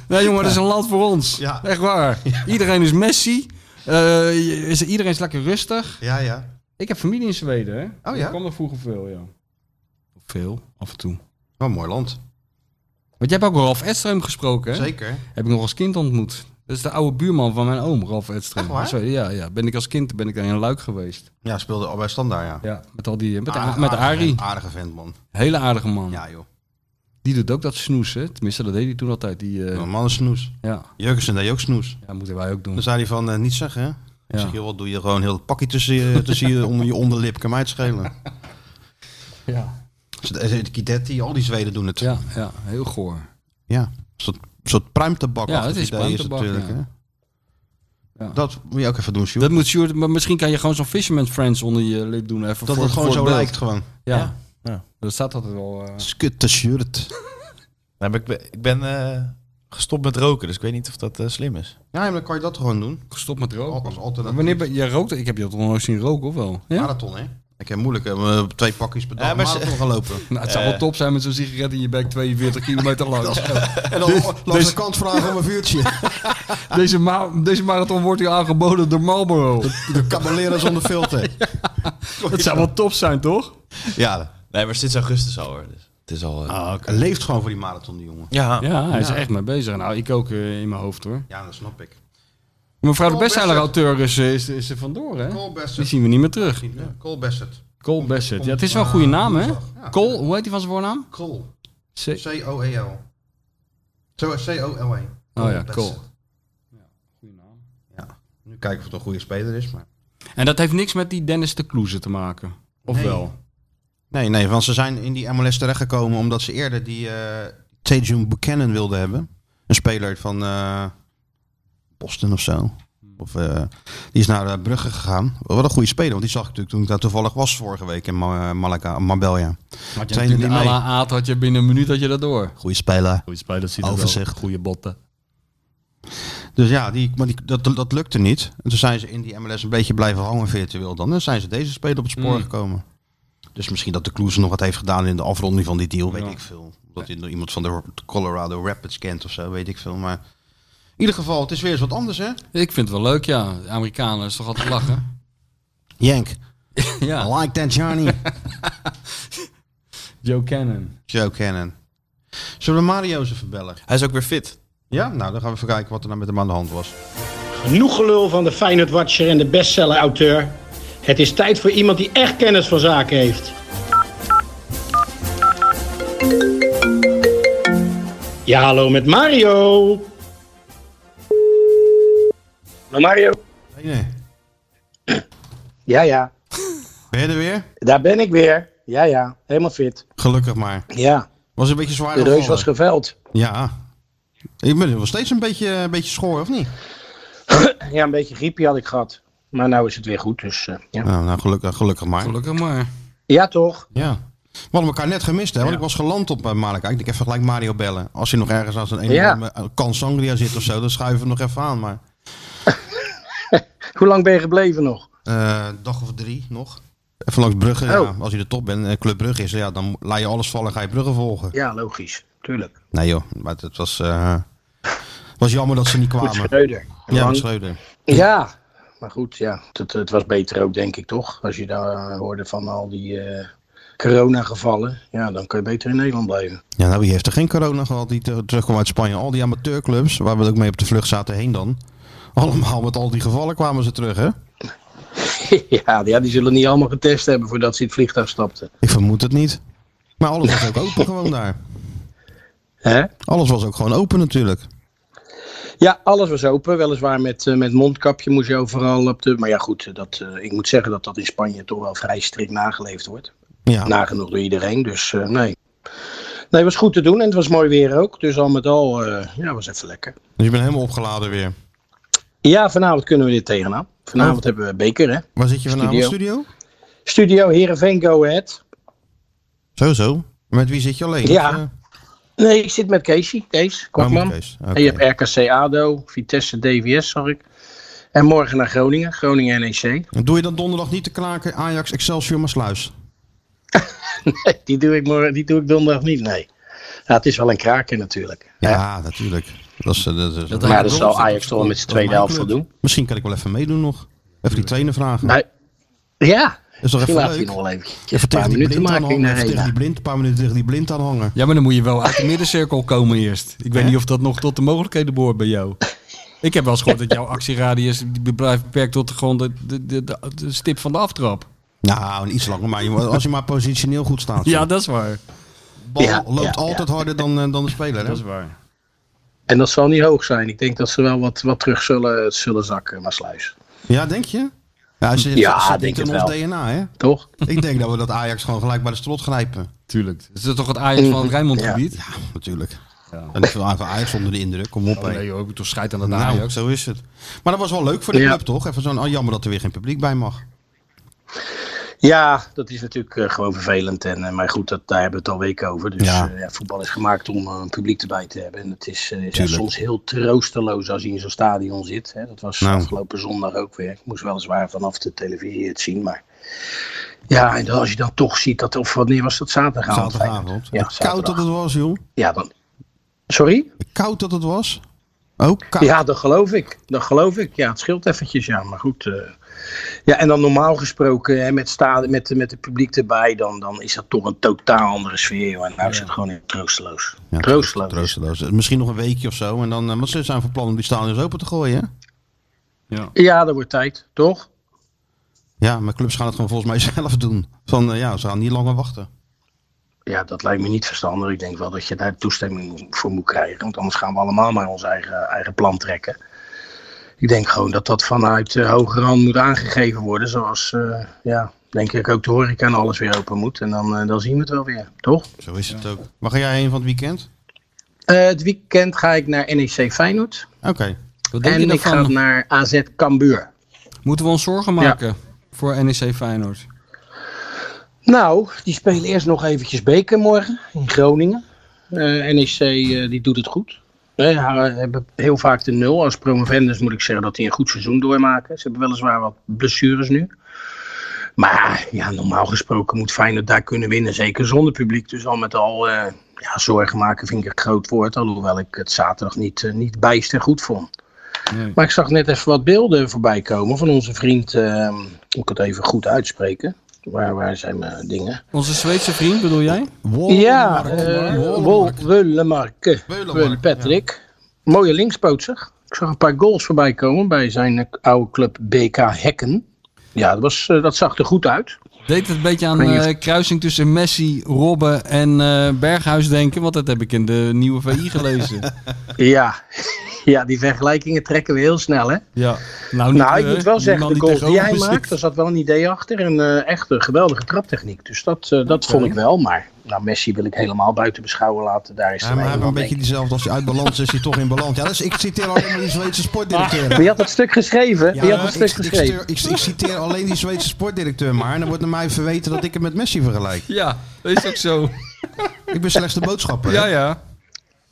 S2: nee jongen, dat is een land voor ons.
S4: Ja.
S2: Echt waar. Iedereen is Messi. Eh, je- is, iedereen is lekker rustig.
S4: Ja, ja.
S2: Ik heb familie in Zweden, hè? Dus
S4: Oh ja?
S2: Ik kwam er vroeger veel, ja. Veel, af en toe.
S4: Wel een mooi land.
S2: Want jij hebt ook Ralf Edström gesproken, hè?
S4: Zeker.
S2: Heb ik nog als kind ontmoet. Dat is de oude buurman van mijn oom, Ralf Edström.
S4: Echt waar?
S2: Zo, Ja, ja. Ben ik als kind ben ik daar in Luik geweest.
S4: Ja, speelde al bij Standaard, ja.
S2: Ja, met al die... eh, Met,
S4: Aardige-
S2: met
S4: aardige
S2: Arie.
S4: vent- Aardige vent, man.
S2: Hele aardige man.
S4: Ah, Ja, joh.
S2: Die doet ook dat snoezen. Tenminste, dat deed hij toen altijd. Die, eh,
S4: Een man is snoes.
S2: ja.
S4: Jurgensen deed ook snoes.
S2: ja, moeten wij ook doen.
S4: Dan zei hij van, eh, niet zeggen, hè? Ik
S2: Ja.
S4: zeg, joh, wat doe je gewoon heel het pakje tussen je, <laughs> tussen je, onder je onderlip. Kan mij het schelen.
S2: Ja.
S4: Dus de- de Kidetti, al die Zweden doen het.
S2: Ja, ja, heel goor.
S4: Ja, een soort, soort pruimtabak.
S2: Ja, het is pruimtabak, ja.
S4: hè?
S2: Ja.
S4: Dat moet je ook even doen, Sjoerd.
S2: Dat moet Sjoerd, maar misschien kan je gewoon zo'n Fisherman Friends onder je lip doen. Even
S4: Dat
S2: voor,
S4: het gewoon
S2: voor
S4: zo
S2: beeld.
S4: lijkt gewoon.
S2: Ja.
S5: Ja. Ja.
S2: Dat staat altijd wel. eh,
S4: Skutte shirt.
S5: Nou, maar ik ben, ik ben eh, gestopt met roken, dus ik weet niet of dat eh, slim is.
S4: Ja, maar dan kan je dat gewoon doen.
S2: gestopt met roken.
S4: Als alternatief.
S2: Wanneer ben jij rookte? Ik heb je toch nog nooit zien roken, of wel? Ja?
S4: Marathon, hè? Ik heb moeilijk om eh, twee pakjes per dag
S5: Ja, maar ze-
S4: marathon gaan lopen.
S2: Nou, het zou wel top zijn met zo'n sigaret in je bek 42 kilometer
S4: <laughs>
S2: lang.
S4: En dan langs
S2: dus-
S4: de kant vragen om een vuurtje.
S2: <laughs> Deze, ma- deze marathon wordt hier aangeboden door
S4: <laughs>
S2: Marlboro.
S4: De cabalera zonder filter.
S2: Dat zou wel top zijn, toch?
S4: Ja, Ah.
S5: Nee, maar sinds augustus al hoor. Dus het is al. eh,
S4: hij leeft gewoon voor die marathon, die jongen.
S5: ja.
S2: Ja, hij is er echt mee bezig. Nou, ik ook eh, in mijn hoofd, hoor.
S4: Ja, dat snap ik.
S2: Mevrouw de
S4: Cole
S2: bestseller-auteur is, eh, is, is er vandoor, hè?
S4: Cole
S2: Die
S4: Bassett.
S2: zien we niet meer terug.
S4: Ja, Cole Bassett.
S2: Cole Bassett. Ja, het is wel een goede naam, hè? Cole, hoe heet die van zijn voornaam?
S4: Cole.
S2: C-
S4: C-O-E-L. E Zo, E. C-O-L-E.
S2: Oh ja,
S4: Bassett.
S2: Cole.
S4: Ja. Nu kijken of het een goede speler is, maar...
S2: En dat heeft niks met die Dennis de Kloeze te maken. Of
S4: Nee.
S2: wel?
S4: Nee, nee, want ze zijn in die MLS terechtgekomen omdat ze eerder die eh Tejun Buchanan wilden hebben. Een speler van eh, Boston of zo.
S2: Hmm.
S4: Of, eh, die is naar eh, Brugge gegaan. Wat een goede speler, want die zag ik natuurlijk toen ik daar toevallig was vorige week in Ma eh, Malaga, Marbella.
S2: Had je natuurlijk
S4: Trainer die
S2: à
S4: mee-
S2: la Aad had je binnen een minuut had je dat door.
S4: Goede speler.
S2: Goeie spijt, dat ziet
S4: er wel. Overzicht.
S2: Goede botten.
S4: Dus ja, die, maar die, dat, dat lukte niet. En toen zijn ze in die MLS een beetje blijven hangen virtueel dan. En zijn ze deze speler op het spoor
S2: Mm.
S4: gekomen. Dus misschien dat de Kloes nog wat heeft gedaan in de afronding van die deal, weet
S2: Ja.
S4: ik veel. Omdat hij nog iemand van de Colorado Rapids kent of zo, weet ik veel. Maar in ieder geval, het is weer eens wat anders, hè?
S2: Ik vind het wel leuk, ja. De Amerikanen is toch altijd lachen.
S4: Jank,
S2: ja.
S4: I like
S2: <laughs>
S4: that Johnny.
S2: Joe Cannon.
S4: Joe Cannon. Zullen we Mario eens even bellen?
S5: Hij is ook weer fit.
S4: Ja? Nou, dan gaan we even kijken wat er nou met hem aan de hand was.
S9: Genoeg gelul van de Feyenoord Watcher en de bestseller auteur. Het is tijd voor iemand die echt kennis van zaken heeft. Ja, hallo met Mario.
S10: Mario?
S4: Hey, nee.
S10: Ja, ja.
S4: Ben je er weer?
S10: Daar ben ik weer. Ja, ja. Helemaal fit.
S4: Gelukkig maar.
S10: Ja.
S4: Was een beetje zwaar
S10: De reus
S4: gevallen.
S10: was geveld.
S4: Ja. Ik ben nog steeds een beetje, een beetje schoor, of niet?
S10: Ja, een beetje griepje had ik gehad. Maar nou is het weer goed, dus eh, ja.
S4: Nou, nou gelukkig, gelukkig maar.
S2: Gelukkig maar.
S10: Ja, toch?
S4: Ja. We hadden elkaar net gemist, hè? Want ik was geland op eh, Malaga. Ik denk even gelijk Mario bellen. Als hij nog ergens aan zijn ene
S10: Ja.
S4: eh, kan Sangria zit of zo, dan schuiven we hem nog even aan. Maar
S10: Hoe lang ben je gebleven nog?
S4: eh, dag of drie nog. Even langs Brugge. Ja.
S10: Oh.
S4: Als je de top bent, eh, Club Brugge is, ja, dan laat je alles vallen en ga je Brugge volgen.
S10: Ja, logisch. Tuurlijk.
S4: Nee joh, maar het was, eh, Was jammer dat ze niet kwamen.
S10: Goed, Schreuder. En
S4: Ja,
S10: Lang.
S4: Schreuder.
S10: Ja, maar goed, ja. Het, het was beter ook, denk ik, toch? Als je daar eh, hoorde van al die eh, coronagevallen. Ja, dan kun je beter in Nederland blijven. <laughs>
S4: Ja, nou, wie heeft er geen corona gehad die ter- terugkwam uit Spanje? Al die amateurclubs, waar we ook mee op de vlucht zaten heen dan. <laughs> Allemaal met al die gevallen kwamen ze terug, hè?
S10: ja, die, ja, die zullen niet allemaal getest hebben voordat ze in het vliegtuig stapten.
S4: Ik vermoed het niet. Maar alles was ook
S5: <laughs>
S4: open gewoon daar.
S10: Hè?
S4: Alles was ook gewoon open natuurlijk. Dus
S10: Ja, alles was open. Weliswaar met, eh, met mondkapje moest je overal op de... Maar ja, goed, dat, eh, ik moet zeggen dat dat in Spanje toch wel vrij strikt nageleefd wordt.
S4: Ja.
S10: Nagenoeg door iedereen, dus eh, nee. Nee, het was goed te doen en het was mooi weer ook. Dus al met al, eh, ja, was even lekker.
S4: Dus je bent helemaal opgeladen weer.
S10: Ja, vanavond kunnen we dit tegenaan. Vanavond
S4: Oh.
S10: hebben we beker, hè?
S4: Waar zit je vanavond? Studio? studio?
S10: Studio Heerenveen Go Ahead.
S4: Zo, zo. Met wie zit je alleen?
S10: Ja.
S4: Of, eh,
S10: Nee, ik zit met Casey, Kees Kwakman.
S4: Oh, met Kees, oké.
S10: En je hebt RKC ADO, Vitesse DVS, zag ik. En morgen naar Groningen, Groningen E NEC.
S4: Doe je dan donderdag niet te kraken Ajax, Excelsior, Maasluis?
S10: Nee, die doe ik, morgen, die doe ik donderdag niet, nee. Ja, het is wel een kraker natuurlijk.
S4: Ja, natuurlijk. Dat is, eh, dat is,
S10: Maar dat zal Ajax toch wel
S4: dat
S10: met zijn
S4: is
S10: tweede
S4: mijn
S10: helft
S4: club.
S10: voldoen.
S4: Misschien kan ik wel even meedoen nog. Even die trainer vragen.
S10: Nee. Ja,
S4: is toch
S10: misschien
S4: even
S10: laat
S4: leuk?
S10: hij nog wel even
S4: Even
S10: een paar
S4: tegen die
S10: minuten
S4: blind
S10: maken in de
S4: aanhangen. Even tegen
S10: arena.
S4: die blind, een paar minuten tegen die blind aanhangen.
S2: Ja, maar dan moet je wel uit de middencirkel komen eerst. Ik weet niet of dat nog tot de mogelijkheden behoort bij jou. Ik heb wel eens gehoord dat jouw actieradius die blijft beperkt tot gewoon de, de, de, de- de stip van de aftrap.
S4: Nou, iets langer, maar je- als je maar <laughs> positioneel goed staat.
S2: Ja, dat is waar.
S4: de bal
S10: Ja,
S4: loopt
S10: ja,
S4: altijd harder dan, eh, dan de speler. Hè?
S2: waar.
S10: En dat zal niet hoog zijn. Ik denk dat ze wel wat, wat terug zullen, zullen zakken, maar sluis.
S4: Ja, denk je? Ja, ze,
S10: Ja,
S4: ze- ze
S10: denk
S4: zit in
S10: het
S4: ons
S10: wel.
S4: DNA, hè?
S10: Toch?
S4: Ik denk dat we dat Ajax gewoon gelijk bij de strot grijpen.
S2: Tuurlijk. Is dat toch het Ajax van het Rijnmondgebied?
S4: Ja, natuurlijk. En ik wil even Ajax onder de indruk. Kom op,
S2: Oh,
S4: hè.
S2: nee joh, ik moet toch scheid aan dat
S4: Nou,
S2: Ajax.
S4: zo is het. Maar dat was wel leuk voor de
S10: Ja.
S4: club, toch? Even zo'n, oh, jammer dat er weer geen publiek bij mag.
S10: Ja, dat is natuurlijk eh, gewoon vervelend. En, eh, maar goed, dat, daar hebben we het al weken over. Dus
S4: Ja.
S10: eh, ja, voetbal is gemaakt om eh, een publiek erbij te hebben. En het is eh, ja,
S4: Tuurlijk.
S10: soms heel troosteloos als je in zo'n stadion zit. Hè. Dat was
S4: Nou.
S10: afgelopen zondag ook weer. Ik moest weliswaar vanaf de televisie het zien. Maar ja, en dan, als je dan toch ziet dat. Of wanneer was dat? Zaterdagavond.
S4: Zaterdagavond.
S10: Ja,
S4: Het koud dat
S10: zaterdag.
S4: het was, joh.
S10: Ja, dan. Sorry?
S4: Het Koud dat het was. Ook koud.
S10: Ja, dat geloof ik. Dat geloof ik. Ja, het scheelt eventjes, ja. Maar goed. eh, Ja, en dan normaal gesproken, hè, met, sta- met, met het publiek erbij, dan, dan is dat toch een totaal andere sfeer. Joh. En nou is het gewoon heel troosteloos.
S4: Ja,
S10: troosteloos.
S4: troosteloos. Misschien nog een weekje of zo. En dan, eh, want ze zijn van plan om die stadions open te gooien, hè?
S10: Ja, dat wordt tijd, toch?
S4: Ja, maar clubs gaan het gewoon volgens mij <laughs> zelf doen. Van, eh, ja, ze gaan niet langer wachten.
S10: Ja, dat lijkt me niet verstandig. Ik denk wel dat je daar toestemming voor moet krijgen. Want anders gaan we allemaal maar ons eigen, eigen plan trekken. Ik denk gewoon dat dat vanuit eh, hoger hand moet aangegeven worden. Zoals, eh, ja, denk ik ook de horeca en alles weer open moet. En dan, eh, dan zien we het wel weer, toch?
S4: Zo is het ook. Waar ga jij heen van het weekend?
S10: Eh, het weekend ga ik naar NEC Feyenoord.
S4: Oké.
S2: Wat denk je
S10: En ik ga
S2: daarvan?
S10: naar AZ Cambuur.
S2: Moeten we ons zorgen maken voor NEC Feyenoord?
S10: Nou, die spelen eerst nog eventjes beker morgen in Groningen. Eh, NEC eh, die doet het goed. Ze hebben heel vaak de nul. Als promovendus moet ik zeggen dat die een goed seizoen doormaken. Ze hebben weliswaar wat blessures nu. Maar ja, normaal gesproken moet Feyenoord daar kunnen winnen. Zeker zonder publiek. Dus al met al, eh, ja, zorgen maken vind ik een groot woord. Alhoewel ik het zaterdag niet, eh, niet bijster goed vond.
S2: Nee.
S10: Maar ik zag net even wat beelden voorbij komen van onze vriend. ehm, moet ik het even goed uitspreken? Waar, waar zijn mijn dingen?
S2: Onze Zweedse vriend bedoel jij?
S10: ja, eh,
S4: Wollemark.
S10: Wollemarke.
S4: Weulemark,
S10: Weul Eh, Patrick. Mooie linkspootser. Ik zag een paar goals voorbij komen bij zijn eh, oude club BK Hekken. Ja, dat, was, eh, dat zag er goed uit.
S2: Deed het een beetje aan
S10: Ik weet niet of-
S2: eh, kruising tussen Messi, Robben en eh, Berghuis denken? Want dat heb ik in de nieuwe
S10: <laughs>
S2: VI gelezen.
S10: Ja. <laughs> ja, die vergelijkingen trekken we heel snel, hè?
S2: ja. Nou,
S10: Nou, ik
S2: eh,
S10: moet wel zeggen,
S2: man
S10: de goals die jij
S2: tegenover
S10: maakt,
S2: zit.
S10: daar zat wel een idee achter. En eh, echt een geweldige traptechniek. Dus dat, eh, dat vond ik wel. Maar nou, Messi wil ik helemaal buiten beschouwen laten. Daar is
S4: Ja,
S10: er
S4: maar hij heeft
S10: helemaal
S4: een beetje diezelfde. Als hij uit balans is, is hij toch in balans. Ja, dat is, ik citeer alleen maar die Zweedse sportdirecteur.
S10: Wie had dat stuk geschreven? Wie had dat
S4: ik,
S10: stuk
S4: ik,
S10: geschreven?
S4: citeer, ik, ik citeer alleen die Zweedse sportdirecteur maar. En dan wordt naar mij verweten dat ik hem met Messi vergelijk.
S2: <laughs> Ja, dat is ook zo.
S4: Ik ben slechts de boodschapper. hè?
S2: ja, ja.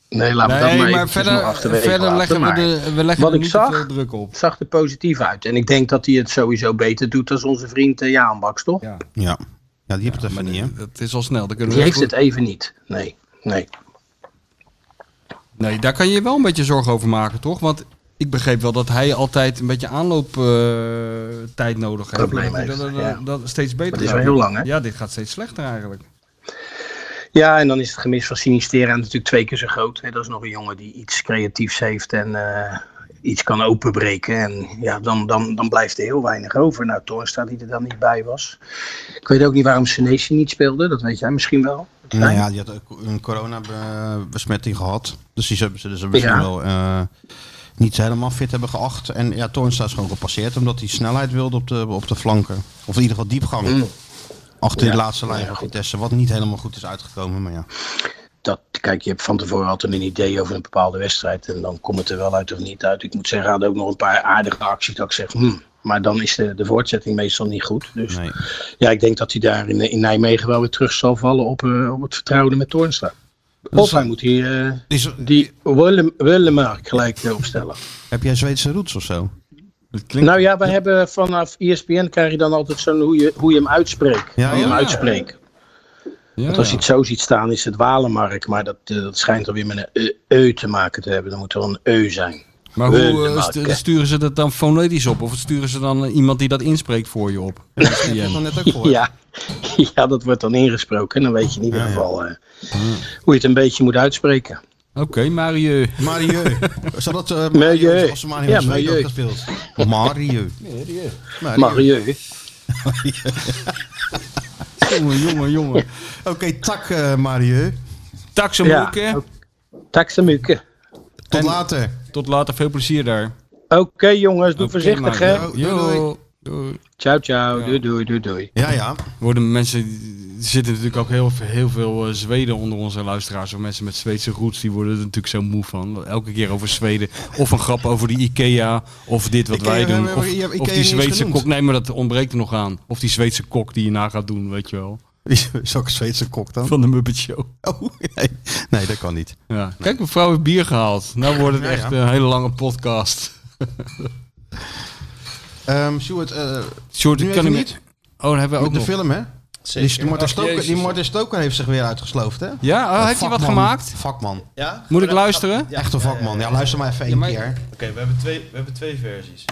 S10: Nee, laat me dat
S2: Nee,
S10: maar,
S2: maar
S10: eventjes nog
S2: verder,
S10: achterwege
S2: verder
S10: laten,
S2: leggen we,
S10: maar
S2: de, we leggen
S10: Wat
S2: er
S10: ik
S2: niet
S10: zag-
S2: te veel druk op.
S10: Het zag er positief uit. En ik denk dat hij het sowieso beter doet dan onze vriend uh, Jaan Baks, toch?
S2: Ja.
S4: Ja. Ja, die hebt het even niet, hè?
S2: Dat is al snel. Dan kunnen
S10: Die
S2: we
S10: heeft
S2: goed-
S10: het even niet. Nee, nee.
S2: Nee, daar kan je je wel een beetje zorgen over maken, toch? Want ik begreep wel dat hij altijd een beetje aanlooptijd tijd nodig heeft.
S10: Probleem
S2: dat, dat,
S10: heeft,
S2: dat-
S10: ja.
S2: dat steeds beter
S10: Maar dit is
S2: gaat.
S10: wel heel lang, hè?
S2: Ja, dit gaat steeds slechter eigenlijk.
S10: Ja, en dan is het gemis van Sinistera natuurlijk twee keer zo groot. Hè. Dat is nog een jongen die iets creatiefs heeft en eh, iets kan openbreken. En ja, dan, dan, dan blijft er heel weinig over. Nou, Toornstra die er dan niet bij was. Ik weet ook niet waarom Senesi niet speelde. Dat weet jij misschien wel.
S4: Nou ja, die had ook een coronabesmetting gehad. Dus die hebben ze dus misschien
S10: Ja.
S4: wel eh, niet helemaal fit hebben geacht. En ja, Toornstra is gewoon gepasseerd omdat hij snelheid wilde op de, op de flanken. Of in ieder geval diepgang. Achter
S10: Hmm. Ja.
S4: de laatste lijn van Vitesse. Wat niet helemaal goed is uitgekomen, maar ja.
S10: dat, kijk, je hebt van tevoren altijd een idee over een bepaalde wedstrijd. En dan komt het er wel uit of niet uit. Ik moet zeggen, hij had ook nog een paar aardige acties dat ik zeg, hmm. Maar dan is de, de voortzetting meestal niet goed. Dus ja, ik denk dat hij daar in, in Nijmegen wel weer terug zal vallen op, eh, op het vertrouwen met Toornstra. Of hij moet die, eh die Willem, Willemark gelijk eh, opstellen.
S4: Heb jij Zweedse roots of zo?
S10: Nou ja, we hebben vanaf E ESPN krijg je dan altijd zo'n hoe je, hoe je hem uitspreekt.
S4: Ja,
S10: hoe je
S4: ja.
S10: hem uitspreekt. Want als je het zo ziet staan, is het Walenmark. Maar dat, eh, dat schijnt alweer met een e- eu te maken te hebben. Dan moet er wel een eu zijn.
S2: Maar hoe eh,
S10: Willemark,
S2: stu-
S10: hè.
S2: sturen ze dat dan fonetisch op? Of sturen ze dan eh, iemand die dat inspreekt voor je op?
S10: Ja. <laughs> ja, dat wordt dan ingesproken. En dan weet je in ieder geval eh, hoe je het een beetje moet uitspreken.
S2: Oké, Marieu.
S4: Marieu. Zou dat... eh
S10: Milieu.
S4: Als ze maar niet
S10: Ja,
S4: ja, Marieu.
S10: milieu.
S4: gespeeld. Marieu.
S10: Marieu.
S2: <laughs> Jongen, jongen, jongen.
S4: Oké, tak eh, Marieu.
S2: Taxamoeken.
S10: Ja, Taxamuke.
S4: Tot later.
S2: Tot later, veel plezier daar.
S10: Oké jongens, doe
S2: Oké,
S10: voorzichtig
S2: maar-
S10: hè.
S2: Jo,
S4: doei, doei.
S2: doei.
S10: Ciao ciao, doei doei doei doei.
S4: Ja, ja.
S2: Worden mensen, er zitten natuurlijk ook heel, heel veel eh, Zweden onder onze luisteraars. Of mensen met Zweedse roots, die worden er natuurlijk zo moe van. Elke keer over Zweden. Of een grap over die Ikea. Of dit wat
S4: Ikea,
S2: wij
S4: we
S2: doen.
S4: hebben-
S2: Of,
S4: je hebt
S2: of
S4: Ikea
S2: die
S4: niet eens
S2: Zweedse
S4: genoemd.
S2: kok. Nee, maar dat ontbreekt er nog aan. Of die Zweedse kok die je na gaat doen, weet je wel.
S4: Zo'n Zweedse
S2: <laughs>
S4: kok dan?
S2: Van de Muppet Show.
S4: Oh, nee. nee, dat kan niet.
S2: Ja. Kijk, mevrouw heeft bier gehaald. Nou wordt het
S4: Ja,
S2: echt
S4: ja.
S2: een hele lange podcast.
S4: Ehm Stuart, eh
S2: Short,
S4: nu
S2: ik kan
S4: even
S2: niet.
S4: niet.
S2: Oh, dan hebben we ook
S4: Met de
S2: nog.
S4: film, hè? Die, die, Martin
S2: Ach,
S4: Stoker, die
S2: Jezus.
S4: Martin Stoker heeft zich weer uitgesloofd, hè?
S2: Ja, oh, heeft hij wat
S4: Vakman.
S2: gemaakt?
S4: Vakman.
S5: Ja?
S2: Moet ik luisteren?
S5: Ja.
S4: Echte vakman. Ja, luister maar even één keer.
S5: Oké, we, hebben twee- we hebben twee versies.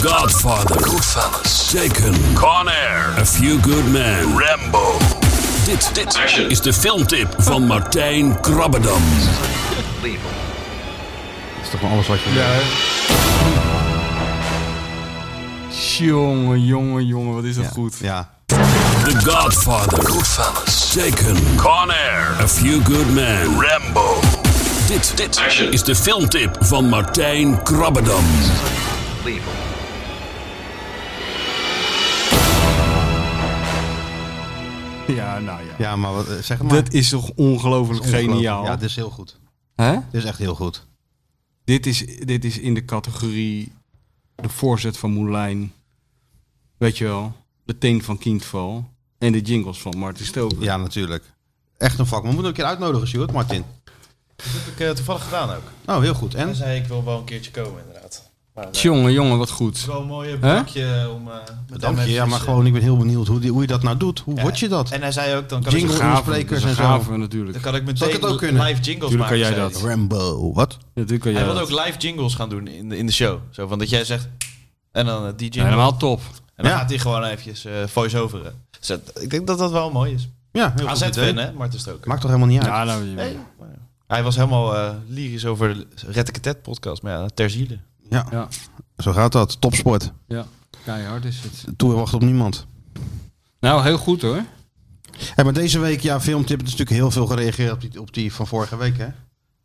S11: The Godfather. Goodfellas. Taken. Con Air. A Few Good Men. Rambo. Dit, dit is de filmtip van Martijn Krabbedam.
S4: Dat is toch wel alles wat je ja.
S2: Jongen, jongen, jongen, wat is dat goed.
S4: Ja.
S11: The Godfather. Goodfellas. Taken. Con Air. A Few Good Men. Rambo. Dit, dit is de filmtip van Martijn Krabbedam.
S2: Ja, nou ja.
S4: ja, maar wat, eh, zeg het maar.
S2: Dat is toch ongelooflijk geniaal.
S4: Ja, dit is heel goed.
S2: Hè?
S4: Dit is echt heel goed.
S2: Dit, is, dit is in de categorie de voorzet van Moulijn. Weet je wel, de teen van Kindval en de jingles van Martin Stoker.
S4: Ja, natuurlijk. Echt een vakman. Moet ik een keer uitnodigen, Stuart, Martin.
S5: Dat heb ik eh, toevallig gedaan ook.
S4: Oh, heel goed.
S5: Hij
S4: En?
S5: zei ik wil wel een keertje komen inderdaad. Maar eh, het
S2: Jongen, jongen, wat goed.
S5: is wel een mooie bankje om... eh, met hem
S4: Dank je.
S5: eventjes,
S4: Ja, maar
S5: eh,
S4: gewoon, ik ben heel benieuwd hoe, die, hoe je dat nou doet. Hoe
S5: ja.
S4: word je dat?
S5: En hij zei ook, dan kan, ik,
S4: Jingle
S2: Gaaf,
S4: insprekers
S2: dat is
S4: en
S2: een
S4: zo.
S2: gave natuurlijk.
S5: dan kan ik
S4: Zou
S5: meteen
S4: ik het ook kunnen?
S5: live jingles
S2: Tuurlijk kan
S5: maken.
S2: jij
S5: zei
S2: dat.
S5: hij.
S4: Rambo. Wat?
S2: Natuurlijk kan
S5: Hij
S2: jij
S5: wilde
S2: dat.
S5: ook live jingles gaan doen in de, in de show. Zo van dat jij zegt... En dan eh, die jingle.
S2: Helemaal top.
S5: en dan
S4: Ja.
S5: gaat hij gewoon eventjes eh voice-overen. Dus dat- ik denk dat dat wel mooi is.
S4: Ja, heel goed idee.
S5: AZ-fan hè, Marten Stoker.
S4: Maakt toch helemaal niet uit?
S2: Ja, nou, je-
S5: Hij was helemaal eh, lyrisch over de Red ik Ted podcast. Maar ja, ter ziele.
S4: Ja.
S2: nou- Ja.
S4: Zo gaat dat. Topsport.
S2: ja, keihard is het.
S4: Toer wacht op niemand.
S2: Nou, heel goed hoor.
S4: Hé, maar deze week, ja, filmtip, er is natuurlijk heel veel gereageerd op die, op die van vorige week, hè?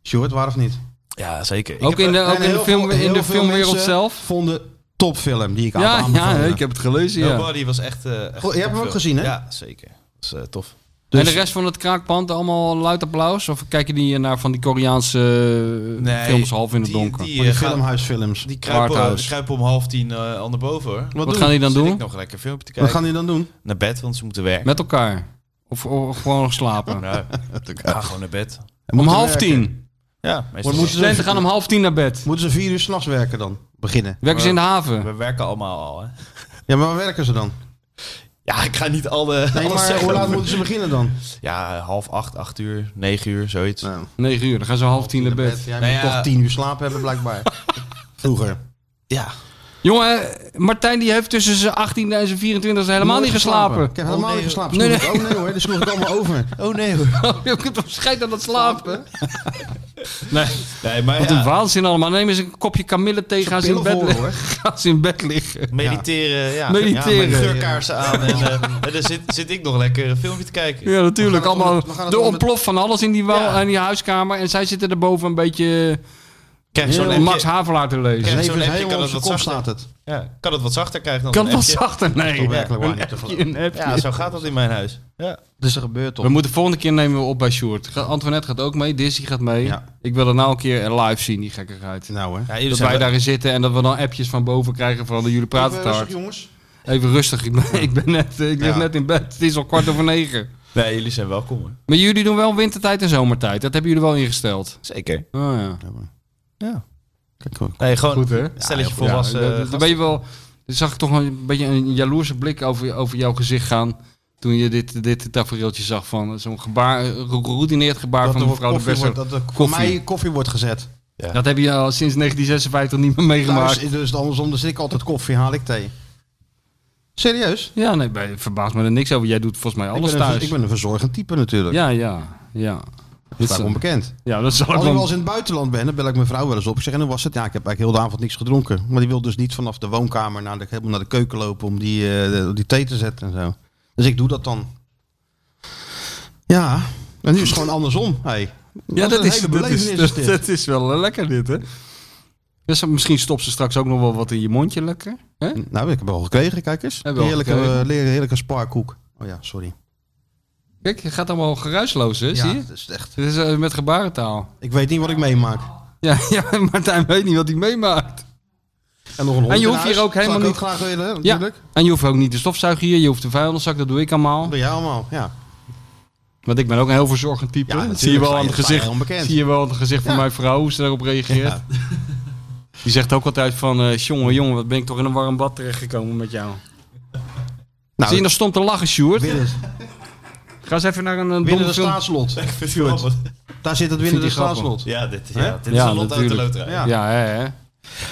S4: Short, waar of niet?
S5: Ja, zeker.
S2: Ook in de, ook in de, film, in de filmwereld zelf.
S4: vonden topfilm die ik aan
S2: Ja, ja, ik heb het gelezen. Ja.
S5: Nobody was echt... eh, echt
S4: Goh, je hebt hem
S5: topfilm.
S4: ook gezien, hè?
S5: Ja, zeker. Dat is eh, tof.
S4: Dus
S2: en de rest van het kraakpand allemaal luid applaus? Of kijken die naar van die Koreaanse eh,
S5: Nee,
S2: films half in het
S5: die-
S2: donker?
S5: Die,
S4: Die
S5: eh, gaan-
S4: filmhuisfilms.
S5: die kruipen,
S2: Waardhuis.
S5: kruipen om half tien eh aan de boven. hoor.
S2: Wat, gaan die nou dan
S5: Zit
S2: doen?
S5: ik nog lekker een filmpje te
S4: Wat
S5: kijken.
S4: gaan die dan doen?
S5: Naar bed, want ze moeten werken.
S2: Met elkaar? Of, of gewoon nog slapen?
S5: <laughs> Nou, ga gewoon naar bed.
S2: Om
S4: Moeten
S2: half
S4: werken.
S2: tien.
S5: Ja, meestal
S4: moeten ze-
S2: Studenten gaan om half tien naar bed.
S4: Moeten ze vier uur s'nachts werken dan? Beginnen.
S2: Werken ze in de
S5: wel.
S2: haven?
S5: We werken allemaal al, hè.
S4: Ja, maar waar werken ze dan?
S5: Ja, ik ga niet alle...
S4: Nee,
S5: alles
S4: maar
S5: zeggen
S4: hoe laat
S5: over-
S4: moeten ze beginnen dan?
S5: Ja, half acht, acht uur, negen uur, zoiets.
S4: Oh,
S2: 9 uur, dan gaan ze half tien naar bed.
S4: Jij
S5: Nou
S4: moet toch tien uur slaap hebben blijkbaar.
S5: <laughs>
S4: Vroeger.
S5: Ja.
S2: Jongen, Martijn die heeft tussen zijn 18 en zijn 24 helemaal
S4: Nooit
S2: niet geslapen.
S4: Ik heb helemaal niet geslapen.
S2: Nee,
S4: Nee,
S2: nee.
S4: Oh nee hoor, dat sloeg ik
S2: <laughs>
S4: allemaal over. Oh nee hoor.
S2: Je kunt toch scheid aan dat slapen? Nee.
S5: Nee, maar
S2: Wat
S5: ja,
S2: een waanzin allemaal. Neem eens een kopje kamille thee, gaan ze, in
S5: pillen
S2: bed
S5: voor,
S2: liggen.
S5: hoor.
S2: gaan ze in bed liggen.
S5: Mediteren, ja.
S2: Mediteren.
S5: Ja, met geurkaarsen aan. En, eh, en dan zit, zit ik nog lekker een filmpje te kijken.
S2: Ja, natuurlijk.
S5: We gaan het
S2: Allemaal
S5: onder- we gaan het
S2: de
S5: onder-
S2: ontplof van alles in die, wa-
S5: Ja.
S2: in die huiskamer. En zij zitten erboven een beetje
S5: Krijg je zo'n
S2: heel
S5: appje-
S2: Max Havelaar te
S5: Krijg je
S2: lezen.
S5: zo'n appje, kan
S4: op
S5: het
S4: zijn
S5: wat
S4: kop
S5: zachter.
S4: staat het.
S5: Ja, kan het wat zachter krijgen dan
S2: Kan
S5: een
S2: het wat
S5: appje?
S2: zachter? Nee.
S5: Dat is toch werkelijk waar
S2: Een
S5: niet te
S2: appje,
S5: verlangen.
S2: een appje.
S5: <laughs> Ja, zo gaat dat in mijn huis. Ja.
S4: Dus er gebeurt toch.
S2: We moeten volgende keer nemen we op bij Sjoerd. Ga- Antoinette gaat ook mee, Dizzy gaat mee. Ik wil dat nou een keer live zien, die gekkigheid.
S4: Nou hè.
S5: Ja, jullie
S2: dat
S5: zijn
S2: wij
S5: wel-
S2: daarin zitten en dat we dan appjes van boven krijgen van jullie praten te hard.
S4: jongens.
S2: Even rustig, <laughs> ik, ben, ik, ben net, ik lig
S5: Ja.
S2: net in bed. Het is al kwart over negen.
S5: Nee, jullie zijn welkom. hoor.
S2: Maar jullie doen wel wintertijd en zomertijd. Dat hebben jullie wel ingesteld.
S5: Zeker.
S2: Oh ja.
S5: Ja.
S4: Kijk, hoor.
S5: Nee, gewoon
S2: Goed, hè?
S5: een stelletje
S2: Ja,
S5: volwassen.
S2: ja,
S4: eh,
S5: gasten.
S2: dan ben je wel. Dan zag ik toch een beetje een jaloerse blik over, over jouw gezicht gaan. Toen je dit, dit tafereeltje zag van zo'n gebaar, een geroutineerd gebaar
S4: Dat
S2: van
S4: er wordt
S2: mevrouw de
S4: koffie
S2: Besser.
S4: wordt, dat er voor mij koffie wordt gezet.
S2: Dat heb je al sinds 1956 niet meer meegemaakt.
S4: Thuis is dus andersom, dus ik altijd koffie, haal ik thee. Serieus?
S2: Ja, nee, ben- verbaas me er niks over. Jij doet volgens mij
S4: Ik
S2: alles
S4: ben, een,
S2: thuis.
S4: ik ben een verzorgend type natuurlijk.
S2: Ja, ja, ja.
S4: Dat
S2: is- eh,
S4: staat onbekend.
S2: Ja, dat zal ik
S4: Als ik wel
S2: wel...
S4: eens in het buitenland ben, dan bel ik mijn vrouw wel eens op. Ik zeg, en hoe was het? Ja, ik heb eigenlijk heel de avond niks gedronken. Maar die wil dus niet vanaf de woonkamer naar de, helemaal naar de keuken lopen om die, eh, die thee te zetten en zo. Dus ik doe dat dan. Ja, en nu is het gewoon andersom. Hey.
S2: Ja, dat
S4: een
S2: is,
S4: hele
S2: dat,
S4: belevenis
S2: is,
S4: is
S2: dat,
S4: dit.
S2: dat is wel eh, lekker dit, hè? Dus dan- misschien stopt ze straks ook nog wel wat in je mondje lekker. Hè?
S4: Nou, ik heb wel gekregen, kijk eens.
S2: Heb je al
S4: Heerlijke,
S2: gekregen?
S4: eh, leer- heerlijke sparkoek. Oh ja, sorry.
S2: Kijk, je gaat allemaal geruisloos, hè?
S4: ja,
S2: zie je?
S4: dat is echt.
S2: Dit is eh, met gebarentaal. <laughs>
S4: Ik weet niet wat ik meemaak.
S2: Ja, ja, Martijn weet niet wat hij meemaakt.
S4: En nog een hond
S2: En je
S4: in
S2: hoeft hier
S4: huis.
S2: ook helemaal
S4: Zou ik
S2: niet-
S4: ook graag willen,
S2: Ja.
S4: natuurlijk.
S2: En je hoeft ook niet de stofzuiger hier, je hoeft de vuilniszak, dat doe ik allemaal.
S4: Dat doe jij allemaal, ja.
S2: Want ik ben ook een heel verzorgend type.
S4: Ja,
S2: dat zie je wel aan het
S4: natuurlijk, sta je
S2: gezicht.
S4: heel onbekend.
S2: Zie je wel aan het gezicht van
S4: Ja.
S2: mijn vrouw, hoe ze daarop reageert.
S4: Ja.
S2: <laughs> Die zegt ook altijd van, eh jongen, jongen, wat ben ik toch in een warm bad terechtgekomen met jou.
S4: Nou,
S2: Zie je nog stom te lachen, Sjoerd?
S4: Willen-
S2: Ga eens even naar een, een
S4: Winnen
S2: domme
S4: de
S2: film.
S4: staatslot.
S5: Ik vind het wel wat-
S4: Daar zit het
S2: Vind
S4: winnen de
S2: die grappig.
S4: staatslot.
S5: Ja, dit,
S4: Hè?
S5: ja, dit is
S2: Ja,
S5: een lot uit de
S2: natuurlijk.
S5: loterij.
S4: Ja.
S2: Ja, hè, hè.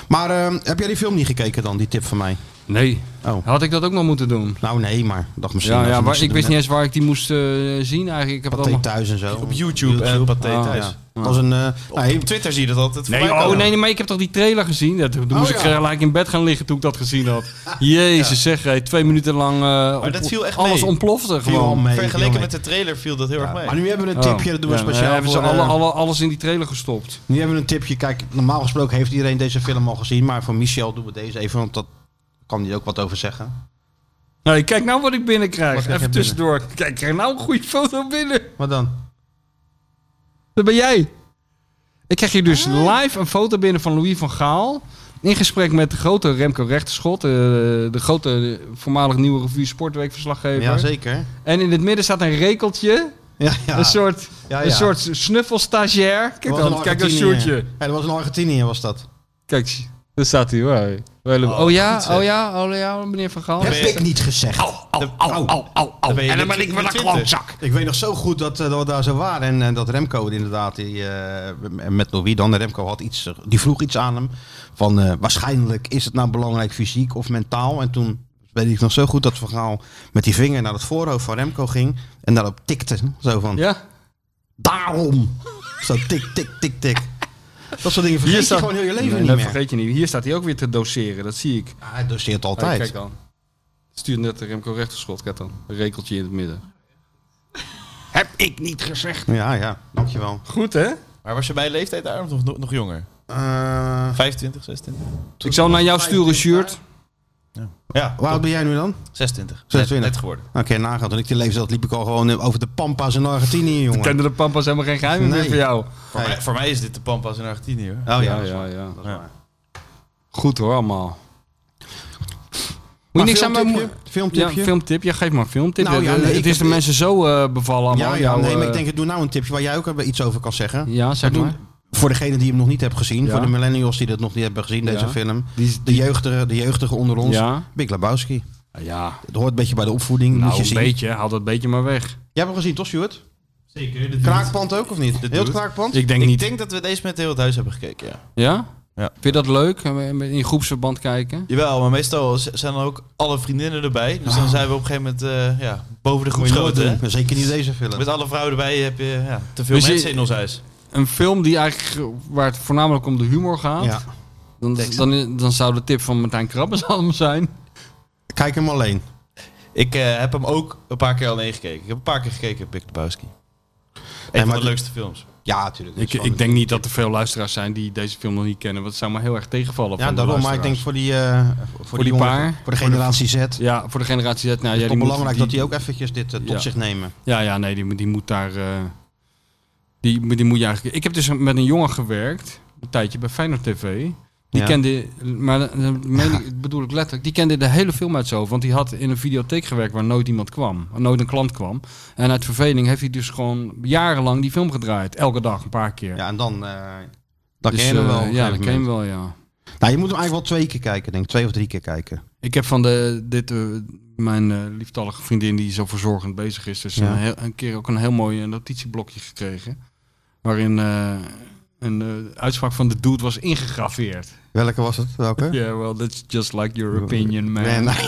S4: Maar ehm, heb jij die film niet gekeken dan, die tip van mij?
S2: Nee.
S4: Oh.
S2: Had ik dat ook nog moeten doen?
S4: Nou nee, maar dacht misschien.
S2: Ja,
S4: als
S2: ja
S4: je
S2: maar
S4: niks
S2: ik
S4: te
S2: wist
S4: doen
S2: niet eens waar ik die moest eh, zien eigenlijk. Ik heb het
S4: hebt. Pathé
S2: allemaal...
S4: thuis en zo.
S5: Op YouTube, en Pathé
S2: Ah,
S5: thuis.
S4: Ja. Dat was een... eh, nou,
S5: Op
S4: hey,
S5: Twitter zie je dat altijd
S2: Nee,
S5: voorbij
S2: oh
S5: komen.
S2: nee, nee, maar ik heb toch die trailer gezien? Ja, toen toen moest ik eh, gelijk in bed gaan liggen toen ik dat gezien had. Jezus, zeg hey, twee minuten lang. eh, ontplo-
S5: dat viel echt
S2: alles
S5: mee.
S2: ontplofte gewoon.
S4: mee,
S5: Vergeleken
S4: viel
S5: met de trailer viel dat heel erg mee.
S4: maar nu hebben we een tipje, dat doen we
S2: Oh. Ja,
S4: speciaal
S2: hebben ze
S4: voor,
S2: alle,
S4: eh,
S2: alle, alles in die trailer gestopt.
S4: Nu hebben we een tipje. Kijk, normaal gesproken heeft iedereen deze film al gezien. Maar voor Michel doen we deze even, want dat kan hij ook wat over zeggen.
S2: Nee, kijk nou wat ik binnenkrijg.
S4: Wat krijg je
S2: Even tussendoor. Kijk, ik krijg nou een goede foto binnen.
S4: Wat dan?
S2: Dat ben jij. Ik krijg hier dus
S4: Ah.
S2: live een foto binnen van Louis van Gaal. In gesprek met de grote Remco Rechterschot. eh, de grote eh, voormalig nieuwe revue Sportweekverslaggever.
S4: Ja, zeker.
S2: en in het midden staat een rekeltje.
S4: Ja, ja.
S2: Een soort,
S4: Ja, ja.
S2: een soort snuffelstagiair.
S4: Dat
S2: Kijk
S4: was
S2: dan,
S4: een eh.
S2: kijk dat
S4: Argentinië.
S2: shirtje.
S4: Ja, dat was een Argentinië, was dat.
S2: Kijk, daar staat hij. Wow. Oh, ja,
S5: goed, zeg.
S2: oh ja, oh ja, meneer Van Gaal.
S4: Heb ik niet gezegd.
S5: Au, au, au, au. En dan ben ik weer een klootzak.
S4: Ik weet nog zo goed dat, eh, dat we daar zo waren. En, eh, dat Remco inderdaad, die, eh, met Louis dan, Remco had iets, eh, die vroeg iets aan hem. Van eh, waarschijnlijk is het nou belangrijk fysiek of mentaal. En toen weet ik nog zo goed dat verhaal met die vinger naar het voorhoofd van Remco ging. En daarop tikte. Zo van,
S2: Ja,
S4: daarom. Zo tik, tik, tik, tik. Dat soort dingen vergeet je gewoon heel je leven
S2: Nee,
S4: niet
S2: dat
S4: meer.
S2: vergeet je niet. Hier staat hij ook weer te doseren, dat zie ik.
S4: Ja, hij doseert
S2: Kijk,
S4: altijd.
S2: kijk dan. Stuur net de Remco Rechterschot. Kijk dan, een rekeltje in het midden.
S8: Heb ik niet gezegd.
S4: ja, ja, dankjewel.
S2: Goed, hè?
S5: Maar was je bij leeftijd daar of nog, nog, nog jonger?
S4: Eh
S5: 25, 26?
S2: Ik zal naar jou sturen, shirt.
S5: Ja,
S4: hoe oud ben jij nu dan?
S5: 26.
S4: 26.
S5: Net, net geworden.
S4: Oké, nagaan. Toen ik die leeftijd had, liep ik al gewoon over de Pampas in Argentinië, jongen.
S2: Kende de pampa's helemaal geen geheimen
S4: Nee.
S2: meer voor jou.
S5: Voor, mij, voor mij is dit de Pampas in Argentinië hoor.
S4: Oh ja,
S2: Ja,
S4: dat is waar.
S2: ja, ja.
S4: Dat is waar.
S2: Goed hoor, allemaal. Moet
S4: Maar
S2: je niks aan mijn
S4: filmtipje?
S2: moe- Ja,
S4: Filmtipje?
S2: een filmtip. Ja, geef maar een filmtip.
S4: Nou ja,
S2: Het-
S4: nee,
S2: het
S4: ik
S2: is
S4: heb-
S2: de mensen zo eh, bevallen allemaal.
S4: Ja, ja,
S2: jouw,
S4: nee, maar ik
S2: eh,
S4: denk, doe nou een tipje waar jij ook even iets over kan zeggen.
S2: Ja, zeg
S4: Doe-
S2: maar.
S4: Voor degene die hem nog niet hebben gezien,
S2: Ja.
S4: voor de millennials die dat nog niet hebben gezien, deze
S2: Ja.
S4: film.
S2: Die,
S4: De jeugdige, de jeugdige onder ons,
S2: Ja.
S4: Big Lebowski.
S2: Ja.
S4: Het hoort een beetje bij de opvoeding.
S2: Nou,
S4: moet je
S2: een
S4: zien.
S2: beetje. Haal dat beetje maar weg.
S4: Jij hebt hem gezien, toch, Stuart?
S5: Zeker.
S4: Kraakpand ook, of niet?
S5: De
S4: Heel het
S5: dude.
S4: kraakpand?
S2: Ik denk
S5: ik
S2: niet.
S5: denk dat we deze met heel het huis hebben gekeken, ja.
S2: Ja?
S5: Ja.
S2: Vind je dat leuk? Eh, In groepsverband kijken?
S5: Jawel, maar meestal z- zijn er ook alle vriendinnen erbij. Dus dan zijn we op een gegeven moment eh, ja, boven de
S4: Ah. Moet je nooit
S5: groepsgrootte.
S4: doen. Zeker niet deze film.
S5: Met alle vrouwen erbij heb je ja, te veel
S2: Dus je-
S5: mensen in ons huis.
S2: Een film die eigenlijk, waar het voornamelijk om de humor gaat.
S5: Ja.
S2: Dan, dan, dan zou de tip van Martijn <laughs> Krabbensalm zijn.
S4: Kijk hem alleen.
S5: Ik eh, heb hem ook een paar keer alleen gekeken. Ik heb een paar keer gekeken Big Lebowski. Een van de leukste films.
S4: Ja, natuurlijk.
S2: Ik, ik denk niet dat er veel luisteraars zijn die deze film nog niet kennen. Want het zou maar heel erg tegenvallen.
S4: Ja,
S2: van de
S4: daarom. Maar ik denk
S2: luisteraars.
S4: voor die, eh, voor
S2: voor,
S4: die,
S2: die
S4: jongeren,
S2: paar.
S4: Voor de generatie Z.
S2: Ja, voor de generatie Z. Nou, ja,
S4: Het is
S2: die
S4: toch
S2: moet-
S4: belangrijk dat die ook eventjes dit eh, tot
S2: Ja.
S4: zich nemen.
S2: Ja, ja, nee, die, moet- die moet daar. eh, die, die moet je eigenlijk. Ik heb dus met een jongen gewerkt, een tijdje bij Feyenoord TV. Die
S4: Ja.
S2: kende, maar dat meen ik- bedoel ik letterlijk, die kende de hele film uit zo. Want die had in een videotheek gewerkt waar nooit iemand kwam, waar nooit een klant kwam. En uit verveling heeft hij dus gewoon jarenlang die film gedraaid. Elke dag, een paar keer.
S4: Ja, en dan. eh dan
S2: Dus,
S4: ken je hem
S2: eh,
S4: wel. op een
S2: ja,
S4: gegeven
S2: dan ken je hem
S4: moment.
S2: wel, ja.
S4: Nou, je moet hem eigenlijk wel twee keer kijken, denk ik. Twee of drie keer kijken.
S2: Ik heb van de, dit, eh, mijn eh, lieftallige vriendin die zo verzorgend bezig is, dus
S4: Ja.
S2: een, heel- een keer ook een heel mooi eh, notitieblokje gekregen. Waarin eh, een eh, uitspraak van de dude was ingegraveerd.
S4: Welke was het? Welke?
S2: Yeah, well, that's just like your opinion, man.
S4: Man.
S2: <laughs>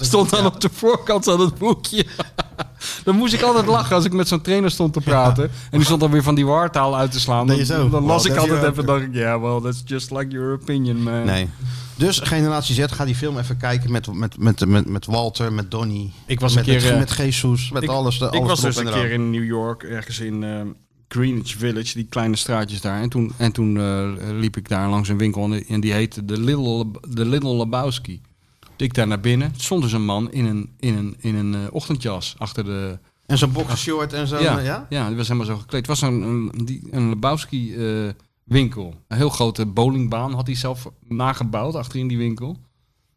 S2: Stond dan op de voorkant van het boekje. <laughs> dan moest ik altijd lachen als ik met zo'n trainer stond te praten. En die stond dan weer van die waartaal uit te slaan.
S4: Nee,
S2: Dan,
S4: zo.
S2: dan las
S4: Well,
S2: ik
S4: that's
S2: altijd
S4: your-
S2: even, dacht ik, yeah, well, that's just like your opinion, man.
S4: Nee. Dus Generatie Z, ga die film even kijken met, met, met, met, met Walter, met Donnie.
S2: Ik was
S4: met,
S2: een keer... eh,
S4: Met Jesus, met
S2: ik,
S4: alles. de-
S2: ik
S4: alles
S2: was
S4: erop
S2: dus een
S4: en
S2: keer
S4: eraan.
S2: in New York, ergens in eh, Greenwich Village, die kleine straatjes daar. En toen, en toen eh, liep ik daar langs een winkel en die- en die heette de Little, de Little Lebowski. Ik daar naar binnen, stond dus een man in een, in een, in een eh, ochtendjas achter de...
S4: En zo'n boxershort en zo'n...
S2: ja,
S4: eh,
S2: ja?
S4: ja?
S2: die was helemaal zo gekleed. Het was een, een, die, een Lebowski eh, winkel. Een heel grote bowlingbaan had hij zelf nagebouwd achterin die winkel. Dat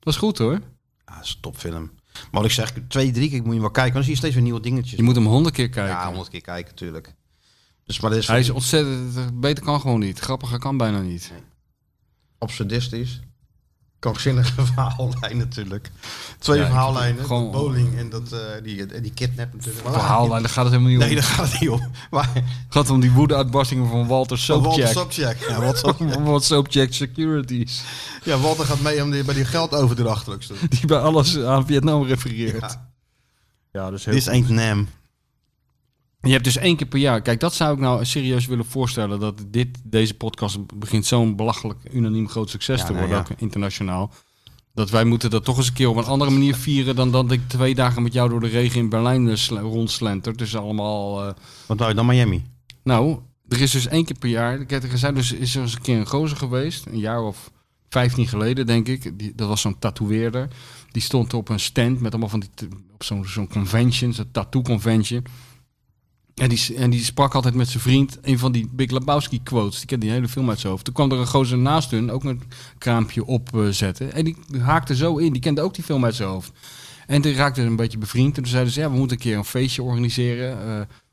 S2: was goed hoor.
S4: Ah, dat is een topfilm. Maar wat ik zeg, twee, drie keer moet je wel kijken. Want dan zie je steeds weer nieuwe dingetjes.
S2: Je moet hem honderd keer kijken.
S4: Ja, honderd keer kijken, natuurlijk. Dus, maar dat is
S2: Hij is ontzettend... Beter kan gewoon niet. Grappiger kan bijna niet.
S4: absurdistisch. Krankzinnige <laughs> verhaallijn natuurlijk. Twee
S2: Ja, ik-
S4: verhaallijnen.
S2: gewoon-
S4: dat bowling en dat, eh, die, en die kidnap natuurlijk. Maar-
S2: Verhaallijn, daar gaat het helemaal niet om.
S4: Nee, daar gaat het niet om. Maar
S2: Het gaat om die woede-uitbarstingen van Walter
S4: Walter
S2: Sobchak.
S4: Sobchak. Ja, Walter,
S2: Wat Sobchak Securities.
S4: ja, Walter gaat mee om die, bij die geldoverdracht te doen.
S2: Die bij alles aan Vietnam refereert. Ja,
S4: Ja.
S2: dat is heel
S4: Dit is ain't Nam.
S2: Je hebt dus één keer per jaar. Kijk, dat zou ik nou serieus willen voorstellen. Dat dit, deze podcast begint zo'n belachelijk unaniem groot succes
S4: Ja,
S2: te
S4: nou
S2: worden. Ook internationaal. Dat wij moeten dat toch eens een keer op een andere manier vieren. Dan dat ik twee dagen met jou door de regen in Berlijn eh, sle- rondslenter. Dus allemaal... eh,
S4: Wat nou, dan Miami.
S2: Nou, er is dus één keer per jaar. Ik heb er gezegd, dus is er eens een keer een gozer geweest, een jaar of vijftien geleden, denk ik. Die, dat was zo'n tatoeëerder. Die stond op een stand met allemaal van die t- op zo'n zo'n convention, zo'n tattoo convention. En die, s- en die sprak altijd met zijn vriend een van die Big Lebowski quotes. Die kende die hele film uit zijn hoofd. Toen kwam er een gozer naast hun ook een kraampje opzetten. en die haakte zo in. Die kende ook die film uit zijn hoofd. En toen raakte ze een beetje bevriend. En toen zeiden ze, ja, we moeten een keer een feestje organiseren. Eh,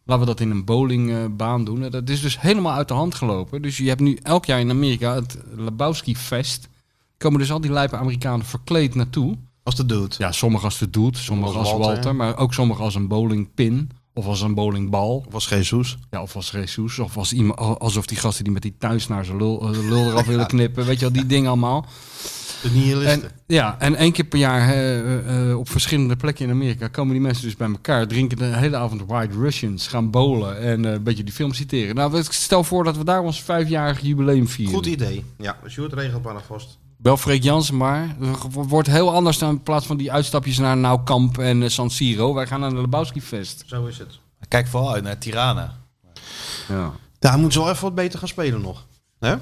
S2: laten we dat in een bowlingbaan doen. En Dat is dus helemaal uit de hand gelopen. Dus je hebt nu elk jaar in Amerika het Lebowski Fest. Komen dus al die lijpe Amerikanen verkleed naartoe.
S4: Als de dude.
S2: Ja, sommigen als de doet, sommigen als
S4: Als
S2: Walter.
S4: Walter, ja.
S2: maar ook sommigen als een bowlingpin. Of als een bowlingbal.
S4: Of was Jesus.
S2: Ja, of als Jesus. Of als iemand, alsof die gasten die met die thuis naar zijn lul, eh, lul eraf <laughs> willen knippen. Weet je wel, die dingen allemaal.
S4: De nihilisten.
S2: En, ja, en één keer per jaar hè, eh, eh, op verschillende plekken in Amerika komen die mensen dus bij elkaar, drinken de hele avond White Russians, gaan bowlen en eh, een beetje die film citeren. Nou, ik stel voor dat we daar ons vijfjarig jubileum vieren.
S4: Goed idee. Ja, Sjoerd regelt maar vast.
S2: Wel Freek Jansen, maar het wordt heel anders dan in plaats van die uitstapjes naar Nou Kamp en eh, San Siro. Wij gaan naar de Lebowski Fest.
S4: Zo is het.
S5: Kijk vooral uit naar Tirana.
S2: Ja.
S4: Daar moet ze wel even wat beter gaan spelen nog. Hè?
S5: Dat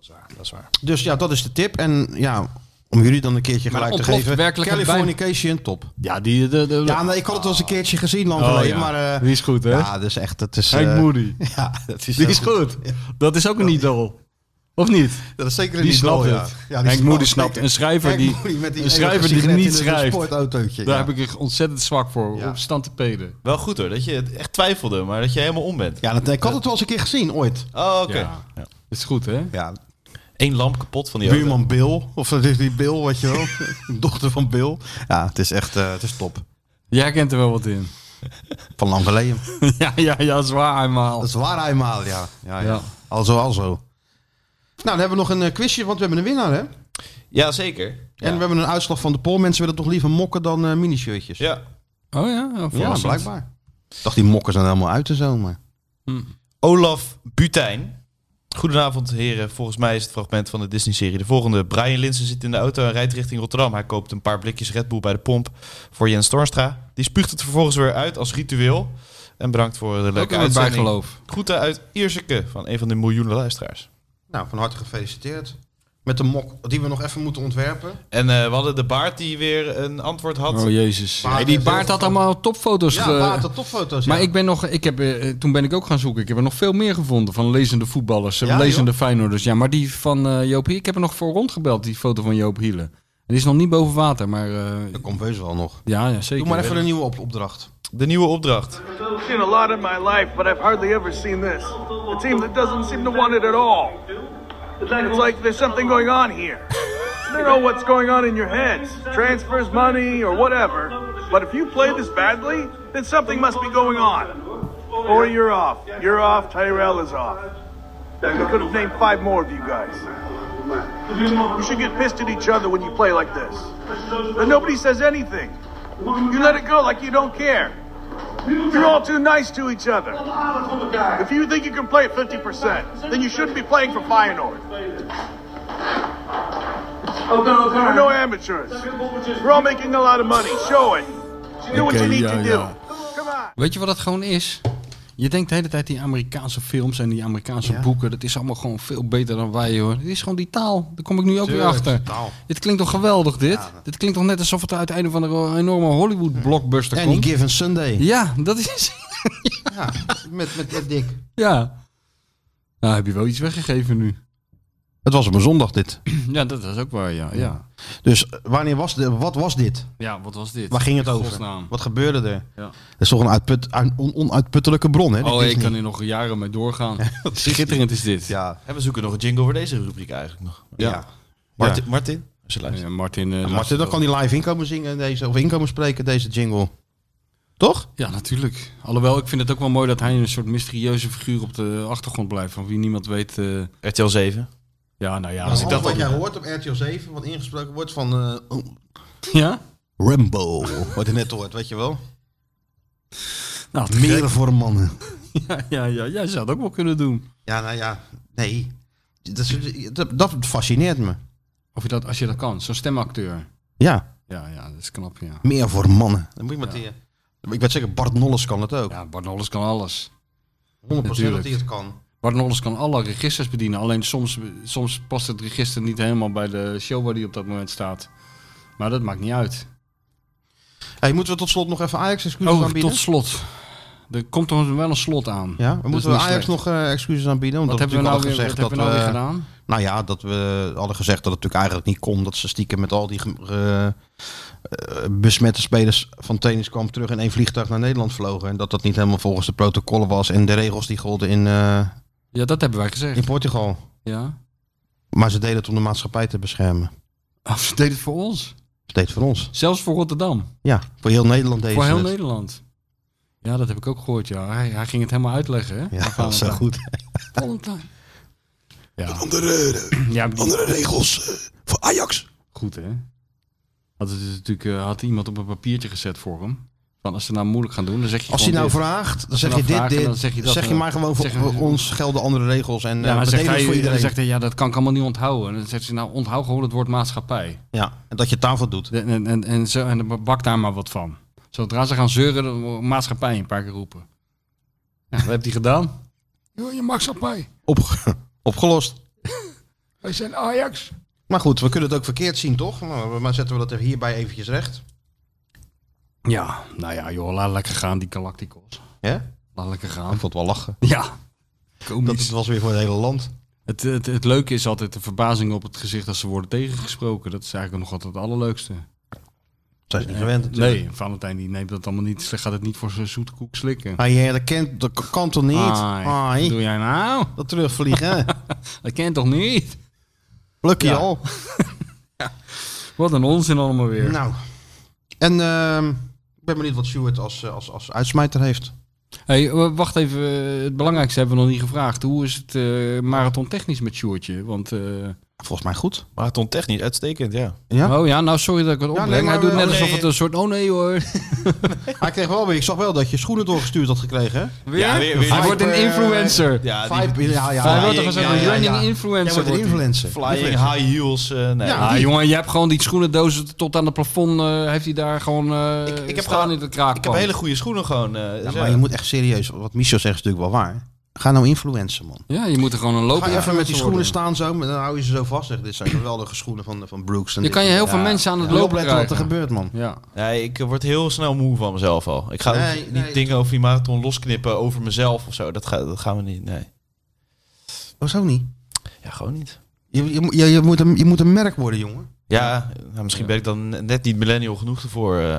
S5: is waar, dat is waar.
S4: Dus ja, dat is de tip. En ja, om jullie dan een keertje
S2: Maar
S4: gelijk
S2: dan
S4: te
S2: ontploft
S4: geven.
S2: werkelijk het
S4: Californication, top.
S2: Ja, die, de, de,
S4: Ja, nee, ik had het wel eens een keertje gezien lang
S2: Oh, ja.
S4: geleden. Maar eh,
S2: die is goed, hè?
S4: ja, dat is echt... Dat is,
S2: Hank
S4: eh,
S2: Moody.
S4: <laughs> ja, dat is,
S2: Die
S4: heel
S2: is goed. Dat is ook een idool. Of niet?
S4: Dat is zeker een
S2: Die
S4: idool,
S2: snapt
S4: ja.
S2: het.
S4: Ja, die
S2: Henk
S4: snapt
S2: Moody
S4: het
S2: snapt.
S4: zeker.
S2: Een schrijver
S4: Henk
S2: die,
S4: Moody met die
S2: een schrijver die
S4: sigaret in
S2: niet
S4: een
S2: schrijft.
S4: sportautootje,
S2: Daar
S4: ja.
S2: heb ik er ontzettend zwak voor.
S4: Ja.
S2: Op stand te peden.
S5: Wel goed hoor, dat je echt twijfelde, maar dat je helemaal om bent.
S4: Ja, dat, ik had het wel eens een keer gezien, ooit.
S5: Oh, oké.
S2: Ja. Dat is goed, hè?
S4: Ja,
S5: één lamp kapot van die auto.
S4: Buurman Bill. Of dat is die Bill, weet je wel. <laughs> Dochter van Bill. Ja, het is echt eh, het is top.
S2: Jij kent er wel wat in. <laughs>
S4: Van lang geleden.
S2: ja, ja, ja, zwaar eenmaal.
S4: Zwaar eenmaal, ja. ja, ja.
S2: Ja.
S4: Alzo, alzo. Nou, dan hebben we nog een eh, quizje, want we hebben een winnaar, hè?
S5: Ja, zeker. Ja.
S4: En we hebben een uitslag van de poll. Mensen willen toch liever mokken dan eh minishirtjes?
S5: Ja.
S2: Oh ja,
S4: Ja, blijkbaar. Ik dacht, die mokken zijn helemaal uit en zo, maar...
S5: Olaf Butijn. Goedenavond, heren. Volgens mij is het fragment van de Disney-serie de volgende. Brian Linsen zit in de auto en rijdt richting Rotterdam. Hij koopt een paar blikjes Red Bull bij de pomp voor Jens Torstra. Die spuugt het vervolgens weer uit als ritueel. En bedankt voor de leuke
S2: weer
S5: uitzending.
S2: bijgeloof.
S5: Groeten uit Ierseke van een van de miljoenen luisteraars.
S4: Nou, van harte gefeliciteerd. Met de mok die we nog even moeten ontwerpen.
S5: En eh, we hadden de baard die weer een antwoord had.
S2: Oh jezus.
S4: Baard
S2: Hey, die
S4: is heel
S2: baard had
S4: groot.
S2: allemaal topfoto's.
S4: Ja,
S2: ge-
S4: water, topfoto's.
S2: Dus, eh, Maar
S4: ja.
S2: ik ben nog, ik heb, eh, eh, toen ben ik ook gaan zoeken. Ik heb er nog veel meer gevonden van lezende voetballers, eh,
S4: Ja,
S2: lezende Feyenoorders. Ja, maar die van eh, Joop Hielen, ik heb er nog voor rondgebeld, die foto van Joop Hielen. Die is nog niet boven water, maar eh,
S4: Dat komt heus wel nog.
S2: ja, ja, zeker.
S4: Doe maar even een nieuwe op opdracht.
S5: De nieuwe opdracht.
S12: I've seen a lot in my life, but I've hardly ever seen this. A team that doesn't seem to want it at all. It's like there's something going on here. I don't know what's going on in your heads. Transfers, money, or whatever. But if you play this badly, then something must be going on. Or you're off. You're off. Tyrell is off. I could have named five more of you guys. You should get pissed at each other when you play like this. But nobody says anything. You let it go like you don't care. You're all too nice to each other. If you think you can play at 50%, then you shouldn't be playing for Feyenoord. We're no amateurs. We're all making a lot of money. Show it. Do what
S2: Oké,
S12: you need
S2: ja,
S12: to do.
S2: ja. Weet je wat dat gewoon is? Je denkt de hele tijd die Amerikaanse films en die Amerikaanse boeken, dat is allemaal gewoon veel beter dan wij hoor. Het is gewoon die taal. Daar kom ik nu ook weer achter. Dit klinkt toch geweldig dit? Dit klinkt toch net alsof het uit een van een enorme Hollywood blockbuster
S4: Hm. En die
S2: komt?
S4: Given Sunday.
S2: Ja, dat is <laughs>
S4: Ja, met, met, met Dick.
S2: Ja. Nou, heb je wel iets weggegeven nu.
S4: Het was op een zondag dit.
S2: Ja, dat is ook waar, ja. Ja,
S4: Dus eh, wanneer was de, wat was dit?
S2: ja wat was dit?
S4: Waar ging het
S2: In
S4: over?
S2: godsnaam.
S4: Wat gebeurde er?
S2: Ja.
S4: Dat is toch een uitput, een on- onuitputtelijke bron, hè? die
S2: Oh, ik
S4: Disney.
S2: kan hier nog jaren mee
S4: <laughs>
S2: doorgaan. Schitterend is dit. Ja.
S4: Ja,
S5: En we zoeken nog een jingle voor deze rubriek eigenlijk nog.
S4: ja.
S2: Ja.
S5: Martin, Martin, als je luistert.
S2: Ja, Martin, eh,
S4: Nou, Martin,
S2: luistert
S4: dan kan
S2: wel.
S4: hij live inkomen zingen, deze, of inkomen spreken, deze jingle. Toch?
S2: Ja, natuurlijk. Alhoewel, ik vind het ook wel mooi dat hij een soort mysterieuze figuur op de achtergrond blijft. Van wie niemand weet... eh,
S5: RTL 7.
S2: ja, nou ja.
S4: Als ik
S2: dat-
S4: dat wat jij hoort op RTL 7, wat ingesproken wordt van eh,
S2: Ja?
S4: Rambo. Wat je net hoort, weet je wel?
S2: Nou, te
S4: Meren voor mannen.
S2: gek. <laughs> Ja, ja, ja, jij zou het ook wel kunnen doen.
S4: Ja, nou ja, nee. Dat, is- dat, dat fascineert me.
S2: Of je dat, als je dat kan. Zo'n stemacteur.
S4: Ja,
S2: Ja, ja, dat is knap, ja.
S4: meer voor mannen. Dan moet je met die, ik weet zeker, Bart Nolles kan het ook.
S2: Ja, Bart Nolles kan alles.
S4: 100% dat
S2: natuurlijk.
S4: hij het kan.
S2: Bart Nolles kan alle registers bedienen. Alleen soms, soms past het register niet helemaal bij de show waar die op dat moment staat. Maar dat maakt niet uit.
S4: Hey, moeten we tot slot nog even Ajax excuses
S2: Oh,
S4: aanbieden?
S2: tot slot. Er komt toch wel een slot aan.
S4: Ja, we
S2: Dat
S4: moeten
S2: is
S4: we
S2: Dus niet
S4: Ajax
S2: slecht.
S4: nog eh, excuses aanbieden? Want
S2: Wat
S4: dat
S2: hebben we nou weer, wat
S4: gezegd
S2: hebben we nou weer gedaan?
S4: Nou ja, dat we hadden gezegd dat het natuurlijk eigenlijk niet kon. Dat ze stiekem met al die ge- ge- eh, besmette spelers van tennis kwam terug in één vliegtuig naar Nederland vlogen. En dat dat niet helemaal volgens de protocollen was en de regels die golden in, eh,
S2: Ja, dat hebben wij gezegd.
S4: in Portugal.
S2: Ja.
S4: Maar ze deden het om de maatschappij te beschermen.
S2: Oh, ze deed het voor ons.
S4: Ze deed het voor ons.
S2: Zelfs voor Rotterdam.
S4: Ja, voor heel Nederland deden
S2: voor
S4: ze
S2: heel
S4: het.
S2: Nederland. Ja, dat heb ik ook gehoord, ja. Hij, hij ging het helemaal uitleggen, hè?
S4: Ja, dat is wel goed.
S2: Valentijn. Ja,
S4: Andere,
S2: ja die-
S4: regels eh, voor Ajax.
S2: Goed, hè? Had, het dus natuurlijk, eh, had iemand op een papiertje gezet voor hem. Van als ze nou moeilijk gaan doen, dan zeg je
S4: Als hij
S2: gewoon
S4: nou
S2: dit.
S4: vraagt, dan
S2: Als
S4: zeg
S2: hij nou
S4: je dit,
S2: vraagt en
S4: dit.
S2: dan zeg je dat
S4: zeg je
S2: en-
S4: maar gewoon, voor,
S2: zeg je-
S4: voor ons gelden andere regels en eh,
S2: Ja,
S4: ja,
S2: dan zegt, hij,
S4: voor
S2: dan
S4: iedereen.
S2: zegt hij, ja, dat kan ik allemaal niet onthouden. En dan zegt ze, nou, onthoud gewoon het woord maatschappij.
S4: Ja, en dat je tafel doet.
S2: En, en, en, en, zo, en dan bak daar maar wat van. Zodra ze gaan zeuren, dan maatschappij een paar keer roepen. Ja, wat heeft hij gedaan? Ja, je maatschappij.
S4: Op, <laughs> opgelost.
S2: Wij zijn Ajax.
S4: Maar goed, we kunnen het ook verkeerd zien, toch? Maar maar zetten we dat er hierbij eventjes recht.
S2: Ja, nou ja, joh, laat lekker gaan, die Galacticos.
S4: Ja?
S2: Laat lekker gaan.
S4: Ik vond het wel lachen.
S2: Ja. Komisch.
S4: Dat het was weer voor het hele land.
S2: Het, het, het leuke is altijd de verbazing op het gezicht als ze worden tegengesproken. Dat is eigenlijk nog altijd het allerleukste.
S4: Dat is niet gewend natuurlijk.
S2: Nee, Valentijn die neemt dat allemaal niet. Ze gaat het niet voor zijn zoete koek slikken.
S4: Ah, ja, dat, kent, dat kan toch niet?
S2: Ai, wat
S4: Ai,
S2: doe jij nou? <laughs>
S4: dat terugvliegen.
S2: Dat kent toch niet?
S4: Lucky
S2: Ja.
S4: al.
S2: Wat een onzin allemaal weer.
S4: Nou. En ehm, ik ben benieuwd wat Stuart als, eh, als, als uitsmijter heeft.
S2: Hey, w- wacht even, eh, het belangrijkste hebben we nog niet gevraagd. Hoe is het eh, marathon technisch met Sjoertje? Want, eh,
S4: Volgens mij goed.
S5: Marathon technisch, uitstekend, ja.
S4: Ja?
S2: Oh ja, nou sorry dat ik wat
S4: nee,
S2: opbreng.
S4: maar
S2: Hij doet
S4: we-
S2: net
S4: nee.
S2: alsof het een soort, oh nee hoor.
S4: Hij kreeg wel weer, ik zag wel dat je schoenen doorgestuurd had gekregen. hè?
S2: Weer? Ja, weer- weer. Hij wordt een influencer.
S4: Ja,
S2: Ja,
S4: die,
S2: die-
S4: Vibe, ja, eh, ja,
S2: Hij wordt
S4: ja,
S2: toch een soort
S4: ja, ja,
S2: running
S4: ja.
S2: influencer
S4: Jij wordt een
S2: wordt hij.
S4: influencer.
S5: Flying
S4: Influencer.
S5: high heels. eh, nee.
S2: Ja,
S5: die-
S2: jongen, je hebt gewoon die schoenendozen tot aan het plafond. eh, heeft hij daar gewoon eh
S5: ik heb
S2: staan
S5: gewoon-
S2: in het kraak.
S5: Ik heb hele goede schoenen gewoon. eh,
S4: Ja,
S5: zo.
S4: maar je moet echt serieus, wat Michel zegt is natuurlijk wel waar. Ga nou influencer, man.
S2: Ja, je moet er gewoon een loop
S4: Ga even met die schoenen
S2: worden.
S4: staan zo, maar dan hou je ze zo vast. Zeg, dit zijn geweldige schoenen van, van Brooks. en
S2: Je
S4: dit
S2: kan je
S4: en
S2: heel
S4: dat.
S2: veel
S4: Ja.
S2: mensen aan het
S4: Ja.
S2: lopen
S4: Opletten wat er
S2: krijgen.
S4: gebeurt, man.
S2: Ja.
S5: Nee, ik word heel snel moe van mezelf al. Ik ga ook
S4: Nee,
S5: niet
S4: nee.
S5: dingen over die marathon losknippen over mezelf of zo. Dat, ga, dat gaan we niet. Nee.
S4: Hoezo niet?
S5: Ja, gewoon niet.
S4: Je, je, je, je, moet een, je moet een merk worden, jongen.
S5: Ja, nou, misschien ben ik dan net niet millennial genoeg ervoor. eh.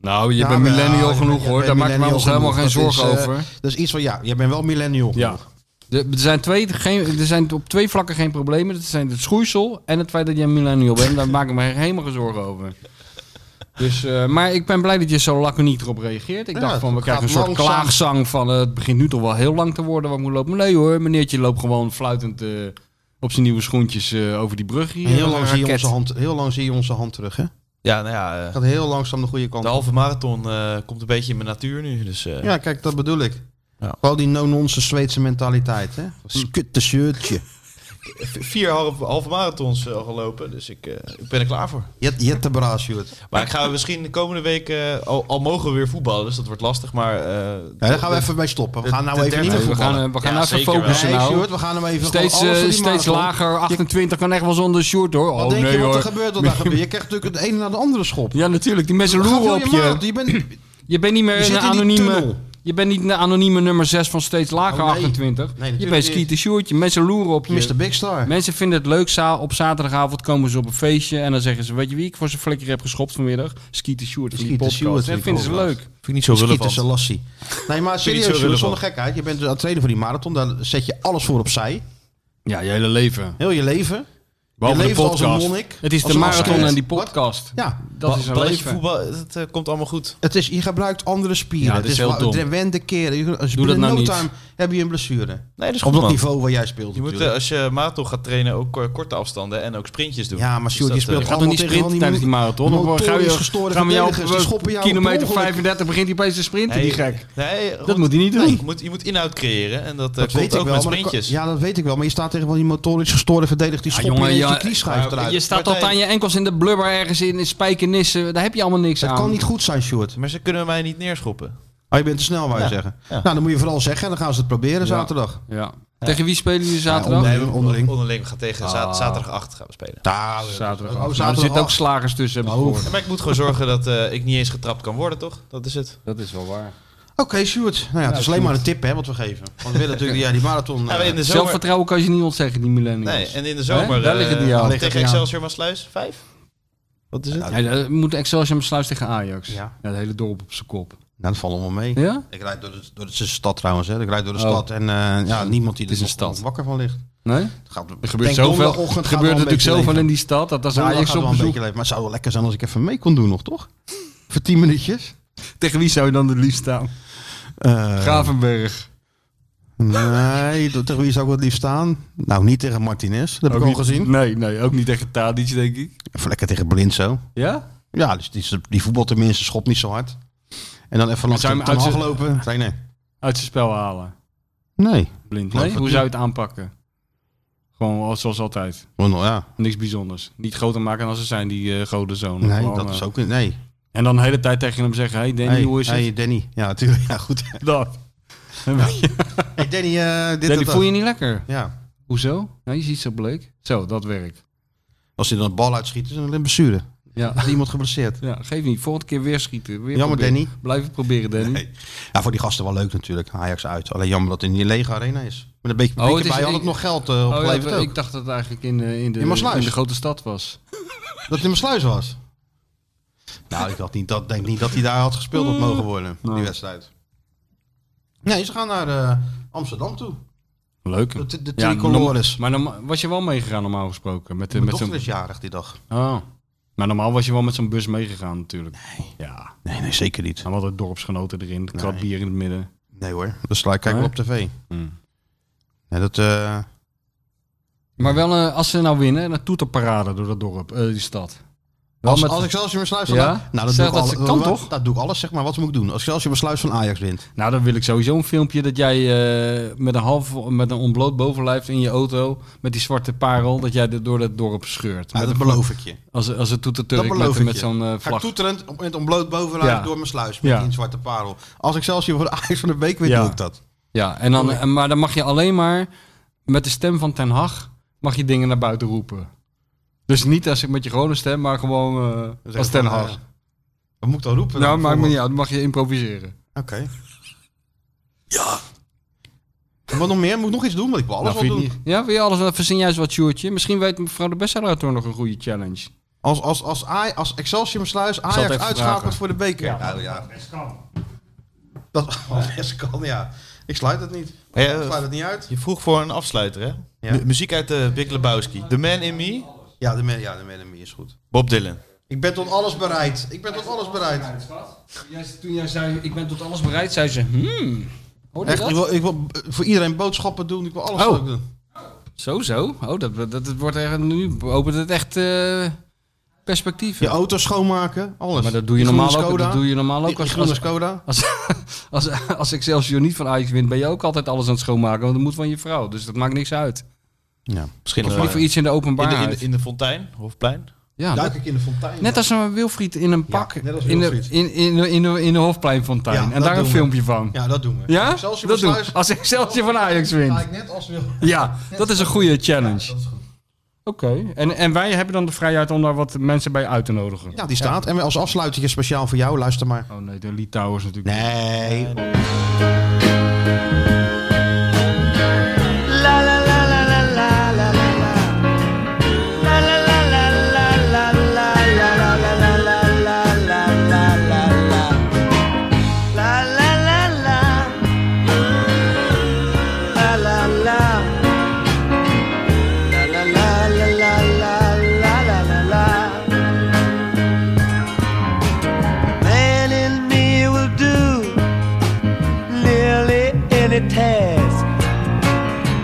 S2: Nou, je
S4: Ja,
S2: bent
S4: maar-
S2: millennial
S4: ja,
S2: genoeg
S4: je
S2: hoor.
S4: bent
S2: Daar maken we
S4: millennial
S2: ons helemaal geen
S4: genoeg. Dat
S2: zorgen
S4: is, eh,
S2: over.
S4: Dat is iets van, ja, jij bent wel millennial.
S2: Ja. De- er zijn twee, geen, er zijn op twee vlakken geen problemen. Dat zijn het schoeisel en het feit dat je een millennial bent. Daar maak ik me helemaal geen zorgen over. Dus, eh, maar ik ben blij dat je zo laconiek erop reageert. Ik
S4: Ja,
S2: dacht van, we
S4: het
S2: krijgen een
S4: gaat
S2: soort
S4: langzaam.
S2: klaagzang van... eh, het begint nu toch wel heel lang te worden wat moet lopen. Nee hoor, meneertje loopt gewoon fluitend eh, op zijn nieuwe schoentjes eh, over die brug hier.
S4: En heel,
S2: Een
S4: lang zie je
S2: raket.
S4: onze hand, heel lang zie je onze hand terug, hè?
S5: Ja, nou ja. eh,
S4: Gaat heel langzaam de goede kant
S5: de
S4: op.
S5: halve marathon eh, komt een beetje in mijn natuur nu. Dus, eh,
S4: Ja, kijk, dat bedoel ik.
S5: Ja.
S4: Gewoon die no-nonsense Zweedse mentaliteit, hè? Skutte shirtje.
S5: Vier halve, halve marathons eh, al gelopen, dus ik, eh, ik ben er klaar voor.
S4: Jet, jet de braas, Sjoerd.
S5: Maar ik ga misschien de komende week, eh, al, al mogen we weer voetballen, dus dat wordt lastig. Maar eh,
S4: Ja, daar gaan we even mee stoppen. We gaan nou even niet meer
S2: We
S4: voetballen.
S2: gaan, eh, we gaan
S5: Ja,
S2: even
S5: zeker wel.
S2: focussen
S4: Nee,
S2: nou.
S4: Sjoerd, we gaan hem even
S2: steeds,
S4: gewoon alles
S2: eh,
S4: voor die
S2: steeds
S4: marathon.
S2: lager, 28 kan echt wel zonder short hoor.
S4: Wat
S2: oh
S4: denk
S2: nee
S4: je wat
S2: hoor.
S4: er
S2: <laughs>
S4: gebeurt? Wat daar gebeurt? Je krijgt natuurlijk het ene naar de andere schop.
S2: Ja natuurlijk, die mensen
S4: Gaat
S2: loeren
S4: heel
S2: op
S4: marathon.
S2: je.
S4: Je bent,
S2: Je bent niet meer
S4: Je zit
S2: een
S4: in die tunnel.
S2: anonieme. Je bent niet een anonieme nummer 6 van steeds lager
S4: Oh, nee.
S2: 28.
S4: Nee,
S2: je
S4: natuurlijk
S2: bent
S4: niet.
S2: skieten shortje. Mensen loeren op je.
S4: Mr. Big Star.
S2: Mensen vinden het leuk. za- Op zaterdagavond komen ze op een feestje. En dan zeggen ze: Weet je wie ik voor zijn flikker heb geschopt vanmiddag? Skieten short van die
S4: Skeeter
S2: podcast.
S4: Stewart
S2: dat
S4: vind
S2: vinden
S4: ik
S2: ze
S4: ook
S2: leuk.
S5: vind ik niet zo
S4: Skeeter
S5: relevant.
S4: Selassie. Nee, maar
S5: Vind je niet
S4: serieus,
S5: zo
S4: Sjoerd, zonder
S5: relevant.
S4: gekheid. Je bent dus aan het trainen voor die marathon. Daar zet je alles voor opzij.
S2: Ja, je hele leven.
S4: Heel je leven.
S2: Behalve
S4: je
S2: de
S4: leeft als een
S2: podcast.
S4: monnik.
S2: Het is
S4: als
S2: de
S4: een
S2: marathon
S4: asket.
S2: en die podcast.
S4: Ja,
S2: Dat is een
S5: Balletje
S2: leven.
S5: voetbal, dat eh, komt allemaal goed.
S4: het is, je gebruikt andere spieren.
S2: Ja, dat
S4: het
S2: is heel
S4: wa-
S2: dom.
S4: het wende keren. Je- Als je
S2: Doe dat
S4: binnen
S2: nou
S4: no
S2: niet.
S4: time heb je een blessure.
S5: Nee, dat is
S4: Op
S5: goed,
S4: dat
S5: man.
S4: niveau waar jij speelt
S5: Je moet, eh,
S4: natuurlijk.
S5: als je marathon gaat trainen, ook eh, korte afstanden en ook sprintjes doen.
S4: Ja, maar Sjoerd,
S5: Dus
S4: je
S5: dat,
S4: speelt
S5: eh,
S2: Gaat toch niet
S4: Allemaal tegen
S2: sprinten
S4: van die
S2: tijdens die marathon? Dan
S4: motorisch
S2: gaan we jou-
S4: gestoorde
S2: gaan we jou op
S4: verdedigers, die schoppen
S2: eh,
S4: jou per
S2: kilometer
S4: ongeluk.
S2: 35 begint hij opeens te sprinten, die
S5: nee,
S2: gek.
S5: Nee, goed.
S2: Dat moet hij niet doen.
S5: Nee, je, moet, je moet inhoud creëren en dat, eh,
S4: Dat
S5: komt
S4: weet
S5: ook
S4: ik wel.
S5: met
S4: maar dat kan-
S5: sprintjes.
S4: ja, dat weet ik wel. Maar je staat tegen wel die motorisch gestoorde verdediger die
S2: Ja,
S4: schopt
S2: jongen,
S4: ineens
S2: ja,
S4: die
S5: eh,
S4: knieschijf eruit.
S2: Je staat
S5: Martijn.
S2: tot aan je enkels in de blubber ergens in, in spijkenissen. Daar heb je allemaal niks
S4: dat
S2: aan.
S4: kan niet goed zijn, Sjoerd.
S5: Maar ze kunnen mij niet neerschoppen.
S4: Oh, je bent te snel, wou je
S5: Ja,
S4: zeggen.
S5: ja.
S4: Nou, dan moet je vooral zeggen en dan gaan ze het proberen zaterdag.
S2: Ja. Tegen wie spelen jullie zaterdag?
S4: Ja,
S5: Nee,
S4: onderling.
S5: onderling. Onderling. We gaan tegen za-
S2: Ah.
S5: zaterdag 8 gaan we spelen.
S4: Daar,
S2: zaterdag.
S4: Oh,
S2: Nou, er
S4: zaterdag
S2: zitten ook
S4: acht.
S2: slagers tussen. Heb ik gehoord.
S5: Ja, maar ik moet gewoon zorgen dat eh, ik niet eens getrapt kan worden, toch? Dat is het.
S2: Dat is wel waar.
S4: Oké, Sjoerd. Nou ja, het is alleen maar een tip hè, wat we geven. Want we willen natuurlijk ja, die marathon...
S5: Ja,
S4: eh,
S5: Nou, in de zomer,
S2: Zelfvertrouwen kan je niet ontzeggen, die millennials.
S5: nee, en in de zomer
S2: Hè? Daar
S5: eh,
S2: liggen die aan.
S5: tegen Excelsior Maasluis, 5? Wat is het?
S2: Ja, dan moet Excelsior sluit tegen Ajax.
S4: Ja.
S2: Ja. het hele dorp op zijn kop.
S4: Nou, dat valt allemaal mee.
S2: Ja?
S4: Ik rijd door de, door de het is een stad trouwens. Hè. Ik rijd door de
S2: Oh.
S4: stad en eh, ja, niemand die
S2: Het is
S4: er
S2: een
S4: nog
S2: stad.
S4: wakker van ligt.
S2: Nee?
S4: Het gaat,
S2: Er gebeurt zoveel. Er gebeurt natuurlijk zoveel in die stad. Dat als
S4: Nou, dat
S2: Ajax
S4: gaat wel
S2: op
S4: een
S2: bezoek.
S4: beetje leven. Maar het zou wel lekker zijn als ik even mee kon doen nog, toch? Voor tien minuutjes.
S2: Tegen wie zou je dan het liefst staan?
S4: Eh,
S2: Gravenberg.
S4: Nee, door- tegen wie zou ik het liefst staan? Nou, niet tegen Martinez. Dat heb ik
S2: Ook
S4: al
S2: niet-
S4: gezien.
S2: Nee, nee, ook niet tegen Tadic, denk ik.
S4: Even lekker tegen Blind zo.
S2: Ja?
S4: Ja, dus die, die voetbal tenminste schopt niet zo hard. En dan even langs
S2: zou
S4: de
S2: je hem
S4: Ten
S2: uit
S4: Hag
S2: z'n-
S4: lopen. Nee, nee.
S2: Uit zijn spel halen.
S4: Nee.
S2: Blind.
S4: Nee?
S2: Hoe zou je het aanpakken? Gewoon als- zoals altijd.
S4: Oh, nou ja.
S2: Niks bijzonders. Niet groter maken dan ze zijn, die eh goden zonen.
S4: Nee,
S2: Gewoon,
S4: dat
S2: eh,
S4: is ook... Nee.
S2: En dan de hele tijd tegen hem zeggen, hey Danny,
S4: Hey,
S2: hoe is
S4: hey, Danny. Ja, natuurlijk. Ja, goed.
S2: het? <laughs> Dat.
S4: Hey, Danny, eh dit en
S2: Danny,
S4: dat.
S2: voel je niet lekker?
S4: Ja.
S2: Hoezo? Nou, je ziet zo bleek. Zo, dat werkt.
S4: Als hij dan een bal uitschiet, is het een blessure.
S2: Ja.
S4: Is iemand geblesseerd.
S2: <laughs> ja, geef niet. Volgende keer weer schieten. Weer
S4: Jammer,
S2: proberen.
S4: Danny.
S2: Blijven proberen, Danny.
S4: Nee. Ja, voor die gasten wel leuk natuurlijk. Ajax uit. Alleen jammer dat het in die lege arena is. Met een beetje
S2: Oh, het
S4: publiek
S2: is
S4: erbij
S2: een-
S4: had het nog geld eh
S2: Oh, ja,
S4: opgeleverd ook.
S2: ik dacht dat het eigenlijk in de, in de,
S4: In Maassluis.
S2: in de grote stad was.
S4: Dat het in sluis was. Nou, ik had niet, dat, denk niet dat hij daar had gespeeld had mogen worden, die wedstrijd. Nee, ze gaan naar eh, Amsterdam toe.
S2: Leuk.
S4: De, de
S2: Ja,
S4: tricolores.
S2: norm- maar norma- was je wel meegegaan normaal gesproken? Met, de-
S4: Mijn
S2: met zo'n-
S4: dochter is jarig die dag.
S2: Oh. Maar normaal was je wel met zo'n bus meegegaan natuurlijk. Nee. Ja.
S4: Nee, nee, zeker niet.
S2: Dan hadden dorpsgenoten erin, een krat bier in het midden.
S4: Nee hoor, dat sla ik kijk wel op tv.
S2: Hmm.
S4: Ja, dat, eh,
S2: Maar wel, eh, als ze nou winnen, een toeterparade door dat dorp, eh, die stad. Wel
S4: als,
S2: met-
S4: als Excelsior besluit van...
S2: ja?
S4: Nou, dat
S2: Zeg
S4: doe ik
S2: dat
S4: alle-
S2: ze- kan
S4: wa-
S2: toch?
S4: Dat doe ik alles, zeg maar. Wat moet ik doen? Als Excelsior besluit van Ajax wint.
S2: Nou, dan wil ik sowieso een filmpje dat jij eh, met een half, met een ontbloot bovenlijf in je auto, met die zwarte parel, dat jij er door dat dorp scheurt.
S4: Ja,
S2: Met
S4: dat
S2: een-
S4: beloof ik je.
S2: Als, als het
S4: Dat
S2: toeterturk
S4: beloof
S2: met,
S4: ik
S2: met
S4: je.
S2: zo'n eh,
S4: Ga ik
S2: vlag.
S4: toeterend om- met ontbloot bovenlijf
S2: Ja.
S4: door mijn sluis met
S2: Ja.
S4: die zwarte parel. Als Excelsior voor de <laughs> Ajax van de week wint,
S2: Ja.
S4: doe ik dat.
S2: Ja, en
S4: Oh,
S2: dan, en- maar dan mag je alleen maar met de stem van Ten Hag mag je dingen naar buiten roepen. Dus niet als ik met je gewone stem, maar gewoon eh,
S4: Zeg
S2: als
S4: van,
S2: Ten
S4: eh,
S2: Hag.
S4: Wat moet ik dan roepen?
S2: nou,
S4: dan,
S2: maakt me niet
S4: bijvoorbeeld?
S2: uit. Dan mag je improviseren.
S4: Oké. Ja. Wat nog meer? Moet ik nog iets doen? Want ik wil alles
S2: Nou,
S4: wel
S2: vind je
S4: doen.
S2: niet- Ja, wil je alles wel verzin juist wat, Sjoertje? Misschien weet mevrouw de Besserator nog een goede challenge.
S4: Als, als, als, Aj- als Excelsior besluit
S2: zal het
S4: Ajax
S2: even
S4: uitschakelt
S2: vragen.
S4: voor de beker.
S2: Ja.
S4: Nou, ja. Dat <laughs> oh, best kan, ja. Ik sluit het niet.
S5: Ja,
S4: ik sluit het niet uit.
S5: Je vroeg voor een afsluiter, hè? Mu- Muziek uit de Big Lebowski. The Man in Me,
S4: Ja, de man, ja, de man in me is goed.
S5: Bob Dylan.
S4: Ik ben tot alles bereid. Ik ben tot alles bereid.
S2: Toen jij zei, ik ben tot alles bereid, zei ze, "Hmm, Hoorde
S4: Echt, ik wil, ik wil eh, voor iedereen boodschappen doen. Ik wil alles
S2: Oh.
S4: leuk doen.
S2: Zo, zo. Oh, dat, dat, dat wordt echt, nu opent het echt eh perspectief.
S4: Je auto schoonmaken, alles.
S2: Maar dat doe je
S4: Die
S2: normaal
S4: groene
S2: ook.
S4: Skoda.
S2: Dat doe je normaal
S4: Die-
S2: ook
S4: die
S2: als,
S4: groene
S2: als,
S4: Skoda.
S2: als, <laughs> als, als Excelsior niet van Ajax wint, ben je ook altijd alles aan het schoonmaken. Want dat moet van je vrouw. Dus dat maakt niks uit.
S4: Ja,
S5: misschien eh,
S2: Of niet voor iets in de openbaarheid.
S5: In de, in de, in de fontein, Hofplein.
S2: ja,
S4: Duik
S2: net-
S4: ik in de fontein.
S2: Ah, net als een Wilfried in een pak.
S4: net als
S2: in, de,
S4: Wilfried.
S2: in, in, de- in, de, in de Hofpleinfontein.
S4: Ja,
S2: en
S4: dat
S2: daar een
S4: doen we.
S2: filmpje van.
S4: Ja, dat doen we.
S2: Ja?
S4: Excelsior
S2: dat doen we.
S4: besluit-
S2: Als Excelsior van Ajax wint.
S4: Ga ik net als wil.
S2: Ja, dat is een goede challenge.
S4: dat is goed.
S2: Oké, en, en wij hebben dan de vrijheid om daar wat mensen bij uit te nodigen.
S4: Ja, die staat. En als afsluitertje speciaal voor jou, luister maar.
S2: Oh nee, de Litouwers natuurlijk.
S4: Nee.
S13: Man in me will do nearly any task.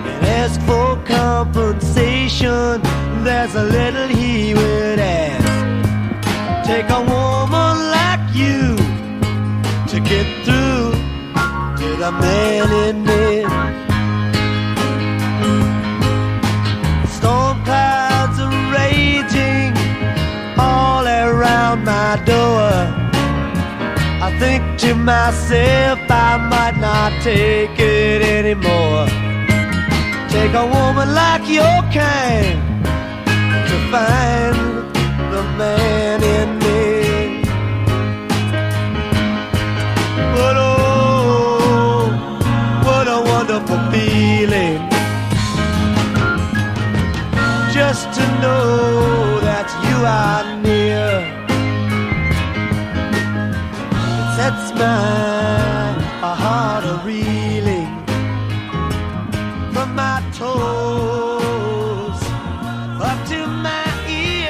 S13: And ask for compensation, there's a little he would ask. Take a woman like you to get through to the man in me. Storm clouds are raging all around my door. I think to myself I might not take it anymore. Take a woman like your kind to find the man in me. What oh, what a wonderful feeling just to know that you are near. It sets my heart a reeling from my toes up to my ears.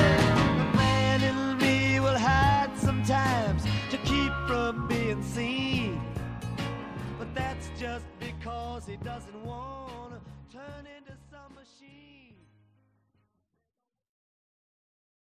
S13: The man in me will hide sometimes to keep from being seen, but that's just because he doesn't want to turn into.